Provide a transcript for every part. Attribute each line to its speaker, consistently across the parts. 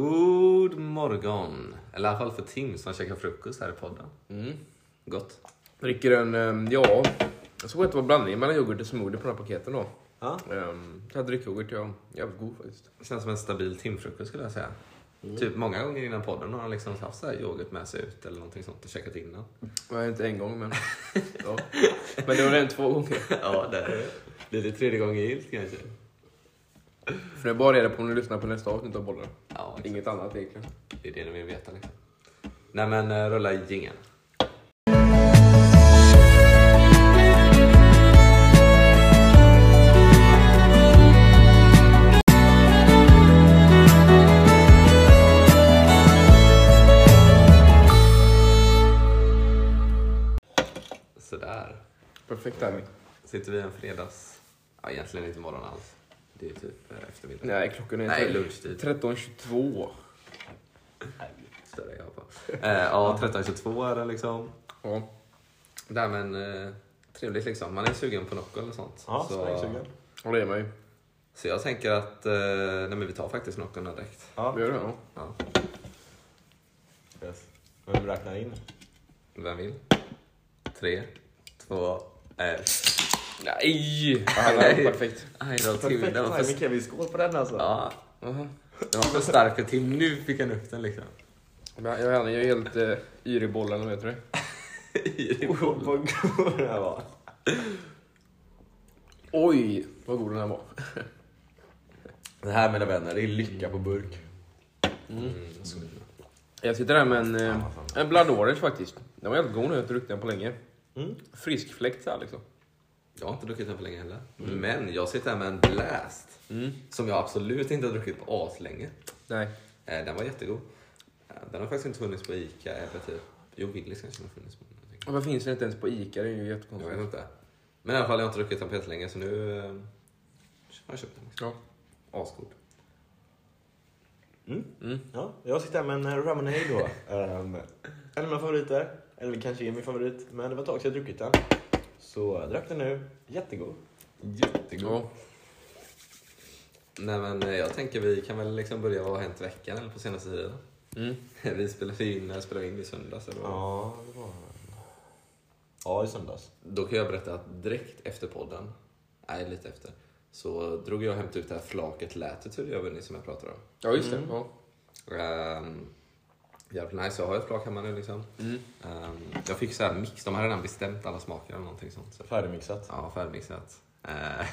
Speaker 1: God morgon! Eller i alla fall för Tim som käkar frukost här i podden.
Speaker 2: Mm.
Speaker 1: Gott.
Speaker 2: Dricker en, ehm, ja, jag såg att det var blandning mellan yoghurt och smoothie på de här paketen då.
Speaker 1: Ja.
Speaker 2: Um, jag dricker yoghurt, ja. Jävligt god faktiskt.
Speaker 1: Känns som en stabil timfrukost skulle jag säga. Typ många gånger innan podden har han liksom haft så här yoghurt med sig ut eller någonting sånt och käkat innan.
Speaker 2: Nej, inte en gång men. ja. Men det var redan två gånger.
Speaker 1: ja, det är blir det tredje gången gillt kanske.
Speaker 2: För det är bara reda på när du lyssnar på nästa avsnitt av bollen.
Speaker 1: Ja, exakt.
Speaker 2: Inget annat egentligen.
Speaker 1: det är det ni vill veta liksom. Nej men eh, rulla jingeln. Sådär.
Speaker 2: Perfekt timing.
Speaker 1: Sitter vi en fredags... Ja, egentligen inte morgon alls. Det är typ eh, eftermiddag.
Speaker 2: Nej, klockan är
Speaker 1: Nej, lunchtid.
Speaker 2: 13.22.
Speaker 1: Större jag på. Eh, ja, 13.22 är det liksom.
Speaker 2: Ja.
Speaker 1: Nej men eh, trevligt liksom. Man är sugen på Nocco eller sånt.
Speaker 3: Ja,
Speaker 1: så,
Speaker 3: slängsugen.
Speaker 2: Och det är man ju.
Speaker 1: så jag tänker att eh, nej, men vi tar faktiskt Noccon direkt.
Speaker 3: Ja,
Speaker 2: Det gör det, ja.
Speaker 1: Ja.
Speaker 3: yes. Vem räknar in?
Speaker 1: Vem vill? Tre, två, eh. ett.
Speaker 2: Nej! Ja, nej. Perfekt.
Speaker 1: Aj då Tim, den var för...
Speaker 3: Kevin, skål på den alltså.
Speaker 1: Ja,
Speaker 2: Aha.
Speaker 1: den var för stark för Tim. Nu fick han upp den liksom.
Speaker 2: Men jag, jag, jag är helt eh, yr i bollen, vet du det?
Speaker 3: Oh, vad god den här var.
Speaker 2: Oj, vad god den här var.
Speaker 3: Det här mina vänner, det är lycka på burk.
Speaker 2: Mm.
Speaker 1: Mm.
Speaker 2: Jag sitter här med en, eh, en Blood Orange faktiskt. Den var jävligt god nu, jag har inte druckit den på länge.
Speaker 3: Mm.
Speaker 2: Frisk fläkt så här liksom.
Speaker 1: Jag har inte druckit den på länge heller. Men jag sitter här med en Blast. Som jag absolut inte har druckit på aslänge.
Speaker 2: Nej.
Speaker 1: Eh, den var jättegod. Eh, den har faktiskt inte funnits på Ica eller typ... Jo, Willys kanske den har funnits på. Jag tänker.
Speaker 2: Varför finns den inte ens på ICA? Det är ju
Speaker 1: Jag
Speaker 2: jättekonstigt.
Speaker 1: vet inte. Men i alla fall, jag har inte druckit den på jättelänge så nu eh, har jag köpt den.
Speaker 2: Ja.
Speaker 1: Asgod.
Speaker 3: Mm.
Speaker 2: Mm.
Speaker 3: Ja, jag sitter här med en eh, Lemonade då. Ehm, en av mina favoriter. Eller kanske är min favorit. Men det var ett tag sedan jag druckit den. Så jag drack den nu. Jättegod.
Speaker 1: Jättegod.
Speaker 2: Ja.
Speaker 1: Nej men eh, jag tänker vi kan väl liksom börja vad har hänt i veckan eller på senaste tiden.
Speaker 2: Mm.
Speaker 1: Vi spelade ju in, eller spelade in i söndags. Eller vad?
Speaker 3: Ja, det var Ja, i söndags.
Speaker 1: Då kan jag berätta att direkt efter podden, nej lite efter, så drog jag och hämtade ut det här flaket Latitude jag vunnit som jag pratade om.
Speaker 2: ja, just det. Ja.
Speaker 1: Um, jävligt nice, jag har ett flak hemma nu liksom.
Speaker 2: Mm.
Speaker 1: Ehm, jag fick så här mix, de hade redan bestämt alla smaker eller någonting sånt. Så
Speaker 3: Färdigmixat.
Speaker 1: Ja, färdigmixat. Eh,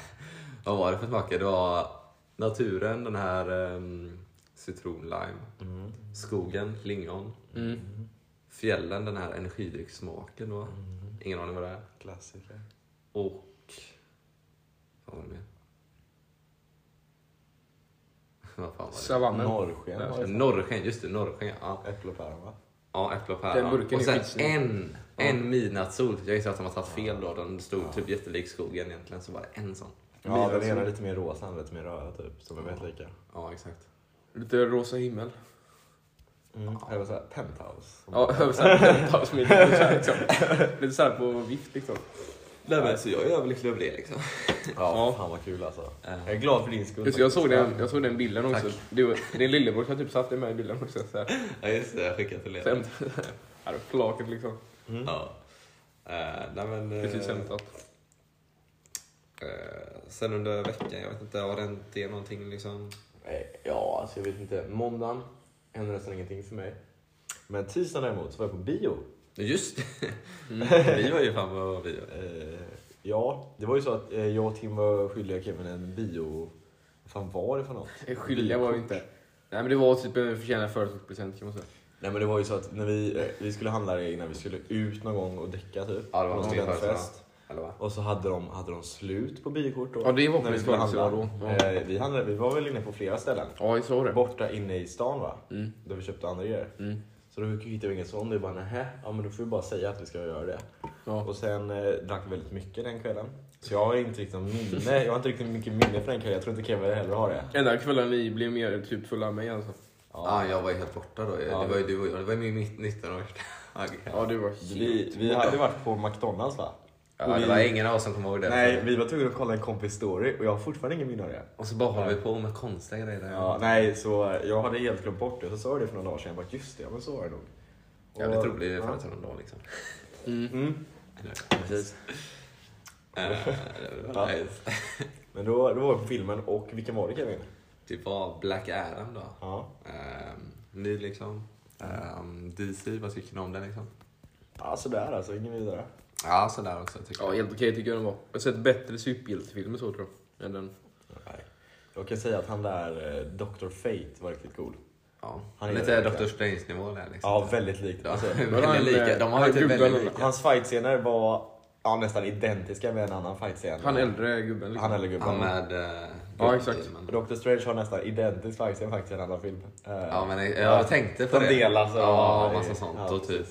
Speaker 1: vad var det för smaker? Det var naturen, den här um, citronlime.
Speaker 3: Mm.
Speaker 1: Skogen, lingon.
Speaker 2: Mm.
Speaker 1: Fjällen, den här energidryckssmaken. Då. Ingen aning vad det är.
Speaker 3: Klassiker.
Speaker 1: Och... Vad var det mer? vad fan var
Speaker 2: Savannen.
Speaker 3: Norrsken var
Speaker 1: det?
Speaker 3: det.
Speaker 1: Norrsken, just det. Norrsken, ja.
Speaker 3: Äpple och päron va?
Speaker 1: Ja, äpple och
Speaker 2: Den
Speaker 1: päron.
Speaker 2: burken
Speaker 1: Och
Speaker 2: är
Speaker 1: sen
Speaker 2: skitsnygg.
Speaker 1: en, en midnattssol. Jag gissar att de har tagit fel då. Den stod typ jättelik skogen egentligen, så var det en sån.
Speaker 3: Ja, den
Speaker 1: alltså.
Speaker 3: ena är lite mer rosa, den andra lite mer röda typ. Som är väldigt lika.
Speaker 1: Ja, exakt.
Speaker 2: Lite rosa himmel.
Speaker 3: Mm. Det var såhär penthouse.
Speaker 2: Ja, översatt. som inte är liksom. Lite såhär på vift liksom.
Speaker 1: Nej, men, så jag är överlycklig över det liksom.
Speaker 3: Ja, fan vad kul alltså. Jag är glad för din skull.
Speaker 2: Just, det, jag, såg
Speaker 3: faktiskt.
Speaker 2: den, jag såg den bilden också. Det var, din lillebror som typ satte med i bilden också. Så här.
Speaker 1: Ja just det, jag skickade till er.
Speaker 2: Fem. Här är flaket liksom.
Speaker 1: Ja. Eh, nej, men, eh,
Speaker 2: Precis hämtat.
Speaker 1: eh, sen under veckan, jag vet inte, har det hänt det någonting liksom?
Speaker 3: Nej, Ja, alltså jag vet inte. Måndagen hände nästan ingenting för mig. Men tisdagen däremot så var jag på bio.
Speaker 1: Just det!
Speaker 3: Mm.
Speaker 1: vi var ju fan på bio.
Speaker 3: Eh, ja, det var ju så att eh, jag och Tim var skyldiga Kevin en bio... Vad fan var det för något?
Speaker 2: Skyldiga var vi inte. Nej men det var typ en förtjänad företagspresent kan man säga.
Speaker 3: Nej men det var ju så att när vi, eh, vi skulle handla det innan vi skulle ut någon gång och däcka typ.
Speaker 1: Ja, det var
Speaker 3: På
Speaker 1: någon
Speaker 3: studentfest.
Speaker 1: fest. Eller va?
Speaker 3: Och så hade de, hade de slut på biokort då.
Speaker 2: Ja, det var
Speaker 3: när vi
Speaker 2: faktiskt
Speaker 3: skulle
Speaker 2: vad det
Speaker 3: handla.
Speaker 2: var då.
Speaker 3: Eh, vi, handlade, vi var väl inne på flera ställen.
Speaker 2: Ja, jag såg det.
Speaker 3: Borta inne i stan va?
Speaker 2: Mm.
Speaker 3: Där vi köpte andra grejer.
Speaker 2: Mm.
Speaker 3: Så då hittade vi ingen sån. Det är bara nähä, ja men då får vi bara säga att vi ska göra det.
Speaker 2: Ja.
Speaker 3: Och sen eh, drack vi väldigt mycket den kvällen. Så jag har inte riktigt någon minne. Jag har inte riktigt mycket minne för den kvällen. Jag tror inte Kevin heller har det.
Speaker 2: Enda kvällen vi blev mer typ fulla än mig alltså.
Speaker 1: Ja, ah, jag var ju helt borta då.
Speaker 3: Ja.
Speaker 1: Det var ju du och jag. Det var ju min mitt 19 år.
Speaker 2: Ja, det var
Speaker 3: Vi, vi hade varit på McDonalds va?
Speaker 1: Ja, det
Speaker 3: vi-
Speaker 1: var ingen av oss som kom ihåg det.
Speaker 3: Nej, vi var tvungna att kolla en kompis story och jag har fortfarande ingen minne av det.
Speaker 1: Och så bara håller vi på med konstiga grejer. där.
Speaker 3: Ja, nej, så jag hade helt glömt bort det. Så sa jag det för några dagar sedan. Jag bara, just det, ja, men så var det nog.
Speaker 1: Jävligt
Speaker 3: Och-
Speaker 1: rolig
Speaker 3: ja.
Speaker 1: föreställning ändå liksom.
Speaker 3: Mm.
Speaker 1: Eller,
Speaker 3: Precis.
Speaker 1: eh, det var
Speaker 3: Ja.
Speaker 1: nice.
Speaker 3: Men då, då var vi på filmen och vilken var det Kevin?
Speaker 1: Det var Typ Black Adam då.
Speaker 3: Ja.
Speaker 1: Ehm, ny liksom. Ehm, DC, vad tycker ni om den liksom?
Speaker 3: Ja, sådär alltså. Ingen vidare.
Speaker 1: Ja, sådär också tycker
Speaker 2: Ja,
Speaker 1: jag.
Speaker 2: helt okej tycker jag den var. Jag har sett bättre superhjältefilmer så tror jag. Än den.
Speaker 3: Nej. Jag kan säga att han där, eh, Dr. Fate, var riktigt cool.
Speaker 1: Ja.
Speaker 3: Han är
Speaker 1: Lite
Speaker 3: det.
Speaker 1: Dr. Strange-nivå där liksom.
Speaker 3: Ja, väldigt likt.
Speaker 1: Ja,
Speaker 3: Alltså, eh,
Speaker 1: väldigt
Speaker 2: han,
Speaker 1: lika. De har ju
Speaker 2: han
Speaker 1: typ
Speaker 2: gubben
Speaker 1: väldigt
Speaker 2: och-
Speaker 1: lika.
Speaker 3: hans fightscener var ja, nästan identiska med en annan fightscen.
Speaker 2: Han äldre gubben liksom.
Speaker 3: Han eller gubben.
Speaker 1: Han med... eh,
Speaker 2: Ja, exakt.
Speaker 1: men-
Speaker 3: Dr. Strange har nästan identisk fightscen faktiskt i en annan film. Eh,
Speaker 1: Ja, men jag, jag tänkte på
Speaker 3: De
Speaker 1: det.
Speaker 3: delar så-
Speaker 1: ja, massa sånt.
Speaker 3: Ja,
Speaker 1: och typ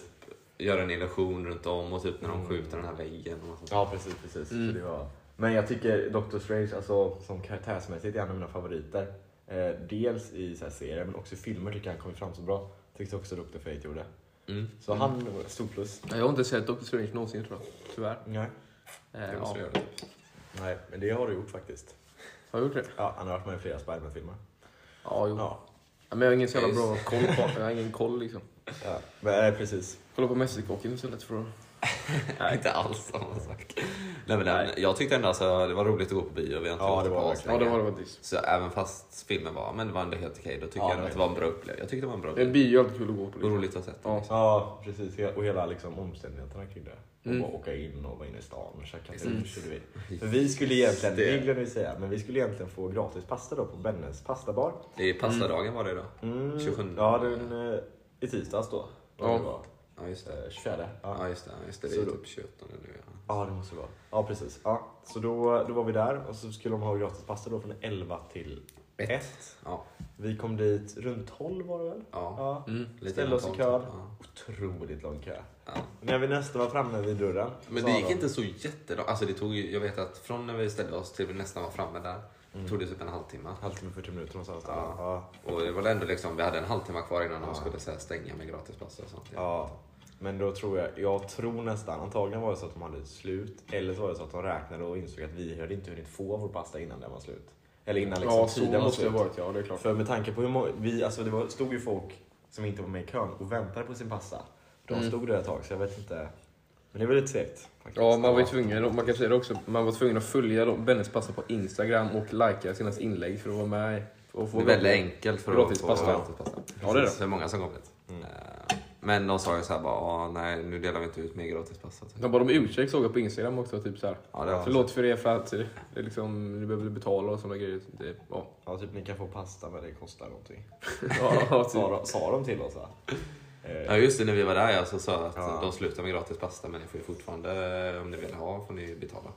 Speaker 1: gör en illusion runt om och typ när de skjuter den här väggen. Och massa sånt.
Speaker 3: Ja, precis. precis.
Speaker 1: Mm.
Speaker 3: Så det var... Men jag tycker Doctor Strange, alltså, som karaktärsmässigt, är en av mina favoriter. Eh, dels i så här serier, men också i filmer tycker jag han kommer fram så bra. Tyckte också Dr. Fate gjorde.
Speaker 1: Mm.
Speaker 3: Så han, stort plus.
Speaker 2: Jag har inte sett Doctor Strange någonsin tror jag. Tyvärr.
Speaker 3: Nej.
Speaker 2: Eh,
Speaker 1: Det måste
Speaker 2: ja.
Speaker 1: jag göra. typ.
Speaker 3: Nej, men det har du gjort faktiskt.
Speaker 2: Har jag gjort det?
Speaker 3: Ja, han har varit med i flera Spiderman-filmer.
Speaker 2: Ja, jo.
Speaker 3: Ja.
Speaker 2: Ja, Men jag har ingen så jävla bra koll på Jag har ingen koll liksom.
Speaker 3: ja. Men, eh, precis.
Speaker 2: Kolla på Mästerkocken istället för att...
Speaker 1: Inte alls samma sak. Nej, men den, jag tyckte ändå alltså, det var roligt att gå på bio. Vi har inte
Speaker 3: Ja,
Speaker 1: gjort
Speaker 3: det var
Speaker 1: på
Speaker 3: verkligen.
Speaker 2: Ja,
Speaker 1: aslänge.
Speaker 2: det var det faktiskt.
Speaker 1: Så även fast filmen var men det var ändå helt okej, då tycker
Speaker 3: Ja,
Speaker 1: jag ändå att det
Speaker 3: det
Speaker 1: var en bra upplevelse. Jag tyckte det var en bra
Speaker 2: En
Speaker 1: upplevelse.
Speaker 2: bio är alltid kul att gå på.
Speaker 1: Och
Speaker 2: Liksom.
Speaker 1: roligt att ha sett den.
Speaker 2: Ja.
Speaker 1: liksom.
Speaker 3: Ja, precis. He- Och hela liksom, omständigheterna kring det. Och
Speaker 2: Mm.
Speaker 3: bara åka in och vara inne i stan och käka
Speaker 1: Exakt.
Speaker 3: lunch. och du vet. För vi skulle egentligen,
Speaker 1: Det-
Speaker 3: det glömde vi säga, men vi skulle egentligen få gratis pasta då på Bennes pastabar.
Speaker 1: Det är pastadagen var det då.
Speaker 3: Mm,
Speaker 1: 27.
Speaker 3: Ja, den, eh, i tisdags då.
Speaker 2: Ja.
Speaker 3: Det var,
Speaker 1: Ja, just det.
Speaker 3: eh, 24. Ja.
Speaker 1: Ja, just det. Ja, just det. det
Speaker 3: Så
Speaker 1: är
Speaker 3: då-
Speaker 1: typ 28 nu. Ja.
Speaker 3: ja, det måste det vara. Ja, precis. Ja. Så då, då var vi där och så skulle de ha gratis pasta då från 11 till 1.
Speaker 1: Ja,
Speaker 3: Vi kom dit runt 12 var det väl?
Speaker 1: ja.
Speaker 3: Ja.
Speaker 2: Mm.
Speaker 1: Lite
Speaker 3: Ställde oss i
Speaker 1: innan
Speaker 3: kön.
Speaker 1: tolv, Ja.
Speaker 3: Otroligt lång kö.
Speaker 1: Ja.
Speaker 3: När vi nästan var framme vid dörren.
Speaker 1: Men
Speaker 3: sa
Speaker 1: det gick
Speaker 3: de-
Speaker 1: inte så jättelångt. Alltså det tog ju, jag vet att från när vi ställde oss till vi nästan var framme där, tog det typ en halvtimme.
Speaker 3: Halvtimme, 40 minuter någonstans där.
Speaker 1: Ja.
Speaker 3: Ja.
Speaker 1: Och det var ändå liksom, vi hade en halvtimme kvar innan de
Speaker 3: Ja.
Speaker 1: skulle så här, stänga med gratispass och sånt.
Speaker 3: ja. Men då tror jag, jag tror nästan, antagligen var det så att de hade slut. Eller så var det så att de räknade och insåg att vi hade inte hunnit få vår pasta innan den var slut. Eller innan liksom
Speaker 2: ja, så
Speaker 3: tiden var
Speaker 2: måste det
Speaker 3: slut.
Speaker 2: ha varit. Ja, det är klart.
Speaker 3: För med tanke på hur många, vi, alltså det var, stod ju folk som inte var med i kön och väntade på sin pasta. De
Speaker 2: Mm.
Speaker 3: stod där ett tag så jag vet inte. Men det var lite segt. faktiskt.
Speaker 2: Ja, man var ju tvungen, och man kan säga det också, man var tvungen att följa då Bennes pasta på Instagram och likea sina inlägg för att vara med. Och
Speaker 1: Det är väldigt enkelt för att
Speaker 2: Gratispass,
Speaker 1: få
Speaker 2: ja.
Speaker 1: gratispassen.
Speaker 2: Ja, det Mm. är det.
Speaker 1: Precis, Hur många som kom dit. Eh, Men de sa ju så här bara, "Ah, nej nu delar vi inte ut mer gratispass. Alltså.
Speaker 2: De bad om ursäkt såg jag på Instagram också, typ såhär.
Speaker 1: Ja, det var
Speaker 2: Förlåt för det för att det är liksom, ni behöver betala och sådana grejer. Det, ja.
Speaker 3: Ja, typ ni kan få pasta men det kostar någonting.
Speaker 2: ja,
Speaker 3: Sa,
Speaker 2: typ.
Speaker 3: de- sa de till oss va?
Speaker 1: Ja just det, när vi var där ja, så sa jag att
Speaker 3: Ja.
Speaker 1: de slutar med gratis pasta men ni får ju fortfarande, eh, om ni vill ha, får ni betala.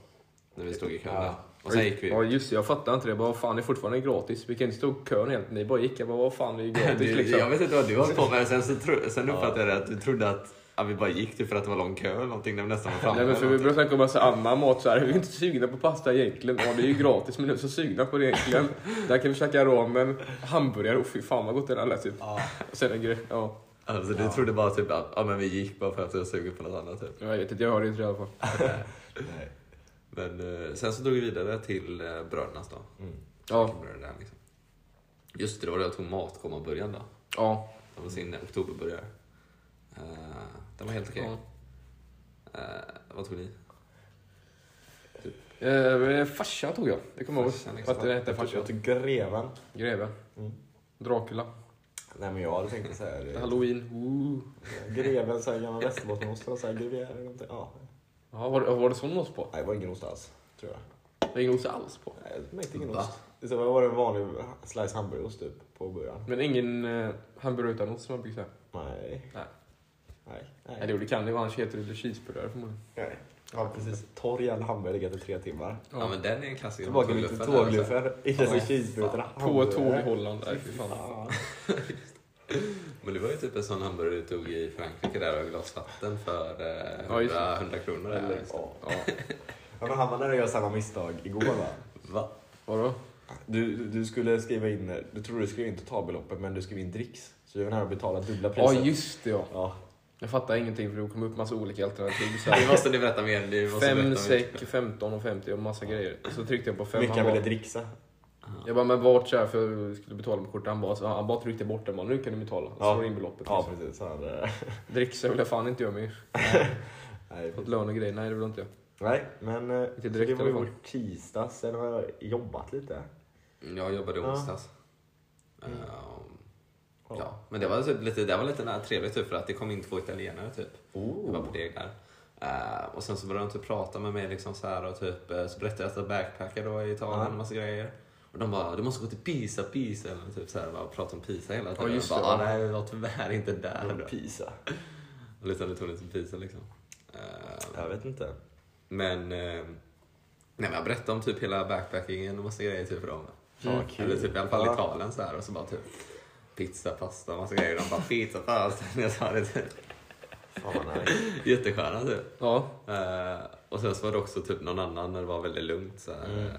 Speaker 1: När vi stod i kön
Speaker 3: Ja.
Speaker 1: där. Och sen gick vi
Speaker 2: Ja just det, jag fattar inte det. Jag bara, vad fan det är fortfarande gratis. Vi kan inte stå i kön helt. Ni bara gick. Jag bara, vad fan det är gratis
Speaker 1: Du,
Speaker 2: liksom.
Speaker 1: Jag vet inte vad du höll på med. Sen, så tro, sen uppfattade jag det att du trodde att ja, vi bara gick typ för att det var lång kö eller någonting när vi nästan var framme.
Speaker 2: Nej men för
Speaker 1: eller
Speaker 2: vi brukar snacka om massa annan mat så här. Vi är inte sugna på pasta egentligen. Ja det är ju gratis men nu är vi så sugna på det egentligen. Där kan vi käka ramen, hamburgare och fy fan vad gott det där lät typ. Och sen en grej. Ja,
Speaker 1: någonting. alltså, du trodde bara typ att ja, men vi gick bara för att vi var sugen på något annat. Typ.
Speaker 2: jag vet inte. Jag hörde inte det i alla fall.
Speaker 3: Nej.
Speaker 1: Men eh, sen så drog vi vidare till eh, brödernas då.
Speaker 3: Mm.
Speaker 2: Ja,
Speaker 1: Bröderna Där, liksom. Just det, det var då jag tog matkommabörjan då.
Speaker 2: ja.
Speaker 1: Det var sin oktoberburgare. Uh, den var helt okej.
Speaker 2: ja.
Speaker 1: Eh, vad tog ni?
Speaker 2: Eh, farsan tog jag. Det kommer jag ihåg.
Speaker 1: Farsan, liksom.
Speaker 2: Att det hette
Speaker 3: Jag tog,
Speaker 2: farsan.
Speaker 3: jag tog greven.
Speaker 2: Greve.
Speaker 3: Mm.
Speaker 2: Dracula.
Speaker 3: Nej men jag hade tänkt så här.
Speaker 2: Halloween. Ooh.
Speaker 3: greven, så här gammal västerbottenost och så här grevier eller någonting. Ja.
Speaker 2: Ja, var, var det sån ost på?
Speaker 3: Nej, det var ingen ost alls. Tror jag.
Speaker 2: Det är ingen ost alls på.
Speaker 3: Nej, jag märkte ingen
Speaker 1: Va?
Speaker 3: ost. Det var en vanlig slice hamburgerost typ på början.
Speaker 2: Men ingen eh, hamburgare utan ost som man brukar säga.
Speaker 3: Nej.
Speaker 2: Nej.
Speaker 3: Nej.
Speaker 2: Nej, det gjorde kan det. Annars heter det cheeseburgare förmodligen.
Speaker 3: Nej. Ja, precis. Torr jävla hamburgare legat i tre timmar.
Speaker 1: Ja. men den är en klassiker.
Speaker 3: Tillbaka lite
Speaker 1: Tågluffen där, alltså.
Speaker 3: tågluffar i dessa
Speaker 2: Ja.
Speaker 3: cheeseburgare.
Speaker 2: På ett tåg i Holland. Där, fy fan.
Speaker 3: Ja.
Speaker 1: Men det var ju typ en sån hamburgare du tog i Frankrike där och glasvatten för eh,
Speaker 2: Ja, just det.
Speaker 1: 100, 100 kronor.
Speaker 3: Eller,
Speaker 1: Eller,
Speaker 3: ja.
Speaker 2: Ja.
Speaker 3: Ja, men han var där och gjorde samma misstag igår va?
Speaker 1: va?
Speaker 2: Vadå?
Speaker 3: Du, du- du skulle skriva in, du tror du skrev in totalbeloppet men du skrev in dricks. Så du var nära att betala dubbla
Speaker 2: Ja,
Speaker 3: priset.
Speaker 2: just det ja.
Speaker 3: Ja.
Speaker 2: Jag fattar ingenting för det kom upp massa olika alternativ. Så
Speaker 1: Nu
Speaker 2: här,
Speaker 1: måste ni berätta mer. Ni måste
Speaker 2: fem,
Speaker 1: berätta mer.
Speaker 2: säck, 15 och 50 och massa grejer. Så tryckte jag på fem.
Speaker 3: mycket
Speaker 2: han
Speaker 3: han
Speaker 2: bara-
Speaker 3: ville dricksa.
Speaker 2: Jag bara, men vart så här för jag skulle betala med kortet. Han bara, så, han bara tryckte bort den. Bara, nu kan du betala. Och så
Speaker 3: Ja.
Speaker 2: var det in beloppet.
Speaker 3: Ja,
Speaker 2: liksom.
Speaker 3: precis. Han, eh,
Speaker 2: Dricksa vill jag fan inte göra mer.
Speaker 3: nej,
Speaker 2: Fått lön och grejer. Nej, det vill jag inte jag.
Speaker 3: nej, men eh, så
Speaker 2: direkt
Speaker 3: det
Speaker 2: i
Speaker 3: var ju
Speaker 2: alla fall.
Speaker 3: vår tisdag. Sen har jag jobbat lite.
Speaker 1: Jag jobbade i
Speaker 3: Ja. Mm.
Speaker 1: onsdags. Ehm,
Speaker 3: Ja.
Speaker 1: ja. Men det var typ lite, det var lite där trevligt typ, för att det kom in två italienare typ.
Speaker 3: Oh,
Speaker 1: Jag var på deg där. Eh, och sen så började de typ prata med mig liksom så här och typ, eh, så berättade jag att jag backpackade då i Italien
Speaker 3: Ja.
Speaker 1: och massa grejer. Och de bara, du måste gå till Pisa, Pisa eller typ så här, bara prata om Pisa hela tiden.
Speaker 2: just
Speaker 1: jag
Speaker 2: det,
Speaker 1: bara, ah,
Speaker 2: ja.
Speaker 1: nej, jag var tyvärr inte där.
Speaker 3: Eller
Speaker 1: då.
Speaker 3: Pisa.
Speaker 1: Och lite lite till Pisa liksom. Eh,
Speaker 3: Jag vet inte.
Speaker 1: men, eh, nej, men jag berättade om typ hela backpackingen och massa grejer typ för dem.
Speaker 3: Fan, vad kul.
Speaker 1: Eller typ i alla fall
Speaker 3: Ja.
Speaker 1: Italien så här och så bara typ pizza, pasta, massa grejer. De bara pizza, pasta. Jag sa det typ.
Speaker 3: Fan vad nice.
Speaker 1: Jättesköna typ.
Speaker 2: Ja,
Speaker 1: Eh, och sen så var det också typ någon annan när det var väldigt lugnt. Så här, eh,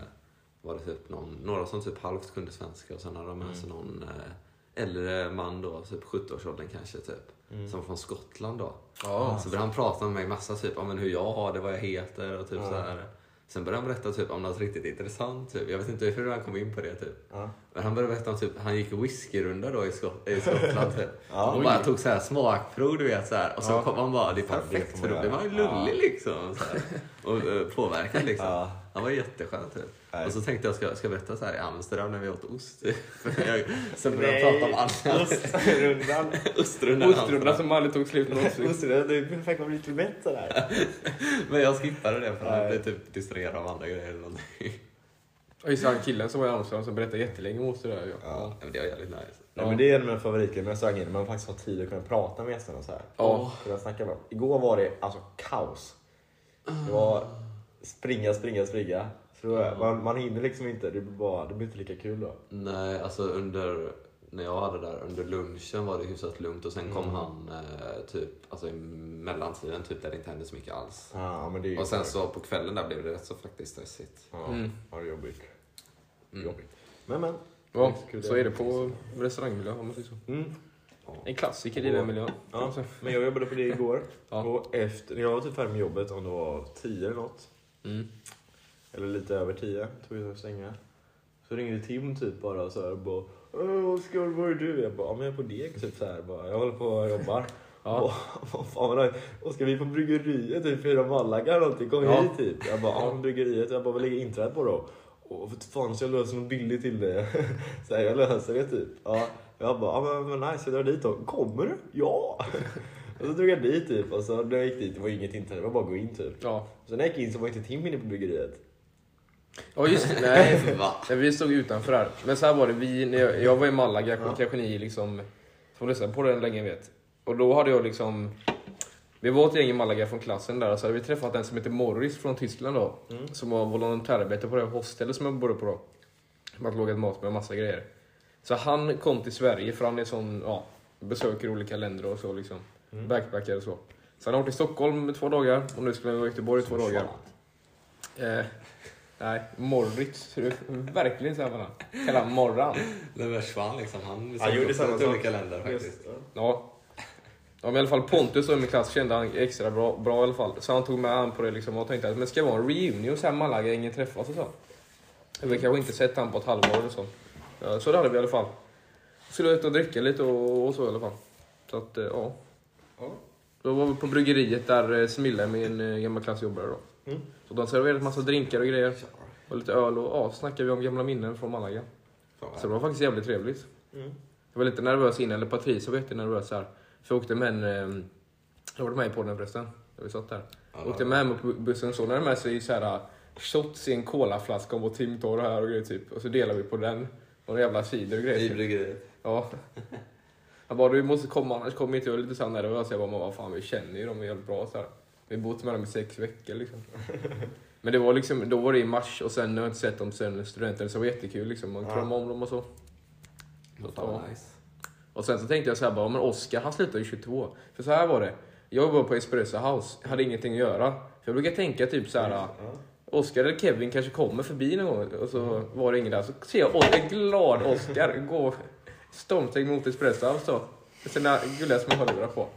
Speaker 1: var det typ någon, några som typ halvt kunde svenska och sen hade de med sig någon eh, äldre man då, typ 70-årsåldern kanske typ. Som var från Skottland då.
Speaker 2: Ja.
Speaker 1: Så började han prata med mig massa typ om hur jag har det, vad jag heter och typ så här. Sen började han berätta typ om något riktigt intressant. Typ. Jag vet inte hur han kom in på det typ.
Speaker 3: Ja.
Speaker 1: Men han började berätta om typ, han gick whiskyrunda då i, Skott, i Skottland typ.
Speaker 3: Ja.
Speaker 1: och bara tog så här smakprov du vet så här. Och så kom han bara, det är perfekt
Speaker 3: får
Speaker 1: för
Speaker 3: man
Speaker 1: då blir man ju
Speaker 3: göra.
Speaker 1: lullig liksom. Så här. Och eh, påverkad liksom.
Speaker 3: Ja.
Speaker 1: Han var jätteskön typ.
Speaker 3: Nej.
Speaker 1: Och så tänkte jag, ska, ska jag berätta så här i Amsterdam när vi åt ost? typ. Jag- Sen började jag prata
Speaker 3: Nej,
Speaker 1: om annat.
Speaker 3: Ostrundan.
Speaker 1: Ostrundan.
Speaker 2: Ostrunda som aldrig tog slut någonsin.
Speaker 3: Ostrundan, du är perfekt man blir lite bättre där.
Speaker 1: Men jag skippade det för
Speaker 3: Nej.
Speaker 1: att bli typ distraherad av andra grejer eller någonting.
Speaker 2: Och just han killen som var i Amsterdam som berättade jättelänge om oss det där.
Speaker 1: Ja,
Speaker 2: Ja.
Speaker 1: men det var jävligt nice.
Speaker 3: Nej, men det är en av mina favoritgrejer med restauranger, när man faktiskt har tid att kunna prata med gästerna så här.
Speaker 2: Ja.
Speaker 3: Kunna snacka med dem. Igår var det alltså kaos. Det var springa, springa, springa. Så det var, man, man hinner liksom inte, det blir, bara, det blir inte lika kul då.
Speaker 1: Nej, alltså under, när jag hade där, under lunchen var det hyfsat lugnt och sen
Speaker 2: Mm.
Speaker 1: kom han eh, typ, alltså i mellantiden, typ där det inte hände så mycket alls.
Speaker 3: Ja, men det är ju
Speaker 1: Och sen så på kvällen där blev det rätt så faktiskt stressigt.
Speaker 3: Ja,
Speaker 2: Mm.
Speaker 3: ja, det är jobbigt.
Speaker 1: Mm.
Speaker 3: jobbigt. Men men.
Speaker 2: Ja,
Speaker 3: Det kul
Speaker 2: så är det på restaurangmiljö om man säger så.
Speaker 3: Mm.
Speaker 2: En klassiker i den miljön.
Speaker 3: Ja,
Speaker 2: Ja.
Speaker 3: men jag jobbade på det igår.
Speaker 2: Ja.
Speaker 3: Och efter, när jag var typ färdig med jobbet, om det var 10 eller något,
Speaker 2: Mm.
Speaker 3: eller lite över 10, tog jag och sänga. Så ringde Tim typ bara och så här bara "Åh, Oskar, var är du? Jag bara, ja men jag är på deg typ så här bara. Jag håller på och jobbar.
Speaker 2: Ja.
Speaker 3: Och, vad fan vad nice. Oskar, vi är på bryggeriet typ, fyra Malaga eller någonting. Kom
Speaker 2: Ja.
Speaker 3: hit typ. Jag bara, ja men bryggeriet. Jag bara, vad ligger inträdet på då? Och för fan så jag löser något billigt till dig. så här, jag löser det typ. Ja. Jag bara, ja men vad nice, jag drar dit då. Kommer du? Ja! och så drog jag dit typ. Och så när jag gick dit, det var inget inträde, det var bara att gå in typ.
Speaker 2: Ja.
Speaker 3: Så när jag gick in så var inte Tim inne på bryggeriet.
Speaker 2: ja, just det. Nej,
Speaker 1: Va?
Speaker 2: Nej, vi stod utanför här. Men så här var det, vi, när jag, jag var i Malaga, kanske ni liksom, som lyssnade på den länge vet. Och då hade jag liksom, vi var ett gäng i Malaga från klassen där, så hade vi träffat en som heter Morris från Tyskland då. Som var volontärarbete på det hostellet som jag bodde på då. Som hade lagat mat med och massa grejer. Så han kom till Sverige för han är sån, ja, besöker olika länder och så liksom. Backpackare och så. Så han har varit i Stockholm i två dagar och nu skulle han vara i Göteborg i två dagar. Eh, nej, Morris. tror du? Verkligen så här bara. Kallar han Morran.
Speaker 1: Den där Schwan liksom, han
Speaker 3: Han gjorde samma
Speaker 1: till
Speaker 3: sak.
Speaker 1: olika länder faktiskt.
Speaker 3: Just, ja.
Speaker 2: Ja. Ja, men i alla fall Pontus då i min klass kände han extra bra, bra i alla fall. Så han tog med han på det liksom och tänkte att men ska det vara en reunion så här Malaga, ingen träffas och så. Jag har kanske inte sett han på ett halvår eller så. Ja, Så det hade vi i alla fall. Skulle ut och dricka lite och, och så i alla fall. Så att, eh, ja.
Speaker 3: Ja.
Speaker 2: Då var vi på bryggeriet där eh, Smilla, min eh, gamla klass, jobbade då.
Speaker 3: Mm.
Speaker 2: Så de serverade massa drinkar och grejer. Och lite öl och ja, snackade vi om gamla minnen från Malaga.
Speaker 1: Fan, vad
Speaker 2: Så det var faktiskt jävligt trevligt.
Speaker 3: Mm.
Speaker 2: Jag var lite nervös innan, eller Patrice var jättenervös här. För jag åkte med en, ehm, jag var med i podden förresten, där vi satt där.
Speaker 1: Ja,
Speaker 2: Jag åkte med mig på bu- bussen så, när med sig så här äh, shots i en colaflaska och vår timtorr här och grejer typ. Och så delade vi på den. Och en jävla cider och
Speaker 1: I
Speaker 2: grejer. Typ.
Speaker 1: bryggeriet.
Speaker 2: Ja. Han bara, du måste komma annars kommer inte jag. Lite så här nervös. Jag bara, men vad fan vi känner ju dem jävligt bra så här. Vi har bott med dem i sex veckor liksom. Men det var liksom, då var det i mars och sen har jag inte sett dem sen studenten så det var jättekul liksom. Man
Speaker 3: Ja.
Speaker 2: kramade om dem och så.
Speaker 1: Fan,
Speaker 2: Ja.
Speaker 1: vad nice.
Speaker 2: Och sen så tänkte jag så här bara, men Oscar han slutar ju 22. För så här var det. Jag jobbade på Espresso House, hade ingenting att göra. För jag brukar tänka typ så här, Oscar eller Kevin kanske kommer förbi någon gång. Och så var det ingen där. Så ser jag Os- en glad Oscar gå stormsteg mot Espresso House då. Med sina gulliga små hörlurar på.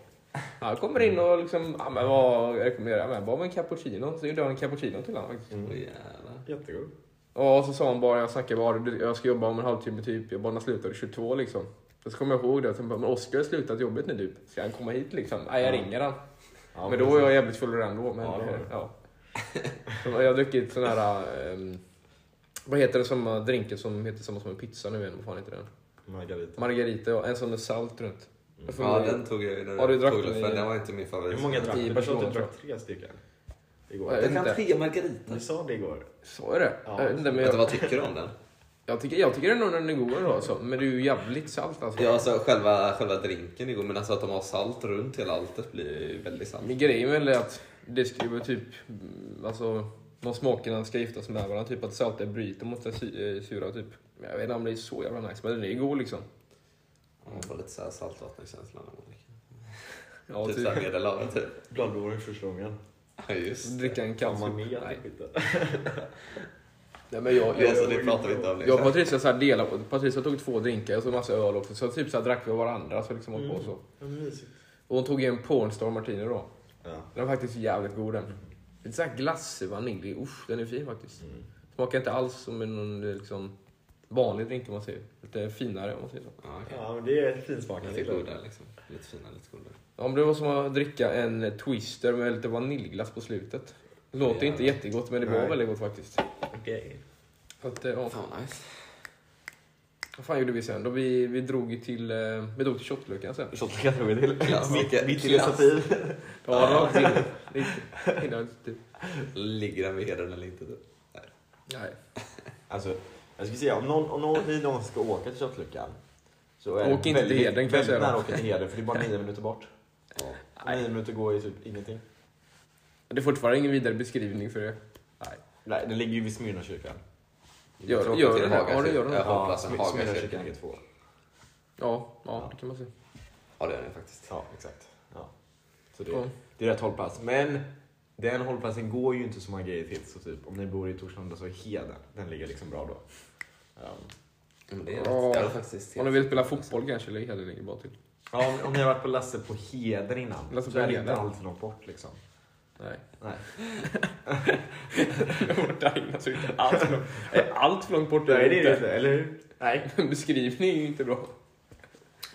Speaker 2: Han kommer in och liksom, ja men vad rekommenderar jag? Ja, men Bara en cappuccino. Så gjorde jag en cappuccino till honom faktiskt.
Speaker 1: Åh, jävlar.
Speaker 3: Jättegod.
Speaker 2: Ja, Och så sa han bara, jag snackade bara, du, jag ska jobba om en halvtimme typ. Jag bara, när slutar du? 22 liksom. Och så kommer jag ihåg det, jag tänkte bara, men Oskar har slutat jobbet nu typ. Ska han komma hit liksom? Nej, jag
Speaker 3: Ja.
Speaker 2: ringer han.
Speaker 3: Ja,
Speaker 2: men då var jag jävligt full redan då. Men,
Speaker 3: Ja, det var du.
Speaker 2: ja. Så Jag har druckit sån här, ehm, vad heter det, samma drinken som heter samma som en pizza nu igen, vad fan heter den?
Speaker 3: Margarita.
Speaker 2: Margarita, ja. En sån med salt runt. Jag får
Speaker 1: Ja,
Speaker 2: mig-
Speaker 1: den tog jag ju när
Speaker 2: Ja, du drack
Speaker 1: tog
Speaker 2: den
Speaker 1: den,
Speaker 2: i-
Speaker 1: för den var inte min favorit.
Speaker 3: Hur många drack
Speaker 2: I
Speaker 3: du? Du sa att
Speaker 2: Barcelona,
Speaker 3: du drack tre stycken.
Speaker 2: Nej,
Speaker 3: Igår.
Speaker 2: jag
Speaker 1: Jag kan
Speaker 2: vet inte.
Speaker 1: tre margaritas.
Speaker 3: Ni sa det igår.
Speaker 2: Så är det.
Speaker 3: Ja.
Speaker 2: Jag vet inte, men
Speaker 1: Vänta,
Speaker 2: jag,
Speaker 1: vad tycker du om den?
Speaker 2: jag, tycker, jag tycker ändå den är god ändå, alltså. Men det är ju jävligt salt alltså.
Speaker 1: Ja, alltså själva, själva drinken igår, men alltså att de har salt runt hela alltet blir ju väldigt salt.
Speaker 2: Men grejen väl är att det ska ju vara typ, mm, alltså de smakerna ska giftas med varandra, typ att saltet bryter mot det sy- eh, sura typ. Men jag vet inte om det är så jävla nice, men den är ju god liksom.
Speaker 1: Jag får lite så här saltvattenkänsla när man dricker.
Speaker 2: Ja,
Speaker 1: typ
Speaker 2: typ.
Speaker 1: såhär medelhavet typ.
Speaker 3: Gladborg första gången.
Speaker 1: Ja, just det.
Speaker 2: Dricka en kall
Speaker 3: man
Speaker 2: sup.
Speaker 3: ner
Speaker 2: Nej.
Speaker 3: skiten.
Speaker 2: Nej men jag, jag,
Speaker 1: Alltså, det pratar vi inte om.
Speaker 2: jag och
Speaker 1: Liksom.
Speaker 2: Patricia så här delade, på- Patricia tog två drinkar och så massa öl också, så typ så här drack vi av varandra. Så liksom mm. på så.
Speaker 3: Ja, men mysigt.
Speaker 2: Och hon tog en Pornstar Martini då.
Speaker 3: Ja.
Speaker 2: Den var faktiskt jävligt god
Speaker 1: Mm.
Speaker 2: den. Lite såhär glassig vanilj, usch den är fin faktiskt.
Speaker 3: Mm.
Speaker 2: Smakar inte alls som en någon, eh, liksom, vanlig drink om man säger. Lite finare om man säger så.
Speaker 1: Ja, okej.
Speaker 3: Ja, men det är finsmakande.
Speaker 1: Lite goda liksom. Lite fina, lite goda.
Speaker 2: Ja, men det var som att dricka en twister med lite vaniljglass på slutet. Det låter
Speaker 1: Jävlar.
Speaker 2: inte jättegott men det var
Speaker 3: Nej.
Speaker 2: väldigt gott faktiskt.
Speaker 3: Okej.
Speaker 2: Så att, eh, ja.
Speaker 1: Fan vad nice.
Speaker 2: Vad fan gjorde vi sen då? Vi, vi drog ju till, eh, vi drog till shotluckan sen.
Speaker 3: Shots kan jag till.
Speaker 1: Klassiker.
Speaker 3: Mitt, mitt
Speaker 1: Klass.
Speaker 3: initiativ.
Speaker 2: Ja, det var till. Innan, typ.
Speaker 1: Ligger den vid hedern eller inte? Typ.
Speaker 2: Nej.
Speaker 3: Alltså, jag skulle säga om någon, om någon, ni någon ska åka till köttluckan. Så är
Speaker 2: Åk
Speaker 3: det
Speaker 2: inte till
Speaker 3: väldigt-
Speaker 2: Heden, kan jag
Speaker 3: väldigt
Speaker 2: säga då.
Speaker 3: nära att åka till Heden för det är bara nio minuter bort.
Speaker 1: Ja.
Speaker 3: Nio minuter går ju typ ingenting.
Speaker 2: Det är fortfarande ingen vidare beskrivning för det. Nej.
Speaker 3: Nej, den ligger ju vid Smyrna kyrkan.
Speaker 2: Gör,
Speaker 1: Tråkigt
Speaker 2: gör
Speaker 1: till
Speaker 2: den här? Ja,
Speaker 1: Haga
Speaker 2: det gör den.
Speaker 1: kyrka.
Speaker 2: Ja,
Speaker 1: hållplatsen
Speaker 3: Smy-
Speaker 1: Haga
Speaker 3: Smyrna
Speaker 1: kyrka.
Speaker 3: kyrkan ligger två.
Speaker 2: ja, det kan man säga.
Speaker 1: Ja, det gör den faktiskt.
Speaker 3: Ja, exakt. Ja. Så det,
Speaker 2: Ja.
Speaker 3: det är rätt hållplats. Men den hållplatsen går ju inte så många grejer till. Så typ, om ni bor i Torslanda så är Heden, den ligger liksom bra då. Ja.
Speaker 1: Men det är
Speaker 2: Ja.
Speaker 1: rätt. Jag har faktiskt
Speaker 2: Om du vill spela fotboll kanske, eller hela ligger bra till.
Speaker 3: Ja, om, om ni har varit på Lasse på Heden innan
Speaker 2: Lasse
Speaker 3: så
Speaker 2: på
Speaker 3: är det
Speaker 2: Heden.
Speaker 3: inte alltför långt bort liksom.
Speaker 2: Nej.
Speaker 3: Nej.
Speaker 2: Vårt Agnes är inte allt för långt, Nej, allt för långt bort.
Speaker 3: Nej, det är det inte, eller hur? Nej.
Speaker 2: Beskrivning är ju inte bra.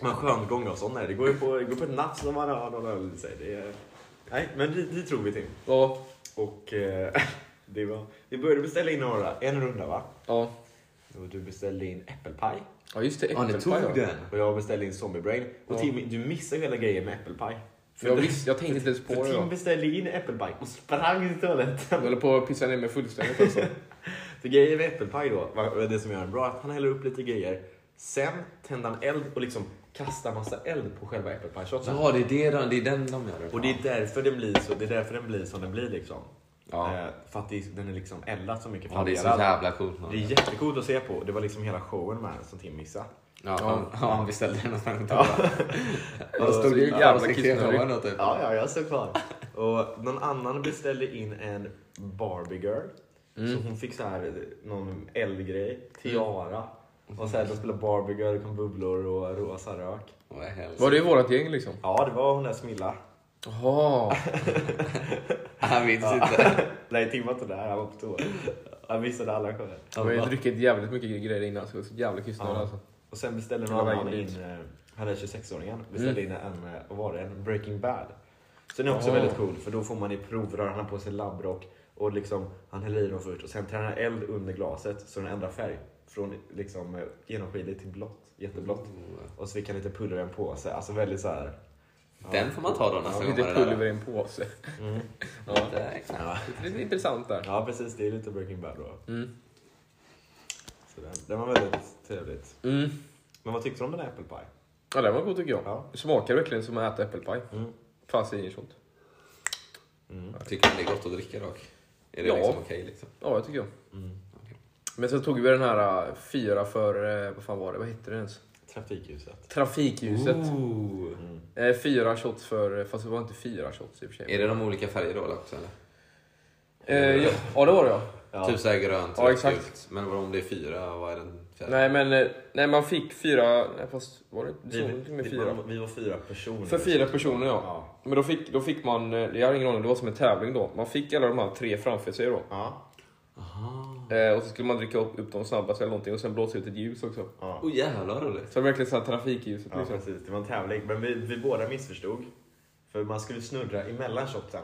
Speaker 3: Men sköngång och sånt, nej. Det går ju på, det går på ett nafs om man har någon öl i sig. Det är, nej, men dit, dit drog vi till.
Speaker 2: Ja,
Speaker 3: Och eh, det var, vi började beställa in några, en runda va?
Speaker 2: ja.
Speaker 3: Och du beställde in äppelpaj.
Speaker 2: ja just det.
Speaker 1: Ja, ni tog
Speaker 2: äppelpaj, ja.
Speaker 1: den.
Speaker 3: Och jag beställde in zombie brain. Och
Speaker 2: Ja.
Speaker 3: Tim, du missade hela grejen med äppelpaj. För,
Speaker 2: Jag,
Speaker 3: du-
Speaker 2: visste, jag tänkte inte ens på
Speaker 3: för
Speaker 2: det.
Speaker 3: Tim
Speaker 2: då.
Speaker 3: beställde in äppelpaj och sprang till
Speaker 2: Jag
Speaker 3: toaletten.
Speaker 2: håller på att pissa ner mig fullständigt alltså.
Speaker 3: För grejen med äppelpaj då, va- det som gör den bra, är att han häller upp lite grejer. Sen tänder han eld och liksom kastar massa eld på själva äppelpajshotsen.
Speaker 1: Ja, det är, det, de- det är den de gör.
Speaker 3: Och det är, därför den blir så, det är därför den blir som den blir liksom.
Speaker 1: Ja.
Speaker 3: Eh, För att det, är- den är liksom eldad så mycket.
Speaker 1: ja, det är så
Speaker 3: fonderad.
Speaker 1: jävla coolt. man.
Speaker 3: det är jättecoolt att se på. Det var liksom hela showen med den som Tim missade.
Speaker 1: Ja, han, ja, han beställde den och sen ja.
Speaker 2: Ja,
Speaker 1: stod det
Speaker 2: så
Speaker 1: ju
Speaker 2: jävla
Speaker 1: jävla
Speaker 2: kissnödig.
Speaker 1: kissnödig. Typ.
Speaker 3: Ja, ja, jag står kvar. Och någon annan beställde in en Barbie girl.
Speaker 1: Mm.
Speaker 3: Så hon fick så här eh, någon eldgrej, tiara. Och sen de spelade Barbie girl, det kom bubblor och rosa rök.
Speaker 1: Vad i helvete.
Speaker 2: Var det vårat gäng liksom?
Speaker 3: Ja, det var hon där Smilla.
Speaker 2: Jaha.
Speaker 1: Han minns inte.
Speaker 3: Nej, Tim var inte där, han var på toa. Han missade alla shower.
Speaker 2: Jag har ju druckit jävligt mycket grejer innan så jag är så jävla kissnödig
Speaker 3: Ja.
Speaker 2: alltså.
Speaker 3: Och sen beställde
Speaker 2: Det
Speaker 3: någon
Speaker 2: var
Speaker 3: annan
Speaker 2: vägen dit.
Speaker 3: in, eh, han är 26-åringen,
Speaker 1: Mm.
Speaker 3: beställde in en, eh, vad var det, en Breaking Bad. Så den är också
Speaker 2: Ah.
Speaker 3: väldigt cool för då får man i provrör, han har på sig labbrock och liksom, han häller i dem först och sen tänder han eld under glaset så den ändrar färg. Från liksom eh, genomskinligt till blått, jätteblått.
Speaker 1: Mm.
Speaker 3: Och så fick han lite pulver i en påse, alltså väldigt så här.
Speaker 1: Den får man ta då nästa gång.
Speaker 2: Lite
Speaker 1: vad det där
Speaker 2: pulver i en påse.
Speaker 3: Mm.
Speaker 2: Ja.
Speaker 1: är.
Speaker 3: Ja.
Speaker 2: Det är intressant där.
Speaker 3: ja precis, det är lite Breaking Bad då.
Speaker 2: Mm.
Speaker 3: Så den, den var väldigt trevligt.
Speaker 2: Mm.
Speaker 3: Men vad tyckte du om den här apple pie?
Speaker 2: Ja, den var god tycker jag.
Speaker 3: Ja.
Speaker 2: Det smakar verkligen som att äta äppelpaj.
Speaker 3: Mm.
Speaker 2: Fan säger ni sånt?
Speaker 3: Mm.
Speaker 1: Tycker du det är gott att dricka dock? Är det
Speaker 2: Ja.
Speaker 1: liksom okej liksom?
Speaker 2: Ja, jag tycker jag.
Speaker 3: Mm.
Speaker 2: Men sen tog vi den här eh, fyra för, eh, vad fan var det, vad hette det ens?
Speaker 3: Trafikljuset.
Speaker 2: Trafikljuset.
Speaker 1: Oh. Ooh.
Speaker 3: Mm.
Speaker 2: Eh, fyra shots för, eh, fast det var inte fyra shots i och för sig.
Speaker 1: Är det de olika färger då också eller?
Speaker 2: Eh, ja, ja, det var det ja.
Speaker 3: Ja.
Speaker 1: Typ såhär grönt,
Speaker 2: Ja,
Speaker 1: rött,
Speaker 2: exakt.
Speaker 1: gult. Men vad om det är fyra, vad är den Fyra.
Speaker 2: Nej men, eh, nej man fick fyra, nej, fast var det, det
Speaker 3: Vi,
Speaker 2: stod till och med
Speaker 3: vi,
Speaker 2: fyra.
Speaker 3: var, vi var fyra personer.
Speaker 2: För fyra personer ja.
Speaker 3: Ja.
Speaker 2: Men då fick, då fick man, eh, jag hade ingen aning, det var som en tävling då. Man fick alla de här tre framför sig då.
Speaker 3: Ja.
Speaker 1: Aha.
Speaker 2: Eh, och så skulle man dricka upp, upp dem snabbast eller någonting och sen blåsa ut ett ljus också.
Speaker 3: ja.
Speaker 1: Oh jävlar vad roligt.
Speaker 2: Så det var verkligen så här trafikljuset
Speaker 3: ja,
Speaker 2: liksom.
Speaker 3: precis. Det var en tävling. Men vi, vi båda missförstod. För man skulle snurra emellan shotsen.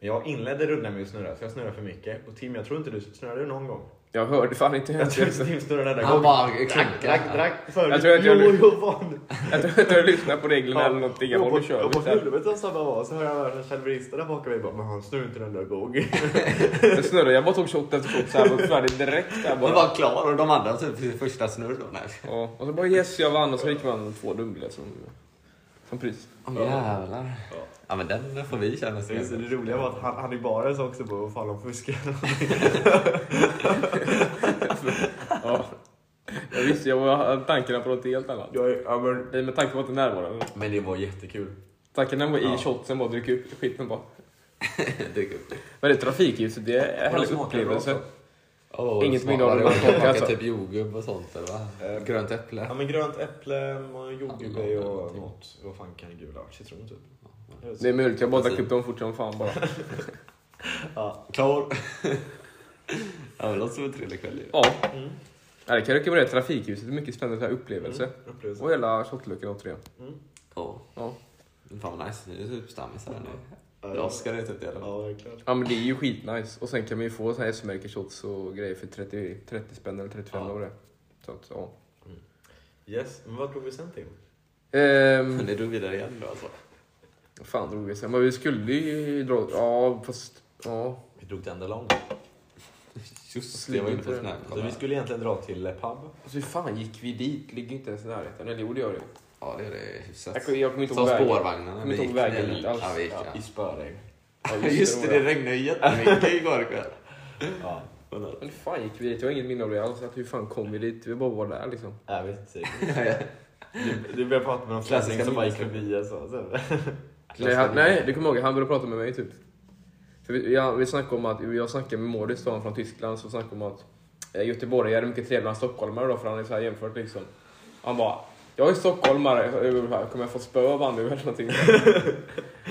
Speaker 3: Men jag inledde rundan med att snurra, så jag snurrade för mycket. Och Tim, jag tror inte du snurrade du någon gång.
Speaker 2: Jag hörde fan inte
Speaker 3: Jag
Speaker 2: ens.
Speaker 3: tror inte Tim snurrade den där
Speaker 1: Han
Speaker 3: gången.
Speaker 1: bara
Speaker 3: drack, drack,
Speaker 1: klankar.
Speaker 3: drack förut.
Speaker 2: Jag tror att jag
Speaker 3: jo,
Speaker 2: lyf-
Speaker 3: jo, fan.
Speaker 2: Jag tror inte jag lyssnade på reglerna eller någonting. Jag
Speaker 3: och
Speaker 2: bara,
Speaker 3: på,
Speaker 2: nu kör
Speaker 3: och
Speaker 2: vi.
Speaker 3: på
Speaker 2: så här.
Speaker 3: filmen så samma var, så hör jag världens självrister där bakom mig bara, men han snurrar inte den där gången.
Speaker 2: Jag snurrade, jag bara tog shot efter shot såhär och färdig direkt där
Speaker 1: Han
Speaker 2: bara.
Speaker 1: var klar och de andra typ i första snurr då. Nej.
Speaker 2: Ja, och så bara yes jag vann och så fick man två dubbla som, som pris.
Speaker 1: Åh jävlar. Ja men den får vi känna oss
Speaker 3: Så just det,
Speaker 1: igen.
Speaker 3: det roliga var att han, han i baren sa också på vad fan de fuskar.
Speaker 2: Ja. Jag visste, jag var tankarna på något helt annat.
Speaker 3: Jag är, ja, men,
Speaker 2: Nej, men tanken var inte närvarande.
Speaker 1: Men det var jättekul.
Speaker 2: Tanken var i
Speaker 3: Ja.
Speaker 2: shotsen bara dricka upp skiten bara.
Speaker 1: Dyk upp.
Speaker 2: Men det trafikljuset, det är en
Speaker 1: Och de
Speaker 2: härlig
Speaker 1: smakar bra
Speaker 2: upplevelse.
Speaker 1: också. Oh,
Speaker 2: Inget
Speaker 1: smakar
Speaker 2: mindre av
Speaker 1: det.
Speaker 2: det.
Speaker 1: Och smakar
Speaker 2: Alltså.
Speaker 1: typ jordgubb och sånt eller va?
Speaker 3: Eh,
Speaker 1: Grönt äpple.
Speaker 3: ja, men grönt äpple, och jordgubbe
Speaker 1: Hallon,
Speaker 3: och
Speaker 1: någonting.
Speaker 3: något, vad fan kan det gula vara? Citron typ.
Speaker 2: Det är möjligt, jag bara drack
Speaker 1: Precis.
Speaker 2: upp dem fort som fan bara.
Speaker 3: Ja.
Speaker 1: Klar. ja, men det låter som en trevlig kväll ju.
Speaker 2: Ja. Ja, det kan jag rekommendera. Trafikljuset är mycket spännande så här upplevelse.
Speaker 1: Mm.
Speaker 3: Upplevelse.
Speaker 2: Och hela shotluckan återigen.
Speaker 1: Ja.
Speaker 2: Ja.
Speaker 1: Fan vad nice, ni är typ stammisar nu.
Speaker 3: Ja,
Speaker 1: Det är Oscar heter det eller?
Speaker 3: Ja, verkligen.
Speaker 2: ja men det är ju skitnice. Och sen kan man ju få så här S-märkeshots och grejer för 30, 30 spänn eller 35
Speaker 1: Ja.
Speaker 2: eller vad det är. Så att, ja.
Speaker 3: Yes, men vad tog vi sen till?
Speaker 2: Ehm,
Speaker 1: Men är du vidare igen då alltså?
Speaker 2: vad fan drog vi sen? Men vi skulle ju dra... Ja, fast... Ja.
Speaker 3: Vi drog den där långt.
Speaker 1: Just det, jag var inne på sån här.
Speaker 3: Så vi
Speaker 1: Kolla.
Speaker 3: skulle egentligen dra till eh, pub.
Speaker 2: Alltså hur fan gick vi dit? Ligger inte ens i närheten. Eller jo, det gör det.
Speaker 1: Ja, det är det hyfsat.
Speaker 2: Jag kommer- jag kommer inte
Speaker 1: Som
Speaker 2: ihåg vägen.
Speaker 1: spårvagnarna.
Speaker 2: Kommer inte
Speaker 1: vi
Speaker 2: ihåg
Speaker 1: gick
Speaker 2: vägen
Speaker 1: ner.
Speaker 2: dit alls.
Speaker 1: Ja, vi gick,
Speaker 3: Ja, I spöregn.
Speaker 2: Ja,
Speaker 1: ja. Just det, det
Speaker 2: var
Speaker 1: regnade ju jättemycket igår kväll.
Speaker 3: Ja.
Speaker 2: Men hur fan gick vi dit? Jag har inget minne av det alls. Att hur fan kom vi dit? Vi bara var där liksom.
Speaker 3: Jag vet inte. Du, du började prata med någon
Speaker 1: Klassiska
Speaker 3: främling som bara gick
Speaker 1: minnesluckor.
Speaker 3: förbi och så. så.
Speaker 2: Nej, han, nej, det kommer jag ihåg. Han började prata med mig typ. För vi, jag, vi snackade om att, jag snackade med Mårdis då, han från Tyskland, så snackade om att eh, göteborgare är mycket trevligare än stockholmare då, för han är så här jämfört liksom. Han bara, jag är stockholmare, eh, kommer jag få spö av han nu eller någonting?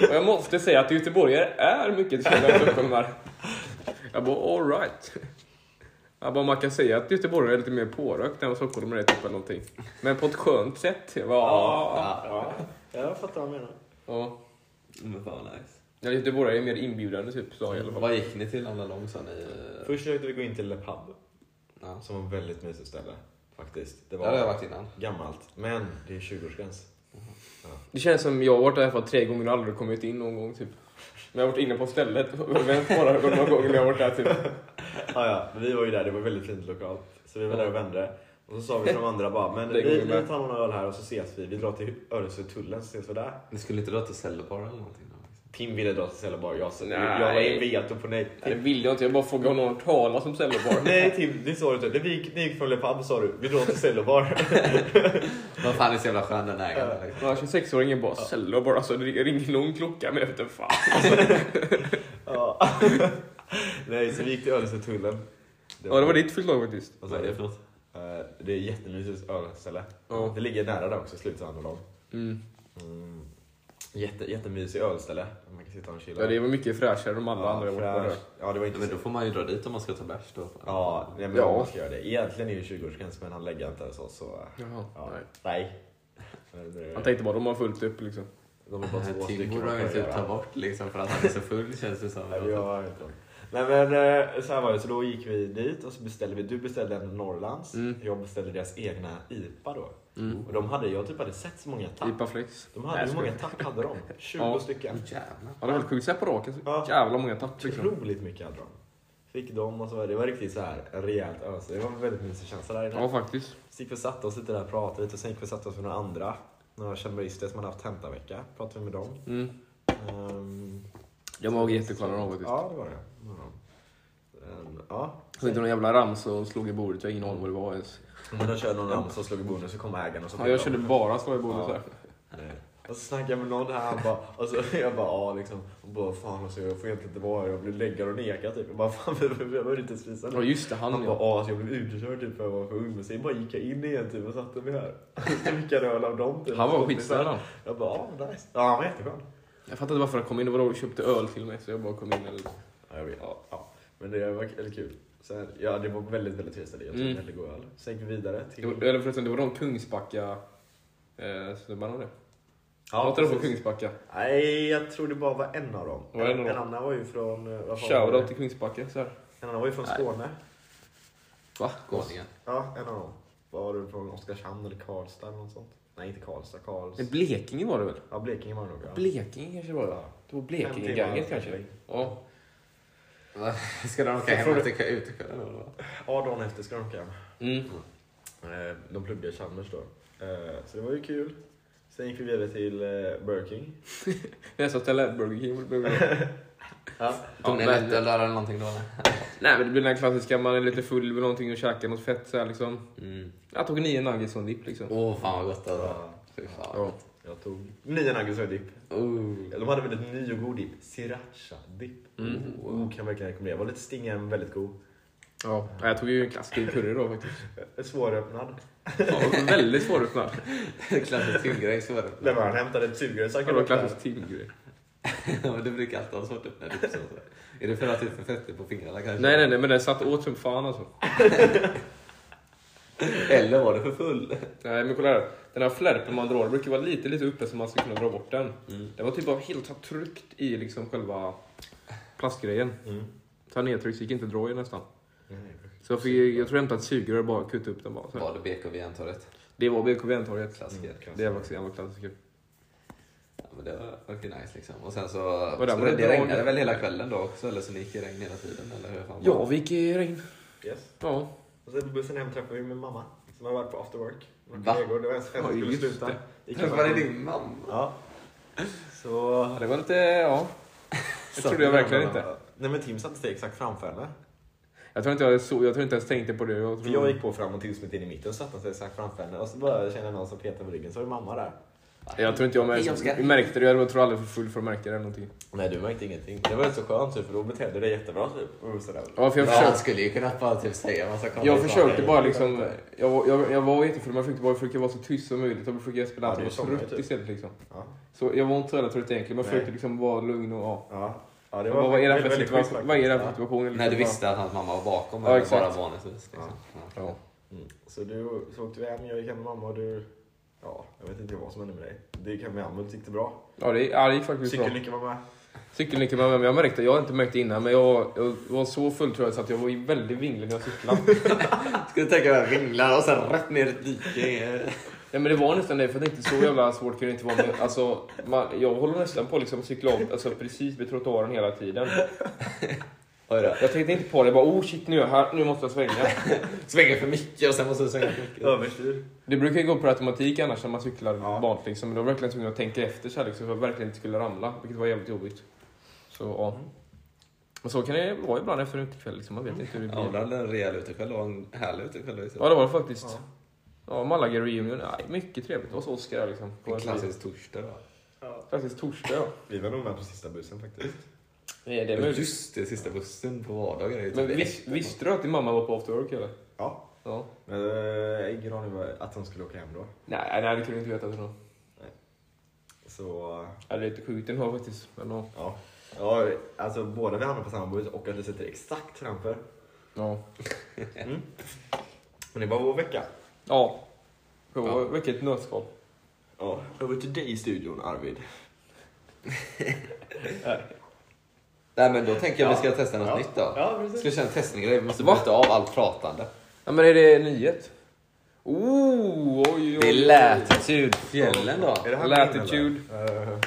Speaker 2: Och jag måste säga att göteborgare är mycket trevligare än stockholmare. Jag bara, alright. Jag bara, man kan säga att göteborgare är lite mer pårökt än vad stockholmare är typ eller någonting. Men på ett skönt sätt. Jag bara, ja.
Speaker 1: Ja,
Speaker 3: Ja, jag fattar vad du menar.
Speaker 2: ja.
Speaker 1: men fan vad nice.
Speaker 2: Ja, göteborgare är mer inbjudande typ, sa jag i
Speaker 3: Mm.
Speaker 2: alla fall.
Speaker 1: Vad gick ni till alla lång sa ni? eh,
Speaker 3: Först försökte vi gå in till Le Pub,
Speaker 1: Ja,
Speaker 3: som var ett väldigt mysigt ställe. Faktiskt. Det
Speaker 1: det
Speaker 3: var
Speaker 1: har jag varit innan.
Speaker 3: gammalt, men det är 20-årsgräns.
Speaker 2: Det känns som jag har varit där för tre gånger och aldrig kommit in någon gång typ. Men jag har varit inne på stället och vänt bara några gånger när jag har varit där typ.
Speaker 3: Ah, ja, men vi var ju där, det var väldigt fint lokalt. Så vi var där och vände. Och så sa vi till de andra bara, men
Speaker 2: Det går
Speaker 3: vi,
Speaker 2: ju med.
Speaker 3: vi tar någon öl här och så ses vi. Vi drar till Öresundstullen så ses vi där.
Speaker 1: Ni skulle inte dra till Cellebar eller någonting? Då, liksom?
Speaker 3: Tim ville dra till Celleborg, jag, sa-
Speaker 2: Nej.
Speaker 3: jag var i veto på nej.
Speaker 2: Det
Speaker 3: Tim,
Speaker 2: vill jag inte, jag bara frågade om någon tala som Cellebar.
Speaker 3: nej Tim, det sa du inte. När vi gick, ni gick från Le Pub sa du, vi drar till Celleborg.
Speaker 1: Vad fan är så jävla skön den ägaren? liksom.
Speaker 2: Den här 26-åringen bara Cellebar, alltså det ringer någon klocka men jag vet inte fan.
Speaker 3: ja. nej, så vi gick till Öresundstullen.
Speaker 2: Ja det var ditt förslag faktiskt.
Speaker 3: Vad säger du? Eh, Det är jättemysigt ölställe.
Speaker 2: Ja.
Speaker 3: Det ligger nära där också, sluthandeln. av.
Speaker 2: Mm.
Speaker 3: Mm. Jätte, jättemysig ölställe. Man kan sitta och chilla.
Speaker 2: Ja, det var mycket fräschare än de alla
Speaker 3: Ja,
Speaker 2: andra jag varit på där.
Speaker 3: fräsch. Ja, det var
Speaker 1: Ja, men
Speaker 3: inte
Speaker 1: då får man ju dra dit om man ska ta bärs då.
Speaker 3: Ja, nej, men
Speaker 2: Ja.
Speaker 3: man ska göra det. Egentligen är det 20-årsgräns, men han lägger inte så. så eh,
Speaker 2: Jaha,
Speaker 3: ja.
Speaker 2: nej.
Speaker 3: nej. Men det-
Speaker 2: Han tänkte bara de har fullt upp liksom.
Speaker 3: De är bara två
Speaker 1: Tim
Speaker 3: stycken.
Speaker 1: borde
Speaker 3: man
Speaker 1: man ju
Speaker 3: kan
Speaker 1: typ
Speaker 3: göra.
Speaker 1: ta bort liksom för att han är så full känns det som.
Speaker 3: Nej, vi har inte dem. Nej men eh, så här var det, så då gick vi dit och så beställde vi, du beställde en Norrlands,
Speaker 2: Mm.
Speaker 3: jag beställde deras egna IPA då.
Speaker 2: Mm.
Speaker 3: Och de hade, jag typ hade sett så många tapp.
Speaker 2: IPA Flex.
Speaker 3: De hade, hur
Speaker 2: Nej,
Speaker 3: många tapp hade de? 20
Speaker 2: Ja.
Speaker 3: stycken.
Speaker 1: Jävlar.
Speaker 2: Ja det var helt sjukt, såhär på raken.
Speaker 3: Ja.
Speaker 2: så Jävla många tapp liksom.
Speaker 3: Otroligt mycket hade de. Fick dem och så var det, det var riktigt så här rejält ös. Det var en väldigt mysig känsla där inne.
Speaker 2: Ja faktiskt.
Speaker 3: Så gick vi och satte oss lite där och pratade lite och sen gick vi och satte oss med några andra. Några kändisar som hade haft tentavecka. Pratade vi med dem.
Speaker 2: Mm.
Speaker 3: Ehm,
Speaker 2: Jag var jättekallad av faktiskt.
Speaker 3: ja, det var det. Det var de. Ehm, Ja.
Speaker 2: Så inte någon jävla rams och slog i bordet, jag har ingen aning vad det var ens.
Speaker 3: Men de körde någon ramsa och slog i bordet så kom ägaren och så
Speaker 2: Ja, jag körde bara slå i bordet
Speaker 3: Ja.
Speaker 2: så här.
Speaker 3: Nej. Och så snackade jag med någon här, han bara, och så jag bara, ja liksom. Och bara, fan alltså jag får egentligen inte vara här, jag blev läggad och nekad typ. Jag bara, fan jag behöver inte spisa
Speaker 2: Ja
Speaker 3: nu.
Speaker 2: just det, han
Speaker 3: Han
Speaker 2: ja.
Speaker 3: bara, ja alltså, jag blev utkörd typ för jag var för ung. Men sen bara gick jag in igen typ och satte mig här. Så fick jag en öl av dem typ.
Speaker 2: Han var
Speaker 3: Kompisar.
Speaker 2: skitskön han.
Speaker 3: Jag bara, ja nice. Ja han var jätteskön.
Speaker 2: Jag fattar inte varför han kom in, det var då du köpte öl till mig så jag bara kom in. Eller...
Speaker 3: Ja, jag vet. Ja, ja. Men det var väldigt kul. Sen, ja, det var väldigt, väldigt trevligt ställe. Jag tog
Speaker 2: Mm.
Speaker 3: väldigt god öl. Sen gick vi vidare
Speaker 2: Det
Speaker 3: till...
Speaker 2: var, eller förresten, det var de Kungsbacka eh, snubbarna det.
Speaker 3: Ja,
Speaker 2: Låter de på
Speaker 3: precis.
Speaker 2: Kungsbacka?
Speaker 3: Nej, jag tror det bara var en av dem.
Speaker 2: Var det en av
Speaker 3: en,
Speaker 2: dem?
Speaker 3: annan var ju från... eh, vad fan var det?
Speaker 2: Shoutout till Kungsbacka. Så här.
Speaker 3: En annan var ju från
Speaker 1: Nej.
Speaker 3: Skåne.
Speaker 2: Va?
Speaker 1: Skåningen.
Speaker 3: Ja, en av dem. Var du från Oskarshamn eller Karlstad eller något sånt? Nej, inte Karlstad.
Speaker 2: Men
Speaker 3: Karlstad.
Speaker 2: Blekinge var det väl?
Speaker 3: Ja, Blekinge var det nog. Ja.
Speaker 2: Blekinge kanske det var det? Det var Blekinge-ganget kanske? Ja.
Speaker 1: Ska de åka hem efter utekvällen då? eller vad?
Speaker 3: Ja, dagen efter ska de åka hem.
Speaker 2: Mm.
Speaker 3: Eh, De pluggade i Chalmers då. Eh, Så det var ju kul. Sen gick vi vidare till eh, Burger King.
Speaker 2: Jag sa Tele Burger King. Burger King.
Speaker 3: Ja.
Speaker 1: Tog ni
Speaker 2: men-
Speaker 1: lättöl där eller någonting då?
Speaker 2: Nej men det blir den här klassiska, man är lite full med någonting och käkar något fett så här liksom.
Speaker 1: Åh, mm.
Speaker 2: Jag tog nio nuggets och en dipp liksom.
Speaker 1: oh, fan vad gott alltså.
Speaker 3: Ja,
Speaker 1: Fy fan.
Speaker 2: Ja.
Speaker 3: Jag tog nio nuggets och en dipp.
Speaker 1: Oh.
Speaker 3: Ja, De hade väldigt ny och god dipp. Sriracha-dipp.
Speaker 2: Mm.
Speaker 3: Oh, kan jag verkligen rekommendera. Var lite stingare men väldigt god.
Speaker 2: Ja, jag tog ju en klassisk curry då faktiskt.
Speaker 3: Eh, Svåröppnad.
Speaker 2: Ja, väldigt svåröppnad.
Speaker 1: Klassisk timgrej, så var det.
Speaker 3: När man hämtade ett sugrör så han
Speaker 2: Det
Speaker 3: kunde
Speaker 2: var
Speaker 3: öppna.
Speaker 2: klassisk timgrej.
Speaker 1: Ja, men du brukar alltid ha svårt att öppna dips. Alltså. Är det för att du är för fettig på fingrarna kanske?
Speaker 2: Nej nej nej men den satt åt som fan alltså.
Speaker 1: Eller var det för full?
Speaker 2: Nej men kolla här. Den här flärpen man drar brukar vara lite lite uppe så man ska kunna dra bort den. Den var typ av helt så här tryckt i liksom själva plastgrejen.
Speaker 3: Mm.
Speaker 2: Så här nedtryckt så gick inte att dra i nästan.
Speaker 3: Nej, det
Speaker 2: Så jag, fick, jag tror jag hämtade ett sugrör och bara kutta upp den bara. Så här.
Speaker 1: Var det BKV Järntorget?
Speaker 2: Det var BKB-torget.
Speaker 1: Klassiker.
Speaker 3: Mm.
Speaker 2: Det var också en jävla klassiker.
Speaker 1: Ja, men det var verkligen nice liksom. Och sen så...
Speaker 2: det
Speaker 1: så
Speaker 2: var
Speaker 1: det,
Speaker 2: det bra
Speaker 1: regnade
Speaker 2: grej.
Speaker 1: väl hela kvällen då också? Eller så ni gick i regn hela tiden? Eller hur fan var
Speaker 2: Ja,
Speaker 1: det?
Speaker 2: vi gick i regn.
Speaker 3: Yes.
Speaker 2: Ja.
Speaker 3: Och sen på bussen hem träffade vi min mamma som hade varit på after work. Några
Speaker 1: Va?
Speaker 3: kollegor. Det var ens fest
Speaker 2: Ja,
Speaker 3: som skulle
Speaker 2: just
Speaker 3: sluta.
Speaker 2: det.
Speaker 3: Gick
Speaker 1: Det var det din mamma?
Speaker 3: Ja. Så...
Speaker 2: det var lite, ja. Det trodde jag verkligen inte.
Speaker 3: Nej men Tim satte sig exakt framför henne.
Speaker 2: Jag tror inte jag, så, jag tror inte ens tänkte på det. Jag
Speaker 3: För
Speaker 2: tror...
Speaker 3: jag gick på fram och till smitt in i mitten och satte sig exakt framför henne. Och så bara kände jag någon som petade på ryggen så var det mamma där.
Speaker 2: jag tror inte jag,
Speaker 1: Hej, Oskar.
Speaker 2: märkte, jag märkte det. Jag tror aldrig för full för att märka det eller någonting.
Speaker 3: Nej du märkte ingenting. Det var rätt så skönt typ, för då betedde du dig jättebra typ. Och sådär.
Speaker 2: Ja, för jag,
Speaker 1: Ja, han
Speaker 2: försökte,
Speaker 1: skulle ju kunnat bara typ säga massa konstiga
Speaker 2: jag försökte
Speaker 1: saker.
Speaker 2: bara liksom... Jag, var- jag, jag var jättefull, men jag försökte bara försöka vara så tyst som möjligt. Jag försökte spela
Speaker 3: Ja,
Speaker 2: att jag var
Speaker 3: det var sommar,
Speaker 2: trött
Speaker 3: typ.
Speaker 2: istället liksom.
Speaker 3: Ja.
Speaker 2: Så jag var inte så jävla trött egentligen, men jag
Speaker 3: Nej.
Speaker 2: försökte liksom vara lugn och ja.
Speaker 3: Ja. ja det
Speaker 2: Jag
Speaker 3: var
Speaker 2: bara, Vad är det här
Speaker 3: väldigt-
Speaker 2: för
Speaker 3: väldigt schysst
Speaker 2: situation?
Speaker 3: faktiskt.
Speaker 2: Vad är det här för
Speaker 3: Ja.
Speaker 2: situation?
Speaker 1: När du
Speaker 2: Liksom,
Speaker 1: visste att hans mamma var bakom,
Speaker 2: Ja,
Speaker 1: eller
Speaker 2: exakt.
Speaker 1: bara vanligtvis. Liksom. Ja.
Speaker 2: Ja.
Speaker 3: Mm. Så du så åkte vi hem, jag gick hem med mamma och du... Ja, jag vet inte vad som hände med dig. Du gick hem med Amund, gick det bra?
Speaker 2: Ja, det, ja, det gick faktiskt bra.
Speaker 3: Cykelnyckeln var med.
Speaker 2: Cykelnyckeln var med men jag märkte, jag har inte märkt det innan, men jag, jag var så full tror jag så att jag var ju väldigt vinglig när jag cyklade.
Speaker 1: Ska du tänka mig vinglar och sen rätt ner i ett dike?
Speaker 2: Nej men det var nästan det, för jag tänkte så jävla svårt kan det inte vara. Men, alltså, man, jag håller nästan på liksom att cykla om, alltså precis vid trottoaren hela tiden.
Speaker 1: Oj då.
Speaker 2: Jag tänkte inte på det, bara oh shit nu är jag här, nu måste jag svänga.
Speaker 1: Svänga för mycket och sen måste du svänga för mycket.
Speaker 3: Överstyr.
Speaker 2: Det brukar ju gå på automatik annars när man cyklar
Speaker 3: Ja.
Speaker 2: vanligt liksom, men då var jag verkligen tvungen att tänka efter så här liksom, för att jag verkligen inte skulle ramla, vilket var jävligt jobbigt. Så ja. Men så kan det vara ibland efter en utekväll, liksom. man vet inte hur det
Speaker 1: Ja,
Speaker 2: blir.
Speaker 1: det hade en rejäl utekväll och en härlig utekväll. liksom.
Speaker 2: Ja det var det faktiskt.
Speaker 3: Ja.
Speaker 2: Ja, Malaga Reunion. Nej, mycket trevligt. Det var så Oscar där liksom.
Speaker 1: En klassisk torsdag då.
Speaker 2: Klassisk torsdag ja.
Speaker 3: Vi var nog med på sista bussen faktiskt.
Speaker 2: Nej, det är
Speaker 1: Ja,
Speaker 2: möjligt.
Speaker 1: Just det, sista bussen på vardagar. är ju
Speaker 2: Men
Speaker 1: typ
Speaker 2: vis,
Speaker 1: ett.
Speaker 2: visste du att din mamma var på after work eller?
Speaker 3: Ja.
Speaker 2: Ja.
Speaker 3: Men eh, jag har ingen aning om att de skulle åka hem då.
Speaker 2: Nej, nej det kunde jag inte veta tror jag.
Speaker 3: Så... eh,
Speaker 2: Ja, det är lite sjukt den har faktiskt. Men ja.
Speaker 3: Ja. Ja, alltså båda vi hamnade på samma buss och att vi sitter exakt framför.
Speaker 2: Ja.
Speaker 3: Men det var vår vecka.
Speaker 2: ja.
Speaker 1: Ja.
Speaker 2: ja. Vilket nötskal.
Speaker 3: Ja. Över till dig i studion Arvid.
Speaker 1: Nej, men då tänker jag att vi ska testa något
Speaker 3: Ja.
Speaker 1: nytt då.
Speaker 3: Ja,
Speaker 1: Ska vi köra en testningsgrej? Vi måste
Speaker 2: Va?
Speaker 1: bryta av allt pratande.
Speaker 2: Ja men är det nyhet? Oh, oj, oj, oj.
Speaker 1: Det är Latitudefjällen då.
Speaker 3: Är det här
Speaker 2: Latitude.
Speaker 3: min, eller? Eh,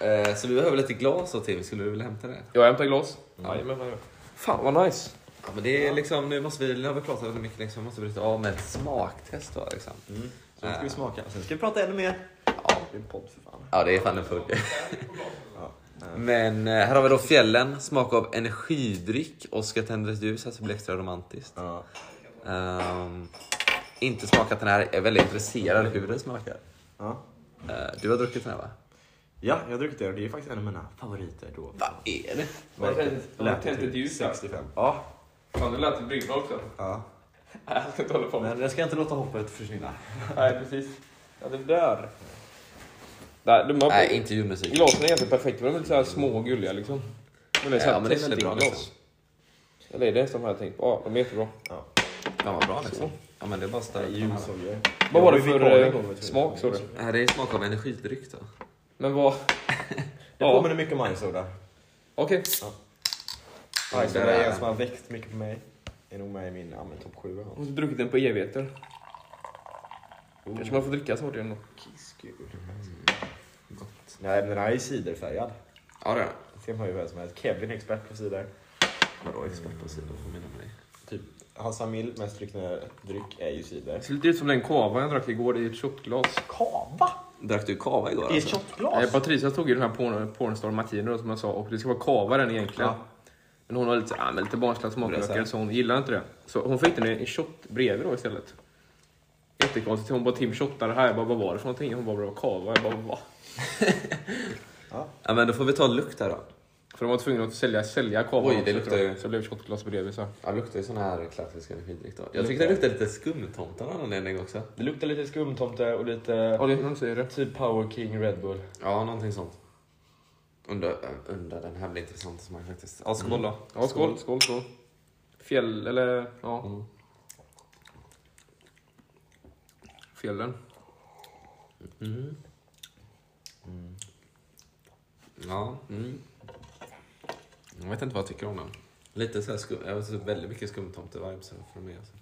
Speaker 1: Eh, Så vi behöver lite glas och Tim. Skulle du vilja hämta det?
Speaker 2: Jag hämtar glas. Mm. Jajamän, vad jag gör. Fan vad nice.
Speaker 1: Ja, men det är liksom, nu måste vi, nu har vi pratat väldigt mycket liksom, måste bryta av med ett smaktest då liksom.
Speaker 3: Sen
Speaker 2: Ah.
Speaker 3: ska vi smaka. Sen ska vi prata ännu mer. Ja, det är en podd för fan.
Speaker 1: Ja, det är fan en full.
Speaker 3: Ja.
Speaker 1: Men eh, här har vi då fjällen, smak av energidryck och ska tända ett ljus här så det blir extra romantiskt.
Speaker 3: Ja.
Speaker 1: Ehm, inte smakat den här, är väldigt intresserad hur den smakar.
Speaker 3: Ja.
Speaker 1: Eh, du har druckit den här va?
Speaker 3: Ja, jag har druckit det och det är faktiskt en av mina favoriter då.
Speaker 1: Vad är det?
Speaker 2: Har du tänt ett- har du
Speaker 3: Lätet
Speaker 2: tänt ett
Speaker 3: till
Speaker 2: ljus här?
Speaker 3: 65. Ja.
Speaker 2: Fan, det lät bryggor också.
Speaker 3: ja.
Speaker 2: Nej, jag ska inte hålla på med
Speaker 3: Men jag ska inte låta hoppet försvinna.
Speaker 2: Nej, precis. Ja, det där. Nej, de har
Speaker 1: Nej, intervjumusik.
Speaker 2: Glasen är egentligen perfekta, de är lite så här små och gulliga liksom. Men det är så här
Speaker 1: Ja, men det är väldigt bra liksom.
Speaker 2: testingglas. Eller är det som jag hade tänkt på? Ja, de är jättebra.
Speaker 1: Ja, vad bra liksom. Ja, men det är bara starkt.
Speaker 3: Ljus och grejer.
Speaker 2: Vad
Speaker 3: Jag
Speaker 2: var det
Speaker 3: ju
Speaker 2: för
Speaker 3: vikarie
Speaker 2: eh,
Speaker 3: då, vet du.
Speaker 2: smak sa du?
Speaker 1: Det här är smak av energidryck då.
Speaker 2: Men vad...
Speaker 3: Det
Speaker 2: Ja.
Speaker 3: påminner mycket om Isoda.
Speaker 2: Okej.
Speaker 3: Isoda
Speaker 1: där
Speaker 3: är
Speaker 1: är
Speaker 3: en
Speaker 1: den.
Speaker 3: som har växt mycket på mig. Är nog med i min ja, men topp 7 eller
Speaker 2: Jag
Speaker 3: något.
Speaker 2: har inte druckit den på evigheter. Kanske man får dricka snart igen då.
Speaker 3: Mm. Nej, men den här är ciderfärgad.
Speaker 1: Ja, det är det.
Speaker 3: Ser man ju vem som helst. Kevin är expert på cider.
Speaker 1: Vadå expert på sidor? Påminner mig.
Speaker 3: Typ, hans familj mest druckna dryck är ju cider.
Speaker 2: Det ser lite ut som den kava jag drack igår i ett shotglas.
Speaker 3: Kava!
Speaker 1: Drack du kava igår
Speaker 3: I ett
Speaker 1: alltså?
Speaker 2: Eh,
Speaker 3: shotglas?
Speaker 2: Patricia tog ju den här porn, pornstar Martino då, som jag sa och det ska vara kava den egentligen.
Speaker 3: Ja.
Speaker 2: Men hon har lite, så- ah, men lite barnsliga
Speaker 3: Det är så här.
Speaker 2: smaklökar så hon gillar inte det. Så hon fick den i en shot bredvid då istället. Jättekonstigt. Hon bara Tim shottade här. Jag bara vad var det för någonting? Hon bara det var kava. Jag bara va?
Speaker 1: Ja, men då får vi ta lukt här då.
Speaker 2: För de var tvungna att sälja, sälja kava
Speaker 1: Oj, det
Speaker 2: också,
Speaker 1: luktar
Speaker 2: tror jag.
Speaker 1: ju.
Speaker 2: Så det blev shotglas bredvid så här.
Speaker 1: Ja, det luktar ju sån här klassisk energidryck då. Jag tyckte det luktade lite skumtomte av någon anledning också.
Speaker 3: Det luktar lite skumtomte och lite
Speaker 2: Ja, det hon säger det.
Speaker 3: typ Power King Red Bull.
Speaker 1: Ja, någonting sånt. Undrar, undrar den här blir intressant att smaka faktiskt. Ja, skål då.
Speaker 2: Ja, skål, Mm. skål, skål. Fjäll, eller ja. Fjällen.
Speaker 1: Ja. Mm. Jag vet inte vad jag tycker om den. Lite så här skum, jag vet, inte, väldigt mycket skumtomte-vibes här för mig. Alltså.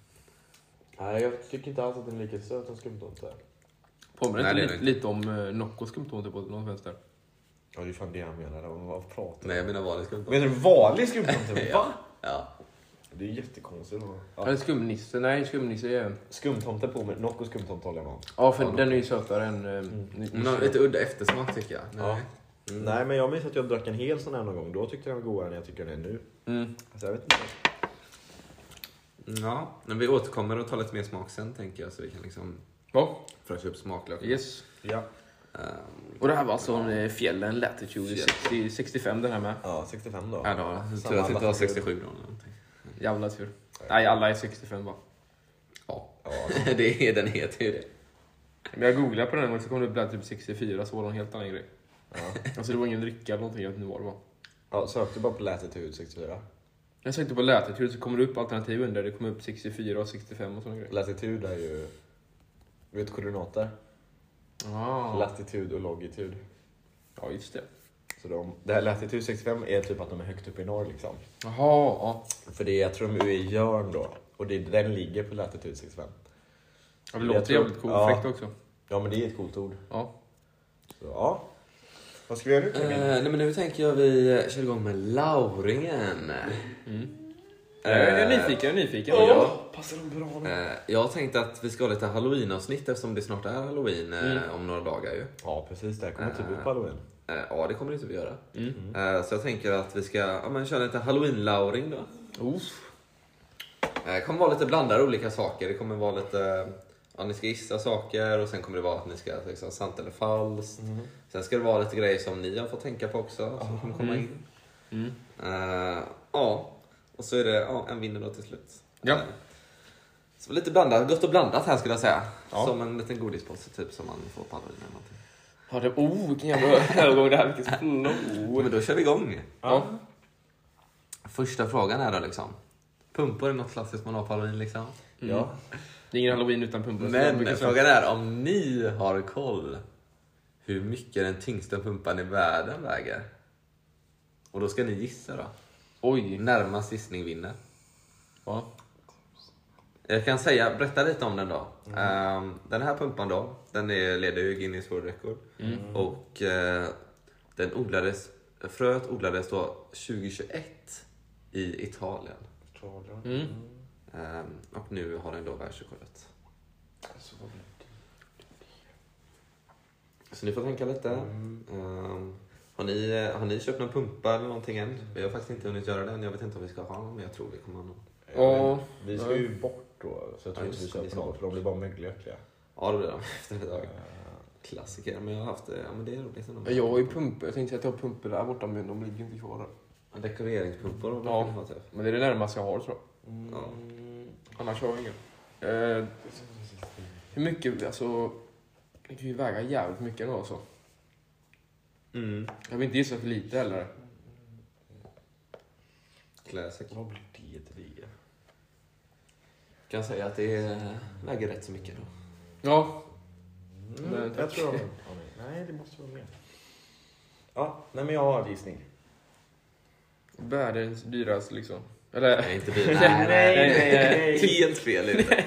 Speaker 3: Nej, jag tycker inte alls att den är lika söt som skumtomte.
Speaker 2: Påminner
Speaker 1: Nej,
Speaker 2: inte
Speaker 1: det är
Speaker 2: lite,
Speaker 1: det
Speaker 2: lite om eh, Nocco skumtomte på något vänster?
Speaker 3: Ja, det är fan det jag menar. Vad pratar
Speaker 1: Nej, jag menar vanlig skumtomte.
Speaker 3: Menar du vanlig skumtomte?
Speaker 1: Ja. Ja.
Speaker 3: Det är jättekonstigt. Ja.
Speaker 2: Eller skumnisse? Nej, skumnisse är...
Speaker 3: Skumtomte på mig. Nocco skumtomte håller jag med om.
Speaker 2: Ja, för den är ju sötare än... eh, ni-
Speaker 1: Men har lite udda eftersmak tycker jag.
Speaker 3: Ja.
Speaker 1: Nej.
Speaker 3: Mm. Nej, men jag minns att jag drack en hel sån här någon gång. Då tyckte jag den var godare än jag tycker den är nu.
Speaker 2: Mm.
Speaker 3: Alltså, jag vet inte.
Speaker 1: Ja, men vi återkommer och tar lite mer smak sen tänker jag så vi kan liksom
Speaker 2: Ja,
Speaker 1: fräscha upp smaklökarna.
Speaker 2: yes.
Speaker 3: Ja.
Speaker 1: Ehm,
Speaker 2: Och det här var alltså en fjällen Latitude 60, 65 den här med.
Speaker 3: ja, 65 då.
Speaker 1: ja, då, tur
Speaker 3: Samma
Speaker 1: att vi inte har
Speaker 3: alla-
Speaker 1: 67 då. eller någonting.
Speaker 2: Jävla tur. Nej, alla är 65 va?
Speaker 1: Ja,
Speaker 3: Ja,
Speaker 1: det är, den heter ju det.
Speaker 2: Men jag googlade på den en gång så kom det upp där typ 64 så var det en helt annan grej.
Speaker 3: ja.
Speaker 2: Alltså det var ingen dricka eller någonting, jag vet inte vad det var.
Speaker 3: ja sökte bara på Latitude 64.
Speaker 2: Jag sökte på Latitude så kommer det upp alternativ under. Det kommer upp 64 och 65 och sådana grejer.
Speaker 3: Latitud är ju... Vet du koordinater?
Speaker 2: Ah.
Speaker 3: Latitud och logitud.
Speaker 2: Ja, just det.
Speaker 3: Så de, det här Latitud 65 är typ att de är högt upp i norr liksom.
Speaker 2: Jaha, ja.
Speaker 3: För det är, jag tror de är i Jörn då. Och det, den ligger på Latitud 65.
Speaker 2: Ja, Det
Speaker 3: Jag
Speaker 2: låter
Speaker 3: tror-
Speaker 2: jävligt coolt.
Speaker 3: ja.
Speaker 2: Fräckt också.
Speaker 3: Ja men det är ett coolt ord.
Speaker 2: Ja.
Speaker 3: Så, ja. Vad ska vi göra nu
Speaker 1: Eh,
Speaker 3: Kevin?
Speaker 1: nej, men nu tänker jag vi eh, kör igång med Lauringen. Eh,
Speaker 2: Jag är nyfiken, jag är nyfiken.
Speaker 1: Ja.
Speaker 3: Passar de bra nu?
Speaker 1: eh, jag tänkte att vi ska ha lite halloween-avsnitt eftersom det snart är halloween eh, om några dagar ju.
Speaker 3: Ja precis, det här kommer typ
Speaker 1: Eh.
Speaker 3: ut på halloween.
Speaker 1: Eh, ja, det kommer det inte vi göra.
Speaker 2: Mm.
Speaker 1: Eh, så jag tänker att vi ska ja, men, köra lite halloween-lauring då.
Speaker 2: Uff.
Speaker 1: Eh, Det kommer vara lite blandade olika saker. Det kommer vara lite, ja, ni ska gissa saker och sen kommer det vara att ni ska liksom, sant eller falskt. Sen ska det vara lite grejer som ni har fått tänka på också som kommer komma in. Mm. Eh, ja, och så är det ja, en vinner då till slut.
Speaker 2: Ja.
Speaker 1: Eh, Så lite blandat, gott och blandat här skulle jag säga.
Speaker 2: Ja.
Speaker 1: Som en liten godispåse typ som man får på halloween eller någonting.
Speaker 2: Ja, det, oh, vilken jävla övergång det här. Vilket
Speaker 1: Men
Speaker 2: flow.
Speaker 1: då kör vi igång.
Speaker 2: Ja.
Speaker 1: Första frågan är då liksom. Pumpor är något klassiskt man har på halloween liksom.
Speaker 3: Ja.
Speaker 2: Det är ingen halloween utan pumpa.
Speaker 1: Men frågan är om ni har koll hur mycket den tyngsta pumpan i världen väger? Och då ska ni gissa då.
Speaker 2: Oj.
Speaker 1: Närmast gissning vinner.
Speaker 2: Ja.
Speaker 1: Jag kan säga, berätta lite om den då. Ehm, den här pumpan då, den är, leder ju Guinness World Record. Och eh, den odlades, fröet odlades då 2021 i Italien.
Speaker 2: Mm.
Speaker 1: Ehm, och nu har den då världsrekordet. Så ni får tänka lite.
Speaker 2: Mm.
Speaker 1: Ehm, har, ni, eh, har ni köpt någon pumpa eller någonting än? Vi har faktiskt inte hunnit göra den. Jag vet inte om vi ska ha någon, men jag tror vi kommer ha någon.
Speaker 2: Ja.
Speaker 3: Eh, Vi ska ju bort då, så jag
Speaker 1: Ja,
Speaker 3: tror inte
Speaker 1: just
Speaker 3: vi
Speaker 1: det, vi
Speaker 3: köper
Speaker 1: ska
Speaker 3: någon
Speaker 1: bort.
Speaker 3: för de blir bara mögliga. Eh,
Speaker 1: Ja, det blir det. Efter ett tag. klassiker. Men jag har haft det. Ja, men det är roligt ändå.
Speaker 2: Jag har ju pumpor. Jag tänkte att jag har pumpor där borta men de ligger ju inte kvar där.
Speaker 1: Ja, Dekoreringspumpor och
Speaker 2: Ja.
Speaker 1: ja. ha typ.
Speaker 2: Men det är det närmaste jag har tror jag.
Speaker 1: Ja.
Speaker 2: Annars har jag inget. Eh, hur mycket, alltså. Det kan ju väga jävligt mycket ändå alltså.
Speaker 1: Mm.
Speaker 2: Jag vill inte gissa för lite heller.
Speaker 1: Classic.
Speaker 3: Vad blir det till det?
Speaker 1: Kan säga att det är, väger rätt så mycket då.
Speaker 2: Ja,
Speaker 3: Mm,
Speaker 2: Nej,
Speaker 3: jag
Speaker 2: tack.
Speaker 3: tror jag har- ja, nej. Nej, det måste vara mer. Ja, nej men jag har en gissning.
Speaker 2: världens dyraste liksom. Eller,
Speaker 1: Nej, inte dyrt.
Speaker 2: Nej, nej, nej, nej.
Speaker 1: Helt fel är det.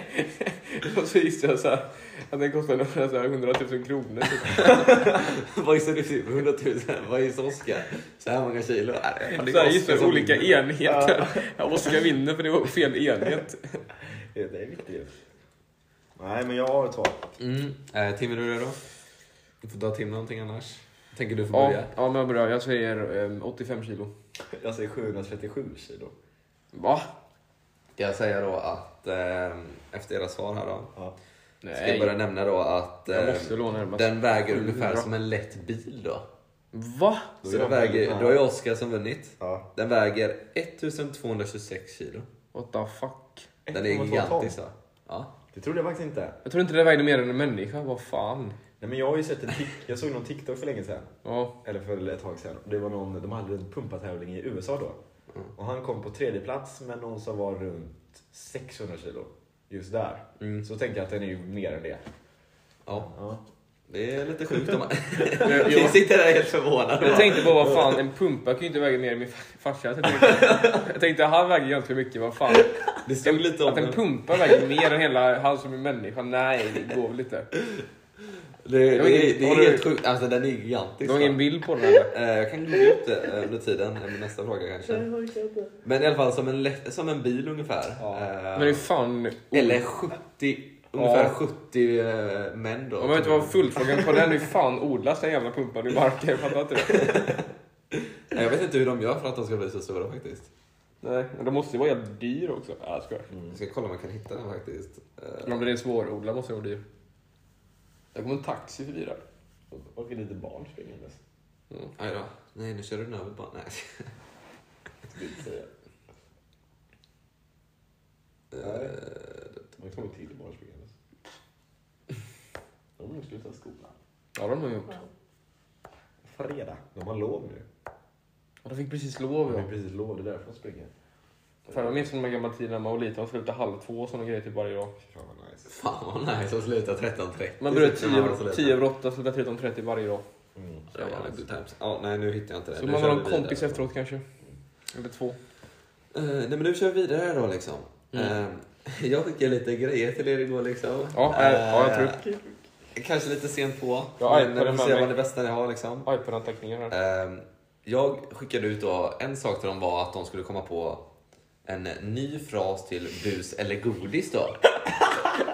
Speaker 2: och så gissade jag så här, att den kostar ungefär så här 100 000 kronor. typ.
Speaker 1: Vad gissar du? till? 100 000? typ Vad gissar Oskar? Så här många kilo? Nej, det
Speaker 2: Så här
Speaker 1: kostar
Speaker 2: gissade
Speaker 1: så
Speaker 2: jag olika
Speaker 1: mycket.
Speaker 2: enheter. Ja, Oskar vinner för det var fel enhet.
Speaker 3: Det det är viktigt. Nej, men jag har ett svar.
Speaker 1: Mm. Eh, Tim, är du redo? Du får dra Tim någonting annars. Tänker du få
Speaker 2: Ja,
Speaker 1: börja?
Speaker 2: ja men jag börjar. Jag säger eh, 85 kilo.
Speaker 3: Jag säger 737 kilo.
Speaker 2: Va?
Speaker 1: Ska jag säga då att eh, efter era svar här då.
Speaker 3: Ja.
Speaker 1: Ska jag
Speaker 2: Nej,
Speaker 1: börja nämna då att
Speaker 2: jag
Speaker 1: eh,
Speaker 2: måste låna den. bara.
Speaker 1: den väger ungefär
Speaker 2: Bra.
Speaker 1: som en lätt bil då.
Speaker 2: Va?
Speaker 3: Då
Speaker 1: Så
Speaker 3: är
Speaker 1: det
Speaker 3: jag väldigt
Speaker 1: väger,
Speaker 3: nära.
Speaker 1: då är Oskar som vunnit.
Speaker 3: Ja.
Speaker 1: Den väger 1226 kilo.
Speaker 2: What the fuck?
Speaker 1: Den är
Speaker 3: 1,2
Speaker 1: gigantisk
Speaker 3: ton.
Speaker 1: va? Ja.
Speaker 3: Det trodde jag faktiskt inte.
Speaker 2: Jag tror inte det vägde mer än en människa. Vad fan?
Speaker 3: Nej, men jag har ju sett en tik- jag såg någon TikTok för länge sedan.
Speaker 2: Ja.
Speaker 3: Eller för ett tag sedan. Det var någon, de hade en pumpatävling i USA då. Och han kom på tredje plats med någon som var runt 600 kilo. Just där.
Speaker 1: Mm.
Speaker 3: Så tänker jag att den är ju mer än det.
Speaker 1: ja.
Speaker 3: Ja.
Speaker 1: Det är lite sjukt om man...
Speaker 2: Jag,
Speaker 1: Vi
Speaker 2: jag,
Speaker 1: sitter där helt förvånade.
Speaker 2: jag tänkte bara, vad fan, en pumpa kan ju inte väga mer än min fa- farsa. Så Jag tänkte, jag tänkte han väger egentligen mycket, vad fan.
Speaker 1: Det stod lite om
Speaker 2: Att en
Speaker 1: den.
Speaker 2: pumpa väger mer än hela han som är människa, nej det går väl inte.
Speaker 1: Det, det,
Speaker 2: Jag vet
Speaker 1: det,
Speaker 2: inte,
Speaker 1: är
Speaker 2: har
Speaker 1: helt
Speaker 2: du-
Speaker 1: sjukt. Alltså den är
Speaker 2: Du
Speaker 1: gigantisk.
Speaker 2: har
Speaker 1: va?
Speaker 2: ingen bild på den eller?
Speaker 1: Eh, Jag kan googla upp det eh, under tiden, eh, med nästa fråga kanske. Men i alla fall som en, lätt, som en bil ungefär.
Speaker 3: Ja.
Speaker 1: Eh,
Speaker 2: Men det är fan...
Speaker 1: Eller 70, ungefär
Speaker 2: Ja.
Speaker 1: 70 eh, män då.
Speaker 2: Om jag inte var fullfrågan på den, hur fan odlas den jävla pumpan i marken? Jag fattar inte det.
Speaker 1: Nej, Eh, Jag vet inte hur de gör för att de ska bli så stora faktiskt.
Speaker 2: Nej, men de måste ju vara jävligt dyr också. Ja, jag skojar.
Speaker 1: Jag ska kolla om jag kan hitta den faktiskt. Eh,
Speaker 2: Men om den är svårodlad måste den vara dyr. Jag kommer en taxi förbi där.
Speaker 3: Och ett litet barn springandes.
Speaker 1: Aj då. Nej, nu kör du den över bara. Nej.
Speaker 3: Nej.
Speaker 1: Eh,
Speaker 3: Man kommer till barn springandes. De har nog slutat skolan.
Speaker 2: Ja, de har gjort.
Speaker 3: Fredag. De har lov nu.
Speaker 2: Ja, de fick precis
Speaker 3: De
Speaker 2: lov
Speaker 3: har
Speaker 2: ja.
Speaker 3: ju precis lov, det är därför de springer.
Speaker 2: Fan, jag minns från de här gamla tiderna när man var liten, man slutade halv två och sådana grejer typ varje dag.
Speaker 3: Fy fan vad nice.
Speaker 1: Fan vad nice att sluta 13.30.
Speaker 2: Man började
Speaker 1: när var så
Speaker 2: 10
Speaker 1: liten.
Speaker 2: tio över åtta, slutade 13.30 varje dag.
Speaker 3: Mm.
Speaker 1: Ja, jävla good times. Ja, nej, nu hittar jag inte det.
Speaker 2: Så
Speaker 1: Nu
Speaker 2: man
Speaker 1: kör
Speaker 2: har
Speaker 1: vi
Speaker 2: någon kompis
Speaker 1: vidare.
Speaker 2: efteråt kanske. Eller två.
Speaker 1: Eh, nej men nu kör vi vidare då liksom.
Speaker 2: Mm.
Speaker 1: Eh, jag skickade lite grejer till er igår liksom.
Speaker 2: Ja, nej, ja, jag tror
Speaker 1: Eh, Kanske lite sent på.
Speaker 2: Ja,
Speaker 1: men
Speaker 2: iPaden
Speaker 1: vi får
Speaker 2: med
Speaker 1: se
Speaker 2: mig.
Speaker 1: vad det bästa ni har liksom.
Speaker 2: Ipad-anteckningar här.
Speaker 1: Eh, jag skickade ut då, en sak till dem var att de skulle komma på en ny fras till bus eller godis då.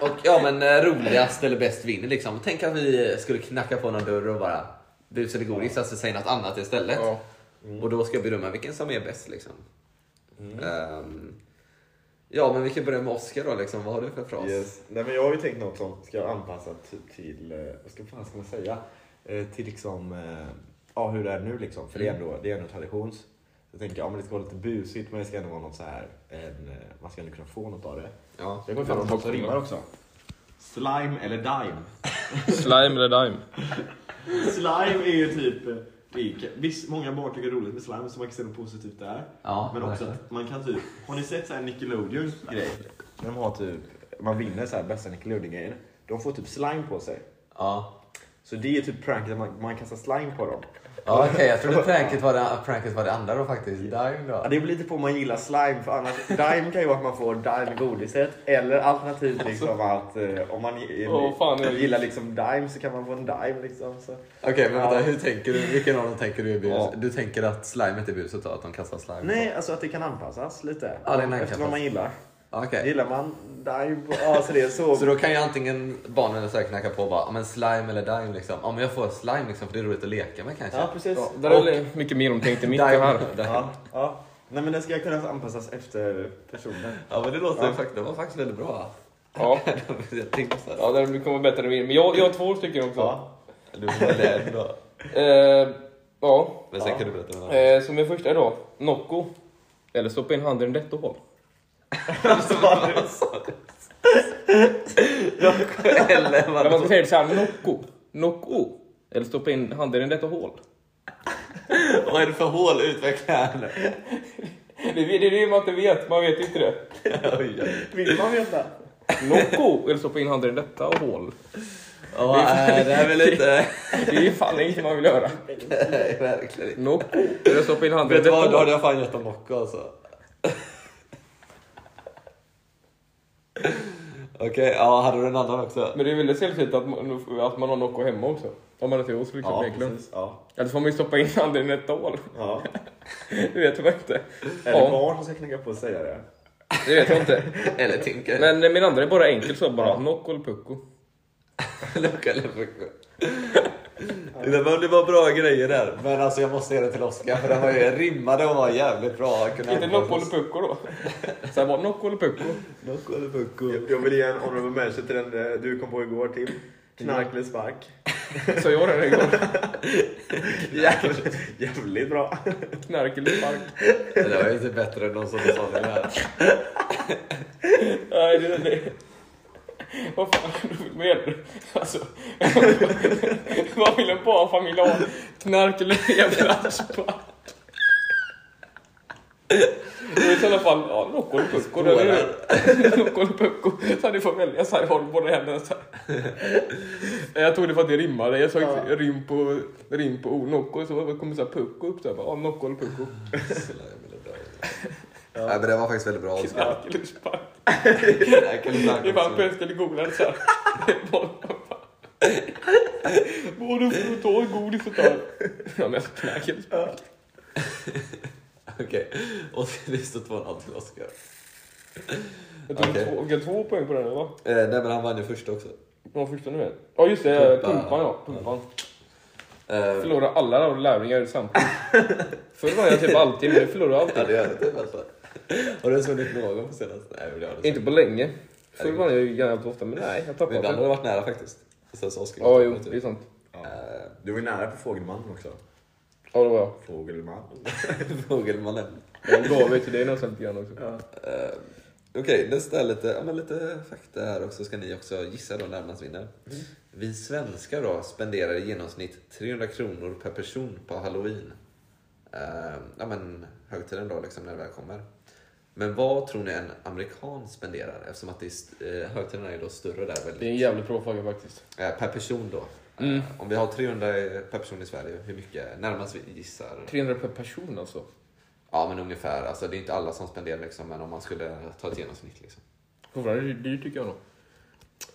Speaker 1: Och ja men eh, roligast eller bäst vinner liksom. Tänk att vi skulle knacka på någon dörr och bara bus eller godis, alltså säg något annat istället.
Speaker 2: Ja.
Speaker 1: Och då ska jag bedöma vilken som är bäst liksom. Ehm, ja, men vi kan börja med Oscar då liksom. Vad har du för fras?
Speaker 3: Yes. Nej, men jag har ju tänkt något som ska anpassas typ till, eh, vad ska, fan ska man säga? Eh, till liksom, eh, ja hur det är nu liksom. För det är ändå, det är ändå traditions. Så jag tänker, ja men det ska vara lite busigt men det ska ändå vara något så här, en, eh, man ska ändå kunna få något av det.
Speaker 1: Ja.
Speaker 3: Så jag kommer fram till något som rimmar också. Slime eller dime?
Speaker 2: Slime eller dime?
Speaker 3: Slime är ju typ... eh, det är ju- Visst, många barn tycker det är roligt med slime, så man kan se något positivt där.
Speaker 1: Ja,
Speaker 3: men också att man kan typ... Har ni sett så här Nickelodeons grej? När de har typ... Man vinner så här bästa Nickelodeon-grejen. De får typ slime på sig.
Speaker 1: Ja.
Speaker 3: Så det är typ pranket, att man, man kastar slime på dem.
Speaker 1: ja Okej, jag trodde pranket var, det, pranket var det andra då faktiskt. Dime
Speaker 3: Ja,
Speaker 1: då.
Speaker 3: det beror lite på om man gillar slime, för annars... Dime kan ju vara att man får dime-godiset. Eller
Speaker 1: Alltså.
Speaker 3: alternativt liksom att eh, om man gi-
Speaker 2: Åh, fan, jag-
Speaker 3: gillar liksom dime så kan man få en dime liksom. Så.
Speaker 1: Okej, men vänta. Hur tänker du? Vilken av dem tänker du är bus?
Speaker 3: Ja.
Speaker 1: Du tänker att slimet är buset då? Att de kastar slime?
Speaker 3: Nej, alltså att det kan anpassas lite.
Speaker 1: Ja, det kan
Speaker 3: Efter vad
Speaker 1: anpassas.
Speaker 3: man gillar.
Speaker 1: Okej.
Speaker 3: Gillar man dive? Ja, så det är så.
Speaker 1: Så då kan ju antingen barnen eller så här knacka på och bara, "Ja, men slime eller dime liksom. Ja, men jag får slime liksom för det är roligt att leka med kanske.
Speaker 3: ja, precis.
Speaker 2: Ja, där
Speaker 3: Ja,
Speaker 2: är det mycket mer omtänkt än mitt det här.
Speaker 1: Ja.
Speaker 3: ja, Nej, men den ska kunna anpassas efter personen.
Speaker 1: ja, men det låter ju faktiskt, det var faktiskt väldigt bra.
Speaker 2: Ja.
Speaker 1: jag tänkte så här.
Speaker 2: Ja, det kommer bättre än min. Men jag, jag har två stycken också.
Speaker 3: Ja.
Speaker 1: Du var ledd då.
Speaker 2: Eh, ja,
Speaker 1: Men sen
Speaker 3: Ja.
Speaker 1: kan du berätta vad
Speaker 2: eh, som är första då. Nocco. Eller stoppa in handen i detta hål.
Speaker 1: Eller
Speaker 2: Eller man
Speaker 1: vad
Speaker 2: ska säga det såhär, Nocco. Nocco. Eller stoppa in handen i detta hål.
Speaker 1: Vad är det för hål? Utveckla här nu.
Speaker 2: Det är det, är det man inte vet, man vet ju inte det.
Speaker 1: Oj, oj.
Speaker 3: Vill man veta?
Speaker 2: Nocco. Eller stoppa in handen i detta hål.
Speaker 1: Ja, eh, det här är väl inte...
Speaker 2: Det är ju fan inget man vill göra.
Speaker 1: Nej, verkligen inte.
Speaker 2: Nocco. Eller stoppa in handen i
Speaker 1: Vet du
Speaker 2: detta
Speaker 1: vad? Då hade
Speaker 2: hål.
Speaker 1: jag fan gett dem Nocco alltså. Okej, ja, hade du en annan också?
Speaker 2: Men det är väldigt sällsynt att man, att man har Nocco hemma också. Om man inte är hos liksom Eklund.
Speaker 3: Ja.
Speaker 2: Eller så får man ju stoppa in handen i detta hål.
Speaker 3: Ja.
Speaker 2: Det vet jag inte.
Speaker 3: Är det
Speaker 2: Ja,
Speaker 3: barn som ska knacka på och säga det?
Speaker 2: det vet jag inte.
Speaker 1: Eller Tinker? Men...
Speaker 2: Men eh, min andra är bara enkel så bara. Nocco eller Pucko.
Speaker 1: Luca eller Pucko? Det var, det var bra grejer där, men alltså jag måste ge det till Oskar för den var ju rimmade och var jävligt bra. Kunde
Speaker 2: Inte
Speaker 1: användas.
Speaker 2: Nocco eller Pucko då? Så här bara Nocco eller Pucko.
Speaker 1: Nocco eller Pucko?
Speaker 3: Jag- Jag vill ge en honorable mention till den eh, du kom på igår, Tim. Knarklig spark.
Speaker 2: Så jag den igår.
Speaker 3: Jävligt, jävligt bra.
Speaker 2: Knark eller spark.
Speaker 1: Det där var ju inte bättre än någon som sa det där.
Speaker 2: Nej, det, det. Vad fan menar du? Alltså, vad vill en barnfamilj ha? Knark eller jävla spark? Det är i alla fall ja, Nocco eller Pucko. det är ju- Nocco eller Pucko. Så ni får välja så här, håll båda händerna så här. Nej, Jag tog det för att det rimmade. Jag såg
Speaker 3: Ja.
Speaker 2: rim på, rim på o, Nocco så kom så här Pucko upp. Så här, bara, ja, Nocco eller Pucko.
Speaker 1: Nej, men det var faktiskt väldigt bra Oskar.
Speaker 2: Knark eller spark.
Speaker 1: Jag kan
Speaker 2: Det är
Speaker 1: inte
Speaker 2: bara
Speaker 1: snacka om
Speaker 2: bäst eller godare såhär. Både för att ta godis och där. Ja men knäck eller spark.
Speaker 1: så. Okej, Oskar, det står 2,5 till Oskar. Eh,
Speaker 2: Jag tog
Speaker 1: Okej.
Speaker 2: två, jag tog två poäng på den eller va?
Speaker 1: Eh, nej, men han vann ju första också.
Speaker 2: Vad var första nu igen? Ja just det, eh,
Speaker 1: Pumpa.
Speaker 2: pumpan ja. Pumpan.
Speaker 1: Eh,
Speaker 2: Förlorar alla där lärlingar samtidigt. Förr var jag typ alltid men nu förlorar
Speaker 1: Ja,
Speaker 2: jag alltid.
Speaker 1: det gör det typ alltså. Har du ens vunnit någon på senaste? Nej, men det har du
Speaker 2: Inte på länge. Förr vann jag ju jävligt ofta men nej jag
Speaker 1: Men
Speaker 2: tappade.
Speaker 1: ibland har det
Speaker 2: den.
Speaker 1: varit nära faktiskt. Sen så Oskar
Speaker 2: Ja jo det är sant.
Speaker 1: Eh,
Speaker 3: Du var ju nära på Fågelman också.
Speaker 2: Ja det var jag.
Speaker 3: Fågelman.
Speaker 1: Fågelmannen.
Speaker 2: Jag gav ju till dig nästan lite grann också.
Speaker 1: Eh, Okej, nästa är lite, ja, men lite fakta här också. Ska ni också gissa då närmast vinner. Vi svenskar då spenderar i genomsnitt 300 kronor per person på halloween. Eh, ja men högtiden då liksom när det väl kommer. Men vad tror ni en amerikan spenderar? Eftersom att det är, st- eh, högtiderna är då större där väldigt.
Speaker 2: Det är en jävligt bra fråga faktiskt.
Speaker 1: Eh, per person då. Eh,
Speaker 2: Mm.
Speaker 1: Om vi har 300 per person i Sverige, hur mycket? Närmast vi gissar.
Speaker 2: 300 per person alltså.
Speaker 1: Ja, men ungefär. Alltså, det är inte alla som spenderar, liksom, men om man skulle ta ett genomsnitt. Liksom.
Speaker 2: Fortfarande dyrt dyr, tycker jag nog.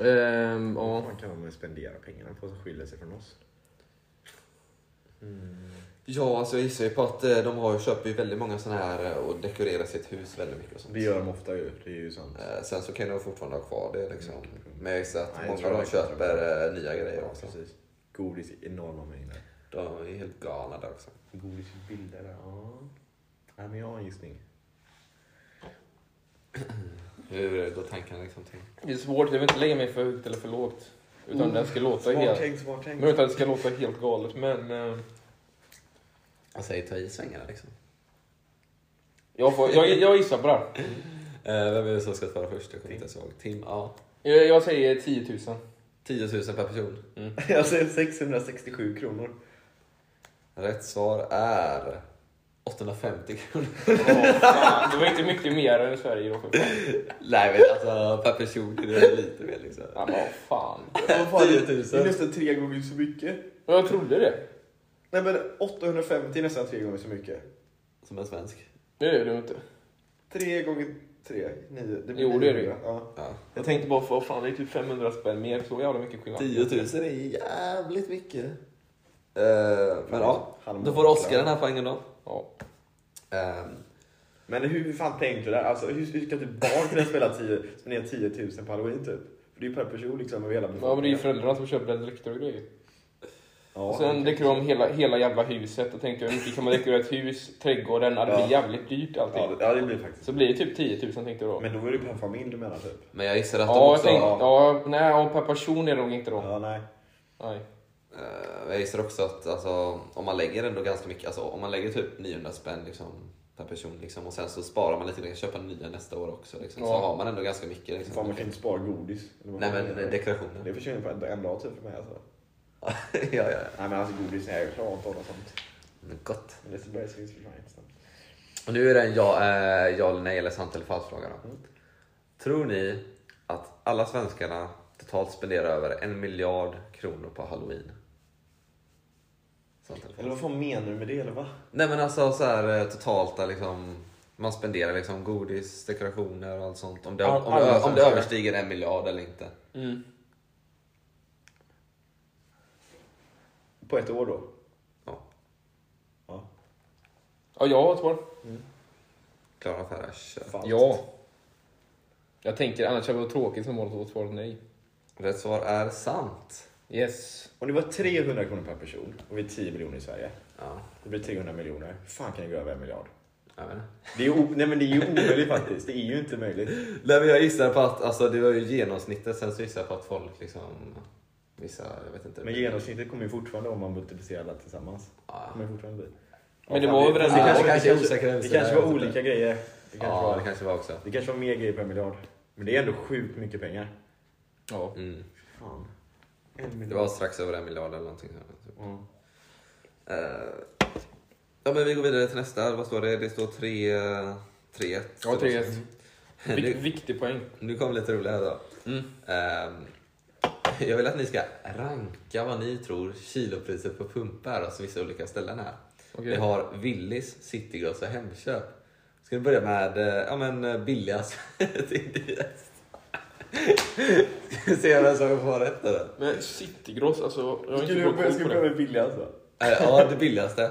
Speaker 2: Ehm, ja.
Speaker 3: Man kan väl spendera pengarna på som skiljer sig från oss.
Speaker 1: Ja, alltså, jag gissar ju på att eh, de har, köper ju väldigt många sådana här eh, och dekorerar sitt hus väldigt mycket. Och sånt.
Speaker 3: Det gör de ofta ju, det är ju sant.
Speaker 1: Eh, sen så kan de fortfarande ha kvar det. Liksom. Men jag gissar att
Speaker 3: Nej, jag
Speaker 1: många
Speaker 3: tror
Speaker 1: av dem
Speaker 3: jag verkligen
Speaker 1: köper eh, nya grejer
Speaker 3: Ja,
Speaker 1: också.
Speaker 3: precis. Godis i enorma mängder.
Speaker 1: De är helt galna där också.
Speaker 3: Godis i bilder, ja. Nej, men jag har en gissning.
Speaker 1: Hur går tankarna liksom till?
Speaker 2: Det är svårt, jag vill inte lägga mig för högt eller för lågt. Utan den ska låta helt...
Speaker 3: tänkt, smart
Speaker 2: Men utan att det ska låta helt galet, men... eh,
Speaker 1: Jag säger ta i svängarna liksom.
Speaker 2: jag, får, jag, jag gissar på det här.
Speaker 1: Eh, vem är det som ska svara först? Jag kommer inte ens ihåg. Tim? Ja.
Speaker 2: Jag, jag säger 10 000.
Speaker 1: 10 000 per person.
Speaker 3: Jag säger 667 kronor.
Speaker 1: Rätt svar är 850 kronor.
Speaker 2: Åh, fan. Det var inte mycket mer än i Sverige då, för fan.
Speaker 1: Nej men alltså per person är det lite mer liksom.
Speaker 2: Ja, men vad fan.
Speaker 1: 10 000.
Speaker 3: nästan tre gånger så mycket.
Speaker 2: Men jag trodde det.
Speaker 3: Nej men 850 är nästan tre gånger så mycket.
Speaker 1: Som en svensk.
Speaker 2: Det är det ju inte.
Speaker 3: Tre gånger tre, nio. Det
Speaker 2: Jo, det är det ju.
Speaker 3: 900, Ja.
Speaker 1: Ja.
Speaker 2: Jag tänkte bara, för fan, det är typ 500 spänn mer. Så jävla mycket skillnad.
Speaker 1: 10 000 är jävligt mycket. Eh, men ja,
Speaker 3: Halvmåne.
Speaker 1: då får Oskar den här poängen då.
Speaker 2: Ja.
Speaker 1: Ehm,
Speaker 3: Men hur fan tänkte du där? Alltså, hur, hur ska typ barn kunna spela 10, spendera 10 000 på halloween typ? För det är ju per person liksom över hela
Speaker 2: Ja, men det är ju föräldrarna som köper den dräkter och grejer.
Speaker 3: Ja,
Speaker 2: Sen dekorerar de hela, hela jävla huset och tänkte hur mycket kan man dekorera ett hus, trädgården, ja, det blir
Speaker 3: Ja.
Speaker 2: jävligt dyrt allting.
Speaker 3: Ja, det- ja, det blir faktiskt.
Speaker 2: Så blir det typ 10 000 tänkte jag då.
Speaker 3: Men då är det ju per familj du menar typ?
Speaker 1: men jag gissar att de
Speaker 2: ja, jag
Speaker 1: också...
Speaker 2: tänkte, ja, nej, ja, per person är det nog inte då.
Speaker 3: Ja, nej.
Speaker 2: Nej.
Speaker 1: Eh, Jag gissar också att alltså, om man lägger ändå ganska mycket, alltså, om man lägger typ 900 spänn liksom, per person liksom, och sen så sparar man lite grann, köper nya nästa år också. Liksom, Så
Speaker 2: Ja.
Speaker 1: har man ändå ganska mycket. Liksom.
Speaker 3: Fan, man kan inte spara godis. Eller vad
Speaker 1: Nej
Speaker 3: fan
Speaker 1: men
Speaker 3: är det?
Speaker 1: dekorationen.
Speaker 3: Det försvinner på en, en dag typ för mig alltså.
Speaker 1: ja, ja.
Speaker 3: Nej men alltså godis, nej jag klarar inte av något sånt.
Speaker 1: Men gott.
Speaker 3: Men det börjar finns för liksom. fan inte snabbt.
Speaker 1: Och nu är det en ja, eh, ja eller nej eller sant eller falskt fråga då.
Speaker 3: Mm.
Speaker 1: Tror ni att alla svenskarna totalt spenderar över en miljard kronor på halloween? Sant eller falskt?
Speaker 3: Eller vad fan menar du med det eller va?
Speaker 1: Nej men alltså så här eh, totalt där liksom man spenderar liksom godis, dekorationer och allt sånt. Om det,
Speaker 2: All-
Speaker 1: om
Speaker 2: alla
Speaker 1: det, om det
Speaker 2: svenskar.
Speaker 1: överstiger en miljard eller inte.
Speaker 2: Mm.
Speaker 3: På ett år då?
Speaker 1: Ja,
Speaker 3: Ja.
Speaker 2: Ja, jag har ett svar.
Speaker 1: klara affärer. kör.
Speaker 3: Falskt.
Speaker 2: Ja. Jag tänker annars hade det varit tråkigt som målet åt svaret nej.
Speaker 1: Rätt svar är sant.
Speaker 2: Yes.
Speaker 3: Om det var 300 kronor per person och vi är 10 miljoner i Sverige.
Speaker 1: Ja,
Speaker 3: Det blir 300 miljoner. Hur fan kan det gå över en miljard?
Speaker 1: jag vet inte.
Speaker 3: Det är, o- nej, men det är ju omöjligt faktiskt. Det är ju inte möjligt.
Speaker 1: Nej, men jag gissar på att alltså, det var ju genomsnittet, sen så gissar jag på att folk liksom... Vissa, jag vet inte.
Speaker 3: Men genomsnittet kommer ju fortfarande om man multiplicerar alla tillsammans.
Speaker 1: Ja.
Speaker 3: Kommer ju fortfarande bli.
Speaker 2: Men det
Speaker 3: fan,
Speaker 2: var över en
Speaker 3: det,
Speaker 2: miljard.
Speaker 3: kanske, det,
Speaker 1: Kanske
Speaker 3: kanske,
Speaker 1: osäkra
Speaker 3: det
Speaker 1: gränser,
Speaker 3: kanske
Speaker 1: jag
Speaker 3: var
Speaker 1: vet inte.
Speaker 2: alltså.
Speaker 3: olika grejer. Det kanske,
Speaker 1: Ja,
Speaker 3: var,
Speaker 1: det kanske var också.
Speaker 3: det kanske var mer grejer per miljard. Men det är ändå sjukt mycket pengar.
Speaker 2: Ja.
Speaker 1: Mm.
Speaker 3: Fan. En
Speaker 1: Det var strax över en miljard eller någonting. sånt, Typ.
Speaker 3: Ja.
Speaker 1: Eh, ja, men vi går vidare till nästa. Vad står det? Det står 3... eh, 3-1.
Speaker 2: Ja, 3-1.
Speaker 1: nu,
Speaker 2: Vik- viktig poäng.
Speaker 1: nu kommer lite roligare då.
Speaker 2: Mm.
Speaker 1: Ehm, jag vill att ni ska ranka vad ni tror kilopriset på pump är hos vissa olika ställen här.
Speaker 2: Okej.
Speaker 1: Vi har Willys, Citygross och Hemköp. Ska vi börja med eh, ja, men, eh, billigast till dyrast? Ska vi se vem som får rätt då? Eh,
Speaker 2: Men Citygross, alltså jag har
Speaker 3: Ska
Speaker 2: inte
Speaker 3: du
Speaker 2: bra
Speaker 3: börja
Speaker 2: koll på
Speaker 3: skriva
Speaker 2: det.
Speaker 3: med billiga alltså?
Speaker 1: Eh, Ja, det billigaste.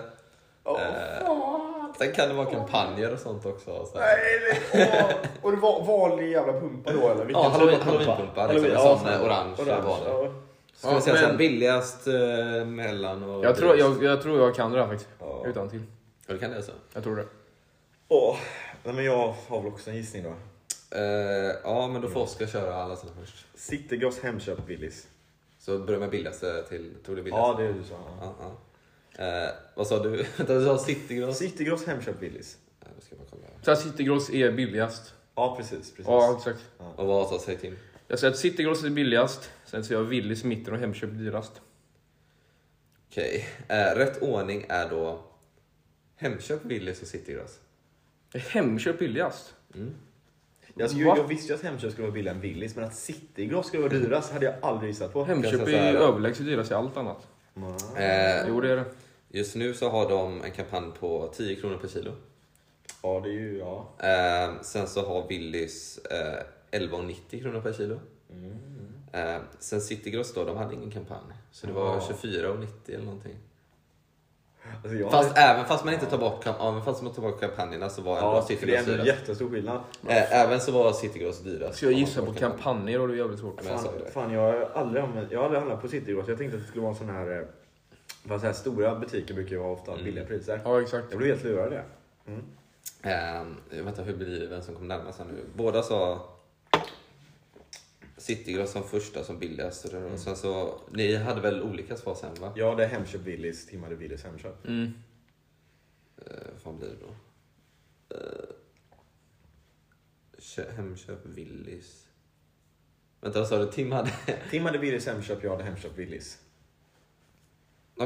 Speaker 3: Åh,
Speaker 1: Eh.
Speaker 3: fan.
Speaker 1: Sen kan det vara kampanjer och sånt också. Så. här.
Speaker 3: Nej, det- åh. Och det var vanlig jävla pumpa då eller? Vilken
Speaker 1: Ja, halloween-
Speaker 3: typ av pumpa?
Speaker 1: halloweenpumpa, liksom,
Speaker 3: Halloween, ja,
Speaker 1: en sån, eh,
Speaker 3: fan.
Speaker 1: orange vanlig.
Speaker 3: ja.
Speaker 1: Ska vi
Speaker 2: Ja,
Speaker 1: säga så här,
Speaker 2: men-
Speaker 1: billigast, eh, mellan och
Speaker 2: Jag tror
Speaker 1: dyrast.
Speaker 2: jag, jag tror jag kan det här faktiskt.
Speaker 3: Ja.
Speaker 2: Utan till.
Speaker 1: Ja, det alltså. kan det så.
Speaker 2: Jag tror det.
Speaker 3: Åh, nej men jag har väl också en gissning då.
Speaker 1: Eh, ja, men då får Oskar köra alla sina först.
Speaker 3: Citygross, Hemköp, Willys.
Speaker 1: Så börja med billigaste till, tror du billigaste?
Speaker 3: Ja, det är du sa.
Speaker 1: Ja, ja. Eh, vad sa du? Vänta, du sa Citygross?
Speaker 3: Citygross, Hemköp, Willys.
Speaker 1: Nej, då ska jag bara kolla.
Speaker 2: Så här, Citygross är billigast.
Speaker 3: Ja, precis. precis.
Speaker 2: Ja, exakt.
Speaker 1: Och vad sa säg Tim?
Speaker 2: Jag säger att Citygross är billigast, sen säger jag Willys i mitten och Hemköp dyrast.
Speaker 1: Okej. Eh, rätt ordning är då Hemköp, Willys och Citygross.
Speaker 2: Är Hemköp billigast?
Speaker 3: Jag, skulle, jag visste ju att Hemköp skulle vara billigare än Willys, men att Citygross skulle vara dyrast hade jag aldrig gissat på.
Speaker 1: Jag
Speaker 2: Hemköp
Speaker 1: ska säga
Speaker 2: är
Speaker 1: det.
Speaker 2: överlägset dyrast i allt annat.
Speaker 1: Eh,
Speaker 2: Jo, det är det.
Speaker 1: just nu så har de en kampanj på 10 kronor per kilo.
Speaker 3: Ja, det är ju... Ja.
Speaker 1: Eh, sen så har Willys eh, 11,90 kronor per kilo.
Speaker 3: Mm.
Speaker 1: Eh, sen Citygross då, de hade ingen kampanj. Så det var
Speaker 3: Ja.
Speaker 1: 24,90 eller någonting.
Speaker 3: Alltså, jag
Speaker 1: Fast även fast man inte tar bort, kam- ja, men fast man tar bort kampanjerna så var ändå
Speaker 3: ja, för Alltså, det är
Speaker 1: Citygross
Speaker 3: ändå en
Speaker 1: dyrast.
Speaker 3: jättestor skillnad.
Speaker 1: Eh, även så var Citygross dyrast.
Speaker 2: Så jag
Speaker 1: om man
Speaker 2: gissar
Speaker 1: tar
Speaker 2: på
Speaker 1: bort kampanjen.
Speaker 2: kampanjer och det är jävligt svårt.
Speaker 1: Men jag sa
Speaker 3: Fan,
Speaker 1: det.
Speaker 3: fan, jag har aldrig använt, jag har aldrig handlat på Citygross. Jag tänkte att det skulle vara en sån här... eh, Fast så här stora butiker brukar ju ha ofta billiga priser.
Speaker 2: Ja, exakt.
Speaker 3: Jag blev helt lurad av det.
Speaker 1: Ehm, vänta, hur blir det? Vem som kom närmast här nu? Båda sa Citygross som första, som billigast. Och
Speaker 2: Mm.
Speaker 1: sen så, ni hade väl olika svar sen va?
Speaker 3: Ja, det är Hemköp, Willys, Tim hade Willys, Hemköp.
Speaker 2: Mm.
Speaker 1: Eh, vad fan blir det då? Eh, kö- hemköp, Willys. Vänta, vad sa du? Tim hade... Okej,
Speaker 3: Tim hade Willys, Hemköp, jag hade Hemköp, Willys.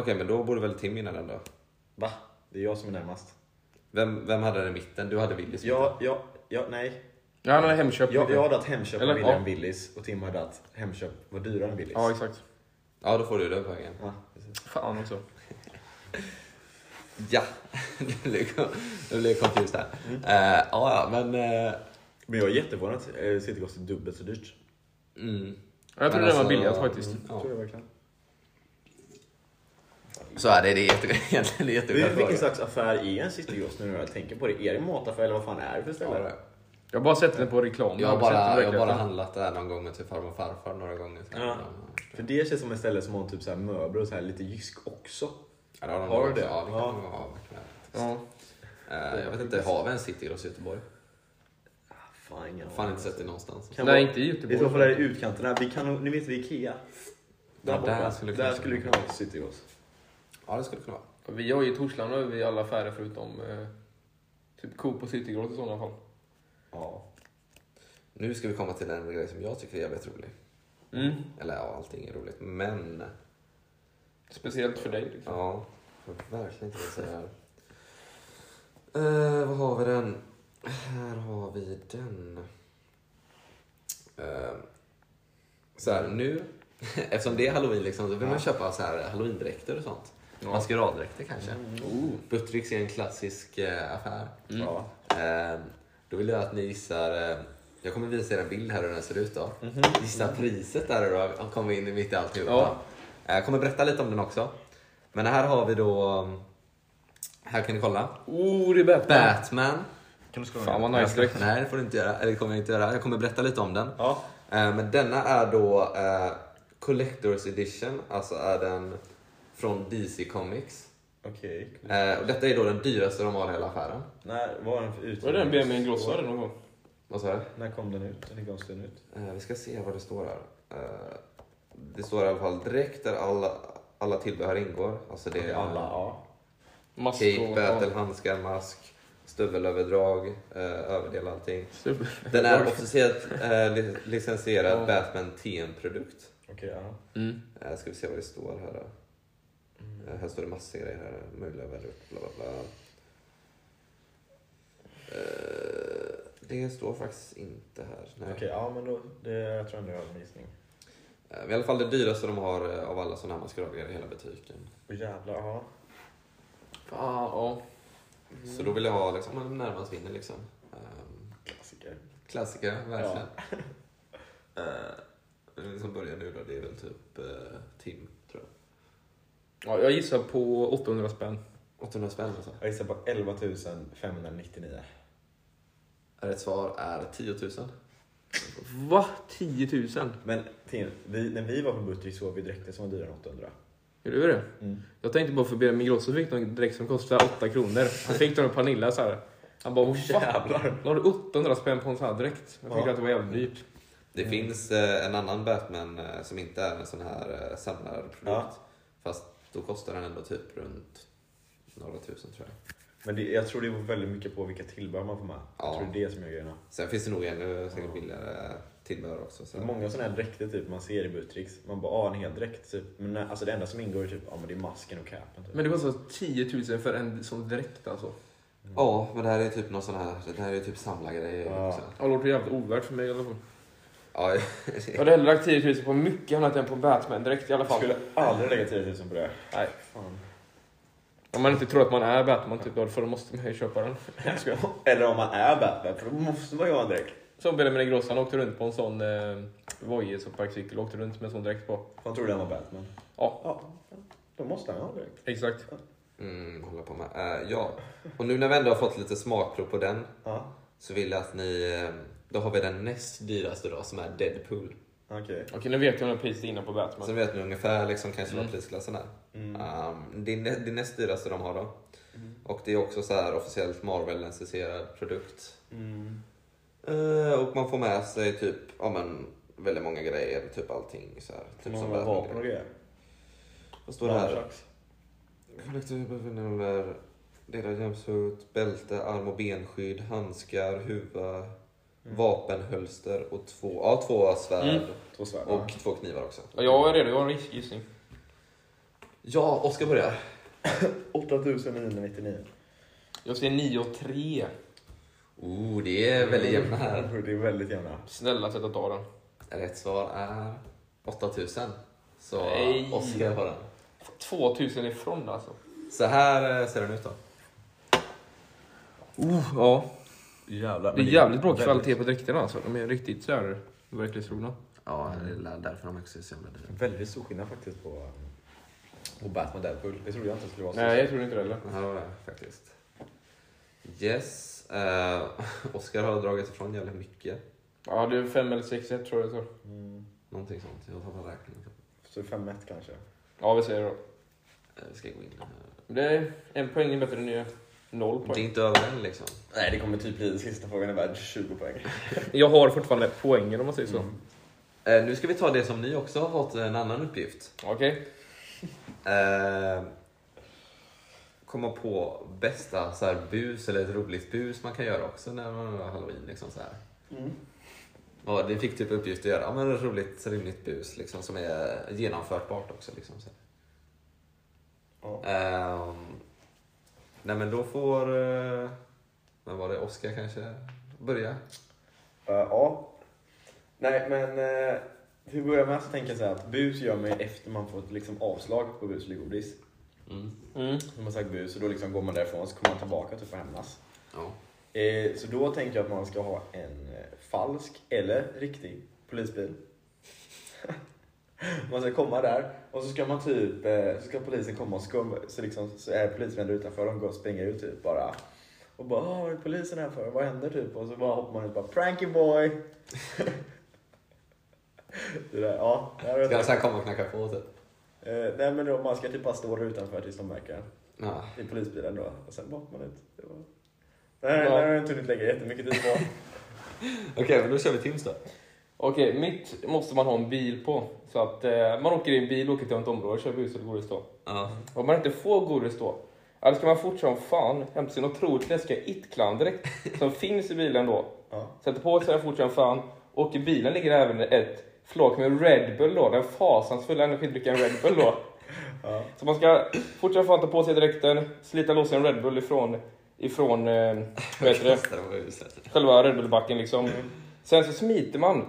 Speaker 1: men då borde väl Tim vinna den då?
Speaker 3: Va? Det är jag som är närmast.
Speaker 1: Vem, vem hade den i mitten? Du hade Willys. i
Speaker 3: Ja, ja, ja, nej.
Speaker 2: Ja, han har Hemköp.
Speaker 3: Jag, jag hade att Hemköp var
Speaker 2: Eller,
Speaker 3: billigare
Speaker 2: ja.
Speaker 3: än Willys och Tim hade att Hemköp var dyrare än Willys.
Speaker 2: Ja, exakt.
Speaker 1: mitten. Ja, då får du den poängen.
Speaker 3: Ja, precis.
Speaker 2: Fan också.
Speaker 1: Ja, det blev, det blev confused här.
Speaker 2: Mm.
Speaker 1: Eh, ja, ja, men... eh,
Speaker 3: Men jag är jätteförvånad att eh, Citygross är dubbelt så dyrt.
Speaker 1: mm,
Speaker 2: Ja, Jag
Speaker 1: Men
Speaker 2: trodde den
Speaker 1: alltså-
Speaker 2: var billigast faktiskt.
Speaker 1: ja.
Speaker 3: jag verkligen.
Speaker 1: Så är det, det är jätte, egentligen det är
Speaker 3: Det är
Speaker 1: jättebra
Speaker 3: vilken
Speaker 1: fråga.
Speaker 3: slags affär är en Citygross nu när jag tänker på det? Är det mataffär eller vad fan är det för
Speaker 1: Ja, det
Speaker 3: ställe?
Speaker 1: är.
Speaker 2: Jag har bara sett den på reklam.
Speaker 1: Jag
Speaker 2: har
Speaker 1: har
Speaker 2: inte sett
Speaker 1: bara,
Speaker 2: den i
Speaker 1: jag har
Speaker 2: verkligheten.
Speaker 1: bara handlat där någon gång med typ farmor och farfar några gånger. så här.
Speaker 3: Ja. För det känns som ett ställe som har typ så här möbler och så här lite jysk också.
Speaker 1: Ja, det har de
Speaker 3: Har
Speaker 1: nog också.
Speaker 3: du det?
Speaker 1: Ja, det kan
Speaker 3: Ja.
Speaker 1: de ha.
Speaker 2: Ja.
Speaker 1: Eh, Jag vet inte, har vi en citygross i Göteborg?
Speaker 3: Ah, Fan, ingen
Speaker 1: Fan
Speaker 3: aning.
Speaker 1: inte sett det någonstans.
Speaker 3: Kan
Speaker 2: Nej,
Speaker 3: vara-
Speaker 2: inte i Göteborg.
Speaker 3: I så fall är det utkanterna. Vi kan, nog- ni vet vi är Ikea. Där
Speaker 1: Ja,
Speaker 3: borta.
Speaker 1: där skulle det
Speaker 3: där
Speaker 1: kunna-
Speaker 3: skulle vi kunna ha Citygross.
Speaker 1: Ja, det skulle kunna vara.
Speaker 2: Vi har ju i Torslanda nu i alla affärer förutom eh, typ Coop och Citygross i sådana fall.
Speaker 3: Ja.
Speaker 1: Nu ska vi komma till en grej som jag tycker är jävligt rolig.
Speaker 2: Mm.
Speaker 1: Eller ja, allting är roligt, men...
Speaker 2: Speciellt för dig. Liksom.
Speaker 1: Ja, jag vet verkligen inte vad jag säger här. Eh, vad har vi den? Här har vi den. Eh, så här, nu, eftersom det är halloween liksom, så vill man köpa så här halloween-dräkter och sånt. Maskeraddräkter kanske.
Speaker 2: Oh.
Speaker 1: Buttericks är en klassisk eh, affär.
Speaker 3: ja.
Speaker 1: Eh, då vill jag att ni gissar, eh, jag kommer visa er en bild här hur den ser ut då.
Speaker 3: Mhm.
Speaker 1: Gissa priset där hur det har kommit in i mitt i alltihopa.
Speaker 2: Ja.
Speaker 1: Eh, jag kommer berätta lite om den också. Men här har vi då, ehm, här kan ni kolla.
Speaker 2: oh, det är Batman.
Speaker 1: Batman.
Speaker 3: Kan du skriva
Speaker 2: Fan
Speaker 3: ner?
Speaker 2: vad nice dräkt.
Speaker 1: Nej, det får du inte göra. Eller det kommer jag inte göra. Jag kommer berätta lite om den.
Speaker 3: Ja.
Speaker 1: Eh, men denna är då eh, Collectors Edition, alltså är den från DC Comics.
Speaker 3: Okej.
Speaker 1: Eh, och detta är då den dyraste de har i hela affären.
Speaker 3: När var den för ut?
Speaker 2: Var det den BMWn Grosso hade någon gång?
Speaker 1: Vad sa du?
Speaker 3: När kom den ut? När gavs den ut?
Speaker 1: Eh, vi ska se vad det står här. Eh, det står i alla fall direkt där alla, alla tillbehör ingår. Alltså det är
Speaker 3: Alla, ja.
Speaker 2: Mask
Speaker 1: cape, bätel,
Speaker 2: ja.
Speaker 1: handskar, mask, stövelöverdrag, eh, överdel, allting.
Speaker 2: Super.
Speaker 1: Den är officiellt eh, li- licensierad
Speaker 2: Ja.
Speaker 1: Batman TM-produkt.
Speaker 3: Okej, ja.
Speaker 2: Mm.
Speaker 1: Eh, ska vi se vad det står här då. Eh, här står det massor grejer här. Möjliga värden, bla bla bla. Eh, det står faktiskt inte här. Nej.
Speaker 3: Okej, ja men då, det, jag tror ändå jag har en gissning.
Speaker 1: Eh, men I alla fall det dyraste de har eh, av alla sådana här maskeradgrejer i hela butiken.
Speaker 3: Åh jävlar, ja.
Speaker 2: Fan, ja.
Speaker 1: Så då vill jag ha liksom, en närmast vinner liksom. Ehm,
Speaker 3: Klassiker.
Speaker 1: klassiker, verkligen. Eh, den som börjar nu då, det är väl typ eh, Tim, tror jag.
Speaker 2: ja. Jag gissar på 800 spänn.
Speaker 1: 800 spänn alltså.
Speaker 3: Jag gissar på 11 599.
Speaker 1: Rätt Eh, svar är 10 000.
Speaker 2: Va? 10 000?
Speaker 3: Men till, vi, när vi var på Buttrick så var vi dräkter som var dyrare än 800.
Speaker 2: Gjorde du det? Jag tänkte bara för BMWn Grosso fick någon dräkt som kostade 8 kronor. Han fick den av Pernilla så här. Han bara, oh, va?
Speaker 3: Jävlar!
Speaker 2: La du 800 spänn på en sån här dräkt? Jag tyckte
Speaker 3: Ja.
Speaker 2: att det var jävligt dyrt.
Speaker 1: Det finns eh, en annan Batman eh, som inte är en sån här eh, samlarprodukt.
Speaker 3: Ja.
Speaker 1: Fast då kostar den ändå typ runt några tusen tror jag.
Speaker 3: Men det, jag tror det beror väldigt mycket på vilka tillbehör man får med. Jag
Speaker 1: Ja.
Speaker 3: tror det är det som gör grejerna.
Speaker 1: Sen finns det nog ännu säkert billigare eh, tillbehör också. Så.
Speaker 3: Det är många sådana här dräkter typ, man ser i Buttricks. Man bara, ah en hel dräkt. Typ. Men nej, alltså det enda som ingår är typ, ja men det är masken och capen. Typ.
Speaker 2: Men det kostar 10 000 för en sån dräkt alltså.
Speaker 1: Ja, men det här är typ någon sån här, det här är typ samlargrejer
Speaker 3: Ja.
Speaker 1: också.
Speaker 2: Ja, Det låter jävligt ovärt för mig i alla fall.
Speaker 1: Ja,
Speaker 2: Jag hade hellre lagt 10 000 på mycket annat än på Batman direkt i alla
Speaker 3: Jag
Speaker 2: fall.
Speaker 3: skulle aldrig lägga 10 000 på det.
Speaker 2: Nej.
Speaker 3: Fan.
Speaker 2: Om man inte tror att man är Batman typ, då för då måste man ju köpa den.
Speaker 3: Jag skojar. Eller om man är Batman, för då måste man ju ha en dräkt.
Speaker 2: Som Benjamin Ingrosso, han åkte runt på en sån eh, Voice och parkcykel, åkte runt med en sån dräkt på.
Speaker 3: Man trodde han var Batman.
Speaker 2: Ja,
Speaker 3: Ja, då måste han ha en dräkt.
Speaker 2: exakt.
Speaker 1: mm, håller på med. Eh, ja, och nu när vi ändå har fått lite smakprov på den
Speaker 3: Ja,
Speaker 1: så vill jag att ni, eh, då har vi den näst dyraste då som är Deadpool.
Speaker 3: okej.
Speaker 2: Okej, nu vet jag när priset är inne på Batman.
Speaker 1: Så vet ni ungefär liksom, kanske
Speaker 2: Mm.
Speaker 1: vad prisklassen är.
Speaker 3: Mm.
Speaker 1: Um, det, är nä- det är näst dyraste de har då. Och det är också så här officiellt Marvel-licensierad produkt.
Speaker 3: Mm.
Speaker 1: Eh, och man får med sig typ, ja men väldigt många grejer, typ allting så här. Typ
Speaker 3: Typ som vapen och
Speaker 1: Batman.
Speaker 3: grejer.
Speaker 1: Vad står det här?
Speaker 3: Nunchucks.
Speaker 1: Kollektivbefinner delar jämshut, bälte, arm och benskydd, handskar, huva, vapenhölster och två, ja, två svärd
Speaker 2: Mm.
Speaker 3: Två svärd.
Speaker 1: och två knivar också.
Speaker 2: Ja, jag är redo, jag har en gissning.
Speaker 1: Ja, Oskar börjar.
Speaker 3: 8999.
Speaker 2: Jag säger 9 och 3.
Speaker 1: Oh, det är väldigt jämna här.
Speaker 3: Alltså, Det är väldigt jämna.
Speaker 2: Snälla sätt att ta den.
Speaker 1: Rätt svar är 8000. Så
Speaker 2: Nej.
Speaker 1: Oskar har den.
Speaker 2: 2000 ifrån alltså.
Speaker 1: Så här eh, ser den ut då.
Speaker 2: Oh, ja.
Speaker 3: Jävlar.
Speaker 2: Det är jävligt bra kvalitet på dräkterna alltså. De är riktigt så här verklighetstrogna.
Speaker 1: Ja, det är därför de också är så jävla dyra.
Speaker 3: Väldigt stor skillnad faktiskt på, um, på Batman Deadpool. Det trodde jag inte skulle vara så.
Speaker 2: Nej, jag tror inte det heller.
Speaker 1: Ja, det var det faktiskt. Yes. Eh, Oskar har dragit ifrån jävligt mycket.
Speaker 2: Ja, det är 5 eller 6 tror jag det står.
Speaker 3: Mm.
Speaker 1: Någonting sånt. Jag tappar räkningen.
Speaker 3: Så 5-1 kanske.
Speaker 2: Ja, vi säger det då.
Speaker 1: Eh, Vi ska gå in.
Speaker 2: Det är en poäng är bättre än nio. Noll
Speaker 1: Det är
Speaker 2: poäng.
Speaker 1: inte över än liksom.
Speaker 3: Nej, det kommer typ bli sista frågan är värd 20 poäng.
Speaker 2: Mm. Jag har fortfarande poängen om man säger så.
Speaker 1: Eh, nu ska vi ta det som ni också har fått en annan uppgift.
Speaker 2: Okej.
Speaker 1: Eh, komma på bästa så här, bus eller ett roligt bus man kan göra också när man har halloween. Liksom, så här.
Speaker 3: Mm.
Speaker 1: Ja, det fick typ uppgift att göra ja, men ett roligt, rimligt bus liksom, som är genomförbart också. Liksom, så här.
Speaker 3: Ja.
Speaker 1: Ehm, nej men då får... Uh, men var det Oskar kanske? Börja.
Speaker 3: Eh, ja. Nej, men eh, till att börja med så tänker jag så här att bus gör man ju efter man fått liksom avslag på bus eller godis.
Speaker 2: Mm.
Speaker 3: När man sagt bus och då liksom går man därifrån så kommer man tillbaka typ och hämnas.
Speaker 1: Ja.
Speaker 3: Eh, så då tänker jag att man ska ha en eh, falsk eller riktig polisbil. man ska komma där och så ska man typ, eh, så ska polisen komma och skum, så, liksom, så är polismän där utanför de går och springer ut typ bara. Och bara, "Ah, vad är polisen här för? Vad händer typ? Och så bara hoppar man ut och bara, pranky boy! det där, ja. Det här
Speaker 1: Ska jag
Speaker 3: är
Speaker 1: så här komma och knacka på typ?
Speaker 3: eh, nej men då, man ska typ bara stå där utanför tills de märker en.
Speaker 1: Ja.
Speaker 3: I polisbilen då. Och sen bara hoppar man ut. Det var... Nej,
Speaker 2: Ja.
Speaker 3: det har jag inte hunnit lägga jättemycket tid på.
Speaker 1: Okej, men då kör vi Tims då.
Speaker 2: Okej, mitt måste man ha en bil på. Så att eh, man åker i en bil, åker till ett område, kör bus eller godis då.
Speaker 1: Ja.
Speaker 2: Om man inte får godis då, ja, då ska man fort som fan hämta sin otroligt läskiga it-klandräkt som finns i bilen då.
Speaker 3: Ja.
Speaker 2: Sätter på sig den fort som fan och i bilen ligger även ett flak med Red Bull då, den fasansfulla energidrycken Red Bull då.
Speaker 3: Ja.
Speaker 2: Så man ska fort som fan ta på sig dräkten, slita loss en Red Bull ifrån, ifrån eh, vad heter det?
Speaker 1: Kastar dem på huset.
Speaker 2: själva Red Bull-backen liksom. Sen så smiter man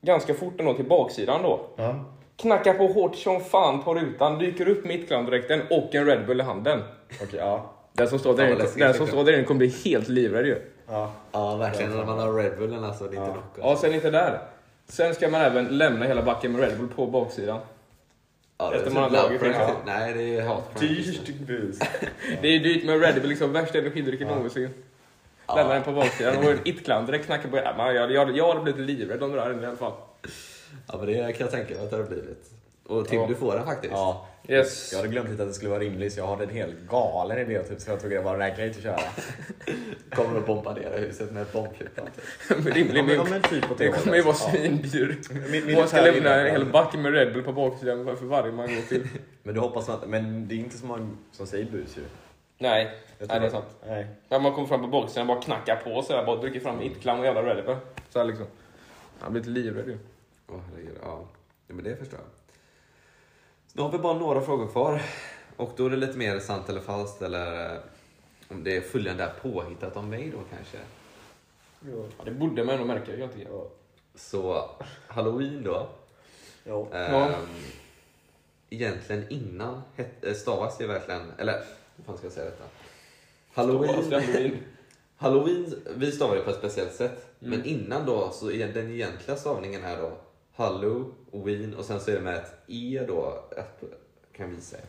Speaker 2: ganska fort ändå till baksidan då.
Speaker 3: Ja.
Speaker 2: Knackar på hårt som fan på rutan, dyker upp mittklandräkten och en Red Bull i handen.
Speaker 3: Okej, ja.
Speaker 2: Den som står
Speaker 1: Fan,
Speaker 2: där
Speaker 1: vad
Speaker 2: inne-
Speaker 1: läskigt,
Speaker 2: den som
Speaker 1: tycker
Speaker 2: står där inne kommer bli helt livrädd ju.
Speaker 3: Ja.
Speaker 1: Ja, verkligen. När man har Red Bullen alltså, det är inte Nocco.
Speaker 2: Ja, sen inte där. Sen ska man även lämna hela backen med Red Bull på baksidan.
Speaker 1: Ja, det är
Speaker 2: efter
Speaker 1: typ
Speaker 2: man har
Speaker 1: love
Speaker 2: dragit från
Speaker 1: prank,
Speaker 2: det.
Speaker 1: typ. Nej, det är hatprank.
Speaker 3: Dyrt bus.
Speaker 2: Det är ju dyrt med Red Bull, liksom värsta energidrycken någonsin.
Speaker 1: Ja.
Speaker 2: Lämna den på baksidan och en itklandräkt knackar på. Ja, man- Jag, jag, jag hade blivit livrädd om det där inne i alla fall.
Speaker 1: Ja, men det kan jag tänka mig att det har blivit. Och Tim,
Speaker 2: Ja.
Speaker 1: du får den faktiskt.
Speaker 3: Ja.
Speaker 2: Yes.
Speaker 3: Jag hade glömt lite att det skulle vara rimlig så jag hade en helt galen idé typ så jag tog det bara räkna hit och köra.
Speaker 1: Kommer att bombardera huset med ett bombflygplan. typ.
Speaker 2: Rimlig min-
Speaker 3: typ åt
Speaker 2: Det kommer ju vara
Speaker 3: hållet.
Speaker 2: svindyr.
Speaker 3: Min- min
Speaker 2: Man ska
Speaker 3: gitarr
Speaker 2: lämna
Speaker 3: är
Speaker 2: en hel
Speaker 3: inne.
Speaker 2: back med Red Bull på baksidan för varje man går till.
Speaker 3: Ja. Men du hoppas att, men det är inte så många som säger bus ju.
Speaker 2: Nej, nej
Speaker 3: Jag tror
Speaker 2: det är sant.
Speaker 3: Nej.
Speaker 2: När man kommer fram på baksidan bara knackar på sådär, bara dricker fram ittklam och jävla Red Bull. Såhär liksom. Han blir lite livrädd ju.
Speaker 1: Åh, herregud. Ja. ja, men det förstår jag. Nu har vi bara några frågor kvar. Och då är det lite mer sant eller falskt eller eh, om det är följande är påhittat om mig då kanske.
Speaker 3: Ja.
Speaker 2: Ja, det borde man ändå märka, jag tycker.
Speaker 3: Ja.
Speaker 1: Så halloween då.
Speaker 3: Ja.
Speaker 1: Ehm,
Speaker 2: Ja.
Speaker 1: Egentligen innan het- eh, stavas det verkligen, eller hur fan ska jag säga detta?
Speaker 2: Stavas
Speaker 1: Halloween,
Speaker 2: det Halloween?
Speaker 1: halloween vi stavar det på ett speciellt sätt.
Speaker 2: Mm.
Speaker 1: Men innan då, så är den egentliga stavningen är då halloween och sen så är det med ett e då, ett, kan vi säga.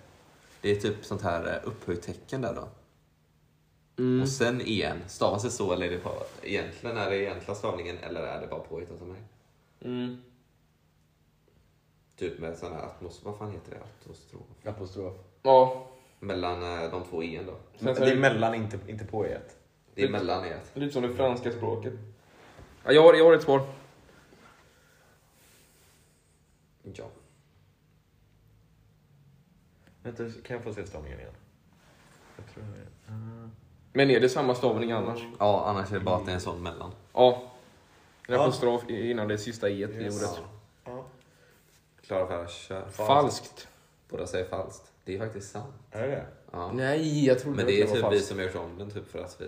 Speaker 1: Det är typ sånt här eh, upphöjt tecken där då.
Speaker 2: Mm.
Speaker 1: Och sen igen, stavas det så eller är det på, egentligen är det egentliga stavningen eller är det bara påhittat av mig?
Speaker 2: Mm.
Speaker 1: Typ med sån här atmos, vad fan heter det? Atmostrof.
Speaker 3: Apostrof.
Speaker 2: Ja,
Speaker 1: Mellan eh, de två en då.
Speaker 2: sen så
Speaker 3: det är
Speaker 2: är det
Speaker 3: mellan, inte, inte på E ett.
Speaker 1: Det är mellan er.
Speaker 2: lite som det franska språket. Ja, jag, har, jag har ett svar.
Speaker 1: Ja.
Speaker 3: Vänta, kan jag få se stavningen igen? Jag tror det.
Speaker 2: Men är det samma stavning annars?
Speaker 1: Ja, annars är det bara att det är en sån mellan.
Speaker 2: Ja. En
Speaker 3: Ja.
Speaker 2: apostrof innan det sista e i
Speaker 3: Yes.
Speaker 2: ordet.
Speaker 3: Ja.
Speaker 1: Klara Färs kör.
Speaker 2: Falskt.
Speaker 1: Båda säger falskt. Det är faktiskt sant.
Speaker 3: Är det det?
Speaker 1: Ja.
Speaker 2: Nej, jag trodde
Speaker 1: Men det är
Speaker 2: var
Speaker 1: typ vi
Speaker 2: falskt.
Speaker 1: som gör om den typ för att vi...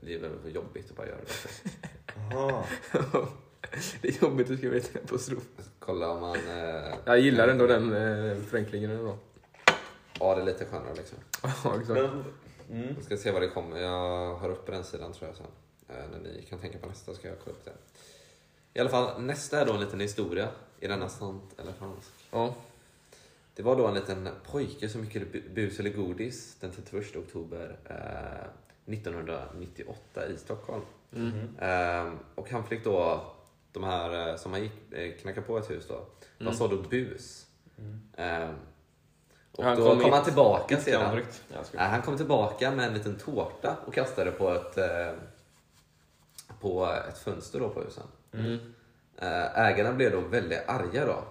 Speaker 1: Det är väl för jobbigt att bara göra det.
Speaker 3: Jaha.
Speaker 2: Det är jobbigt att skriva ett apostrof.
Speaker 1: Kolla om man... Eh,
Speaker 2: Jag gillar ändå den eh, förenklingen ändå.
Speaker 1: Ja, det är lite skönare liksom.
Speaker 2: Ja, exakt.
Speaker 3: Men, mm.
Speaker 1: Vi ska se vad det kommer. Jag har uppe den sidan tror jag sen. Eh, när ni kan tänka på nästa ska jag kolla upp det. I alla fall, nästa är då en liten historia. Är denna sant eller falskt?
Speaker 2: Ja.
Speaker 1: Det var då en liten pojke som gick i bu- bus eller godis den 31 oktober eh, 1998 i Stockholm.
Speaker 3: Mm.
Speaker 1: Ehm, och han fick då, de här eh, som han gick, eh, knackade på ett hus då, de
Speaker 2: Mm.
Speaker 1: sålde bus. Ehm, och
Speaker 2: Han
Speaker 1: då
Speaker 2: kom
Speaker 1: kom,
Speaker 2: hit-
Speaker 1: han tillbaka sedan.
Speaker 2: Icklandrykt. Ja, jag skojar.
Speaker 1: Nej, han kom tillbaka med en liten tårta och kastade på ett, eh, på ett fönster då på husen.
Speaker 2: Mm.
Speaker 1: Eh, Ägarna blev då väldigt arga då.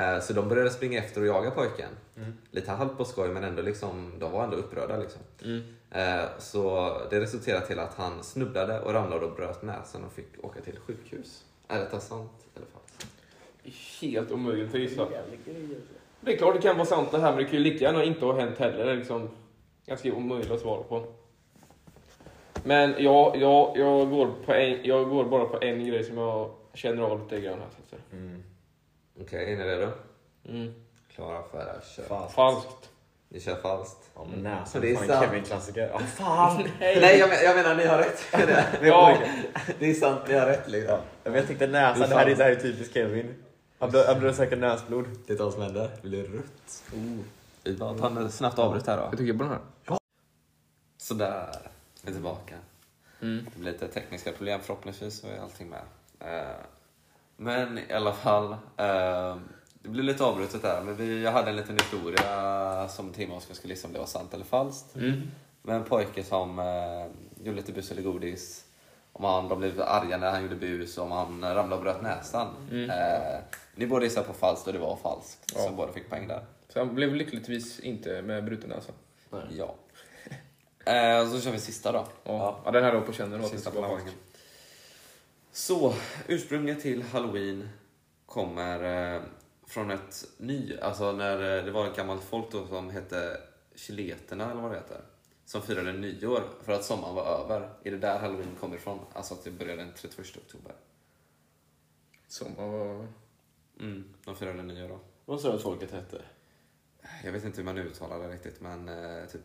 Speaker 1: Eh, Så de började springa efter och jaga pojken.
Speaker 2: Mm.
Speaker 1: Lite halvt på skoj men ändå liksom, de var ändå upprörda. Liksom.
Speaker 2: Mm.
Speaker 1: Eh, Så det resulterade till att han snubblade och ramlade och bröt näsan och fick åka till sjukhus. Är detta sant eller falskt?
Speaker 2: Helt omöjligt att gissa. Det är klart det kan vara sant det här, men det kan ju lika gärna inte ha hänt heller. Det är liksom ganska omöjligt att svara på. Men jag, jag, jag, går, på en, jag går bara på en grej som jag känner av lite grann här. Så att säga.
Speaker 1: Okej, är ni redo?
Speaker 2: Mm.
Speaker 1: Klara för att köra.
Speaker 3: Falskt.
Speaker 2: Falskt.
Speaker 1: Ni kör falskt.
Speaker 3: Ja, men näsan
Speaker 1: Det är
Speaker 3: är fan
Speaker 1: sant.
Speaker 3: Kevin-klassiker. Ja, fan!
Speaker 1: Nej, jag, men, jag menar ni har rätt.
Speaker 2: Ja.
Speaker 1: det är sant, ni har rätt. Liksom.
Speaker 3: Ja, men jag tänkte näsan, det här, är- det här är typiskt Kevin. Han blö- han blöder säkert näsblod.
Speaker 1: Titta vad som händer. Det blir rött. Vi bara tar en snabbt avbryt här då.
Speaker 2: Jag tycker på den här.
Speaker 1: Sådär, vi är tillbaka. Det blir lite tekniska problem, förhoppningsvis så är allting med. Eh, Men i alla fall, eh, det blir lite avbrutet där. Men vi, jag hade en liten historia som Tim och Oskar skulle gissa om det var sant eller falskt. Med en pojke som eh, gjorde lite bus eller godis. Om han, de blev arga när han gjorde bus och om han ramlade och bröt näsan. Eh, ni båda gissade på falskt och det var falskt. Så båda fick poäng där.
Speaker 2: Så han blev lyckligtvis inte med bruten alltså. näsa.
Speaker 1: Ja. Eh, så kör vi sista då.
Speaker 2: Ja. Ja, den här då typ. på känner att det
Speaker 1: Sista
Speaker 2: ska
Speaker 1: på
Speaker 2: vara
Speaker 1: landbacken. Så, ursprunget till halloween kommer eh, från ett ny, alltså när eh, det var ett gammalt folk då som hette chileterna eller vad det heter. Som firade nyår för att sommaren var över. Är det där halloween kommer ifrån? Alltså att det började den 31 oktober.
Speaker 2: Som, och,
Speaker 1: Mm, de firade nyår då.
Speaker 4: Vad sa du att folket hette?
Speaker 1: Jag vet inte hur man uttalar det riktigt men eh, typ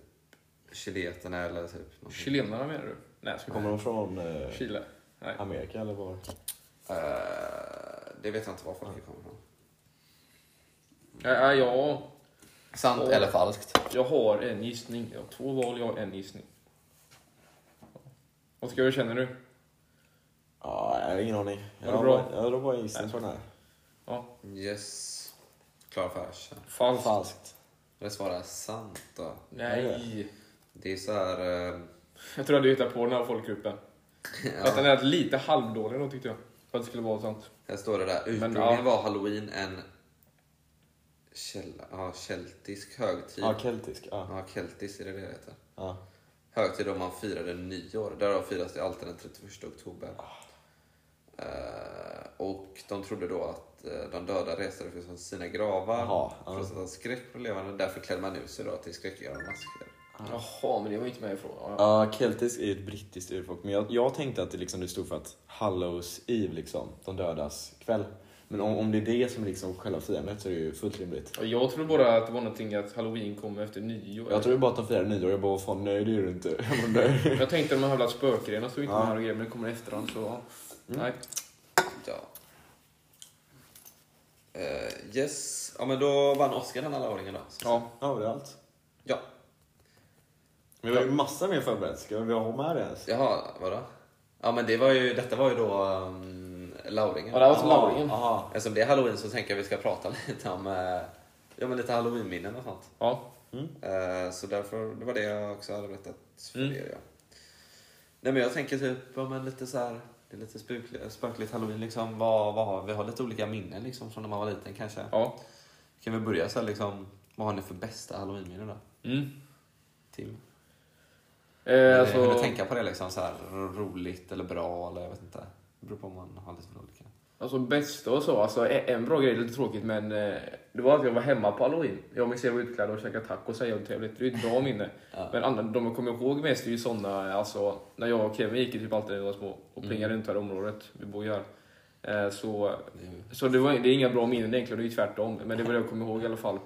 Speaker 1: chileterna eller typ... någonting.
Speaker 2: chilenarna menar du? Nej, ska
Speaker 4: Kommer
Speaker 2: komma
Speaker 4: de från eh,
Speaker 2: Chile? Nej.
Speaker 4: Amerika eller var?
Speaker 1: Eh, det vet jag inte var folket kommer ifrån.
Speaker 2: Ja, ja, ja,
Speaker 1: Sant
Speaker 2: Och-
Speaker 1: eller falskt?
Speaker 2: jag har en gissning. Jag har två val, jag har en gissning. Oskar, hur känner du?
Speaker 4: Ja, jag har ingen aning.
Speaker 2: Var
Speaker 4: Jag
Speaker 2: det
Speaker 4: drar
Speaker 2: bra?
Speaker 4: bara- jag drar bara en gissning på den här.
Speaker 2: Ja.
Speaker 1: Yes. Klara för Asha.
Speaker 2: Falskt.
Speaker 4: Falskt.
Speaker 1: Det svarar sant då.
Speaker 2: Nej.
Speaker 1: Det är så här... eh,
Speaker 2: Jag tror jag hade hittat på den här folkgruppen. Fast den är lite halvdålig då tyckte jag. För att det skulle vara sånt.
Speaker 1: här står det där. Ursprungligen
Speaker 2: ja.
Speaker 1: var halloween en käll, ja, keltisk högtid.
Speaker 4: Ja, keltisk. Ja.
Speaker 1: Ja, keltisk är det det heter.
Speaker 4: Ja.
Speaker 1: Högtid då man firade nyår. Därav firas det alltid den 31 oktober.
Speaker 4: Ah.
Speaker 1: Eh, och de trodde då att eh, de döda reste sig från sina gravar
Speaker 4: Jaha, ja.
Speaker 1: för att sätta skräck på levande. Därför klädde man ut sig då till skräckgörande masker.
Speaker 2: Jaha, men det var ju inte med i frågan. Ja.
Speaker 4: Ja, keltisk är ju ett brittiskt urfolk. Men jag, jag tänkte att det, liksom, det stod för att Hallows Eve, liksom, de dödas kväll. Men om, om det är det som är liksom själva firandet så är det ju fullt rimligt.
Speaker 2: Och Jag tror bara att det var någonting att halloween kom efter nyår.
Speaker 4: Jag tror ju bara att de firar nyår. Jag bara, vad fan, nej det är det inte. Jag bara, nej.
Speaker 2: jag tänkte de här jävla spökgrejerna stod inte med här och grejer, men det kommer i efterhand så ja. Nej.
Speaker 1: Ja. Eh, yes. Ja, men då vann Oscar den här ordningen då. Så-
Speaker 2: Ja.
Speaker 4: Ja, det är allt.
Speaker 1: ja.
Speaker 4: Men vi har ju massa mer förberett. Ska vi ha med det ens?
Speaker 1: Jaha, vadå? Ja, men det var ju, detta var ju då um, Lauringen.
Speaker 2: Ja, det var som lauringen.
Speaker 4: Aha.
Speaker 1: Eftersom det är halloween så tänker jag att vi ska prata lite om eh, ja, men lite halloweenminnen och sånt.
Speaker 2: Ja.
Speaker 1: Eh, så därför, det var det jag också hade berättat för
Speaker 2: Mm.
Speaker 1: er. Ja. Nej, men jag tänker typ, ja, men lite så här, det är lite spökligt, spökligt halloween liksom. Vad, vad har, vi har lite olika minnen liksom från när man var liten kanske.
Speaker 2: Ja.
Speaker 1: Kan vi börja så här, liksom, vad har ni för bästa halloweenminne då?
Speaker 2: Mm.
Speaker 1: Tim?
Speaker 2: Eh,
Speaker 1: Alltså... Hur
Speaker 2: alltså,
Speaker 1: du tänka på det liksom så här ro- roligt eller bra eller jag vet inte. Det beror på om man har lite för olika.
Speaker 2: alltså bästa och så, alltså e- en bra grej, lite tråkigt men eh, det var att jag var hemma på halloween. Jag och min tjej var utklädda och käkade tacos och jävligt Det är ju ett bra minne. Men andra, de jag kommer ihåg mest är ju sådana, alltså när jag och Kevin gick typ alltid när vi var små och plingade runt här i området, vi bor ju här. Eh, så så Mm. det, var, det är inga bra minnen egentligen, det är ju tvärtom. Men det var det jag kommer ihåg i alla fall.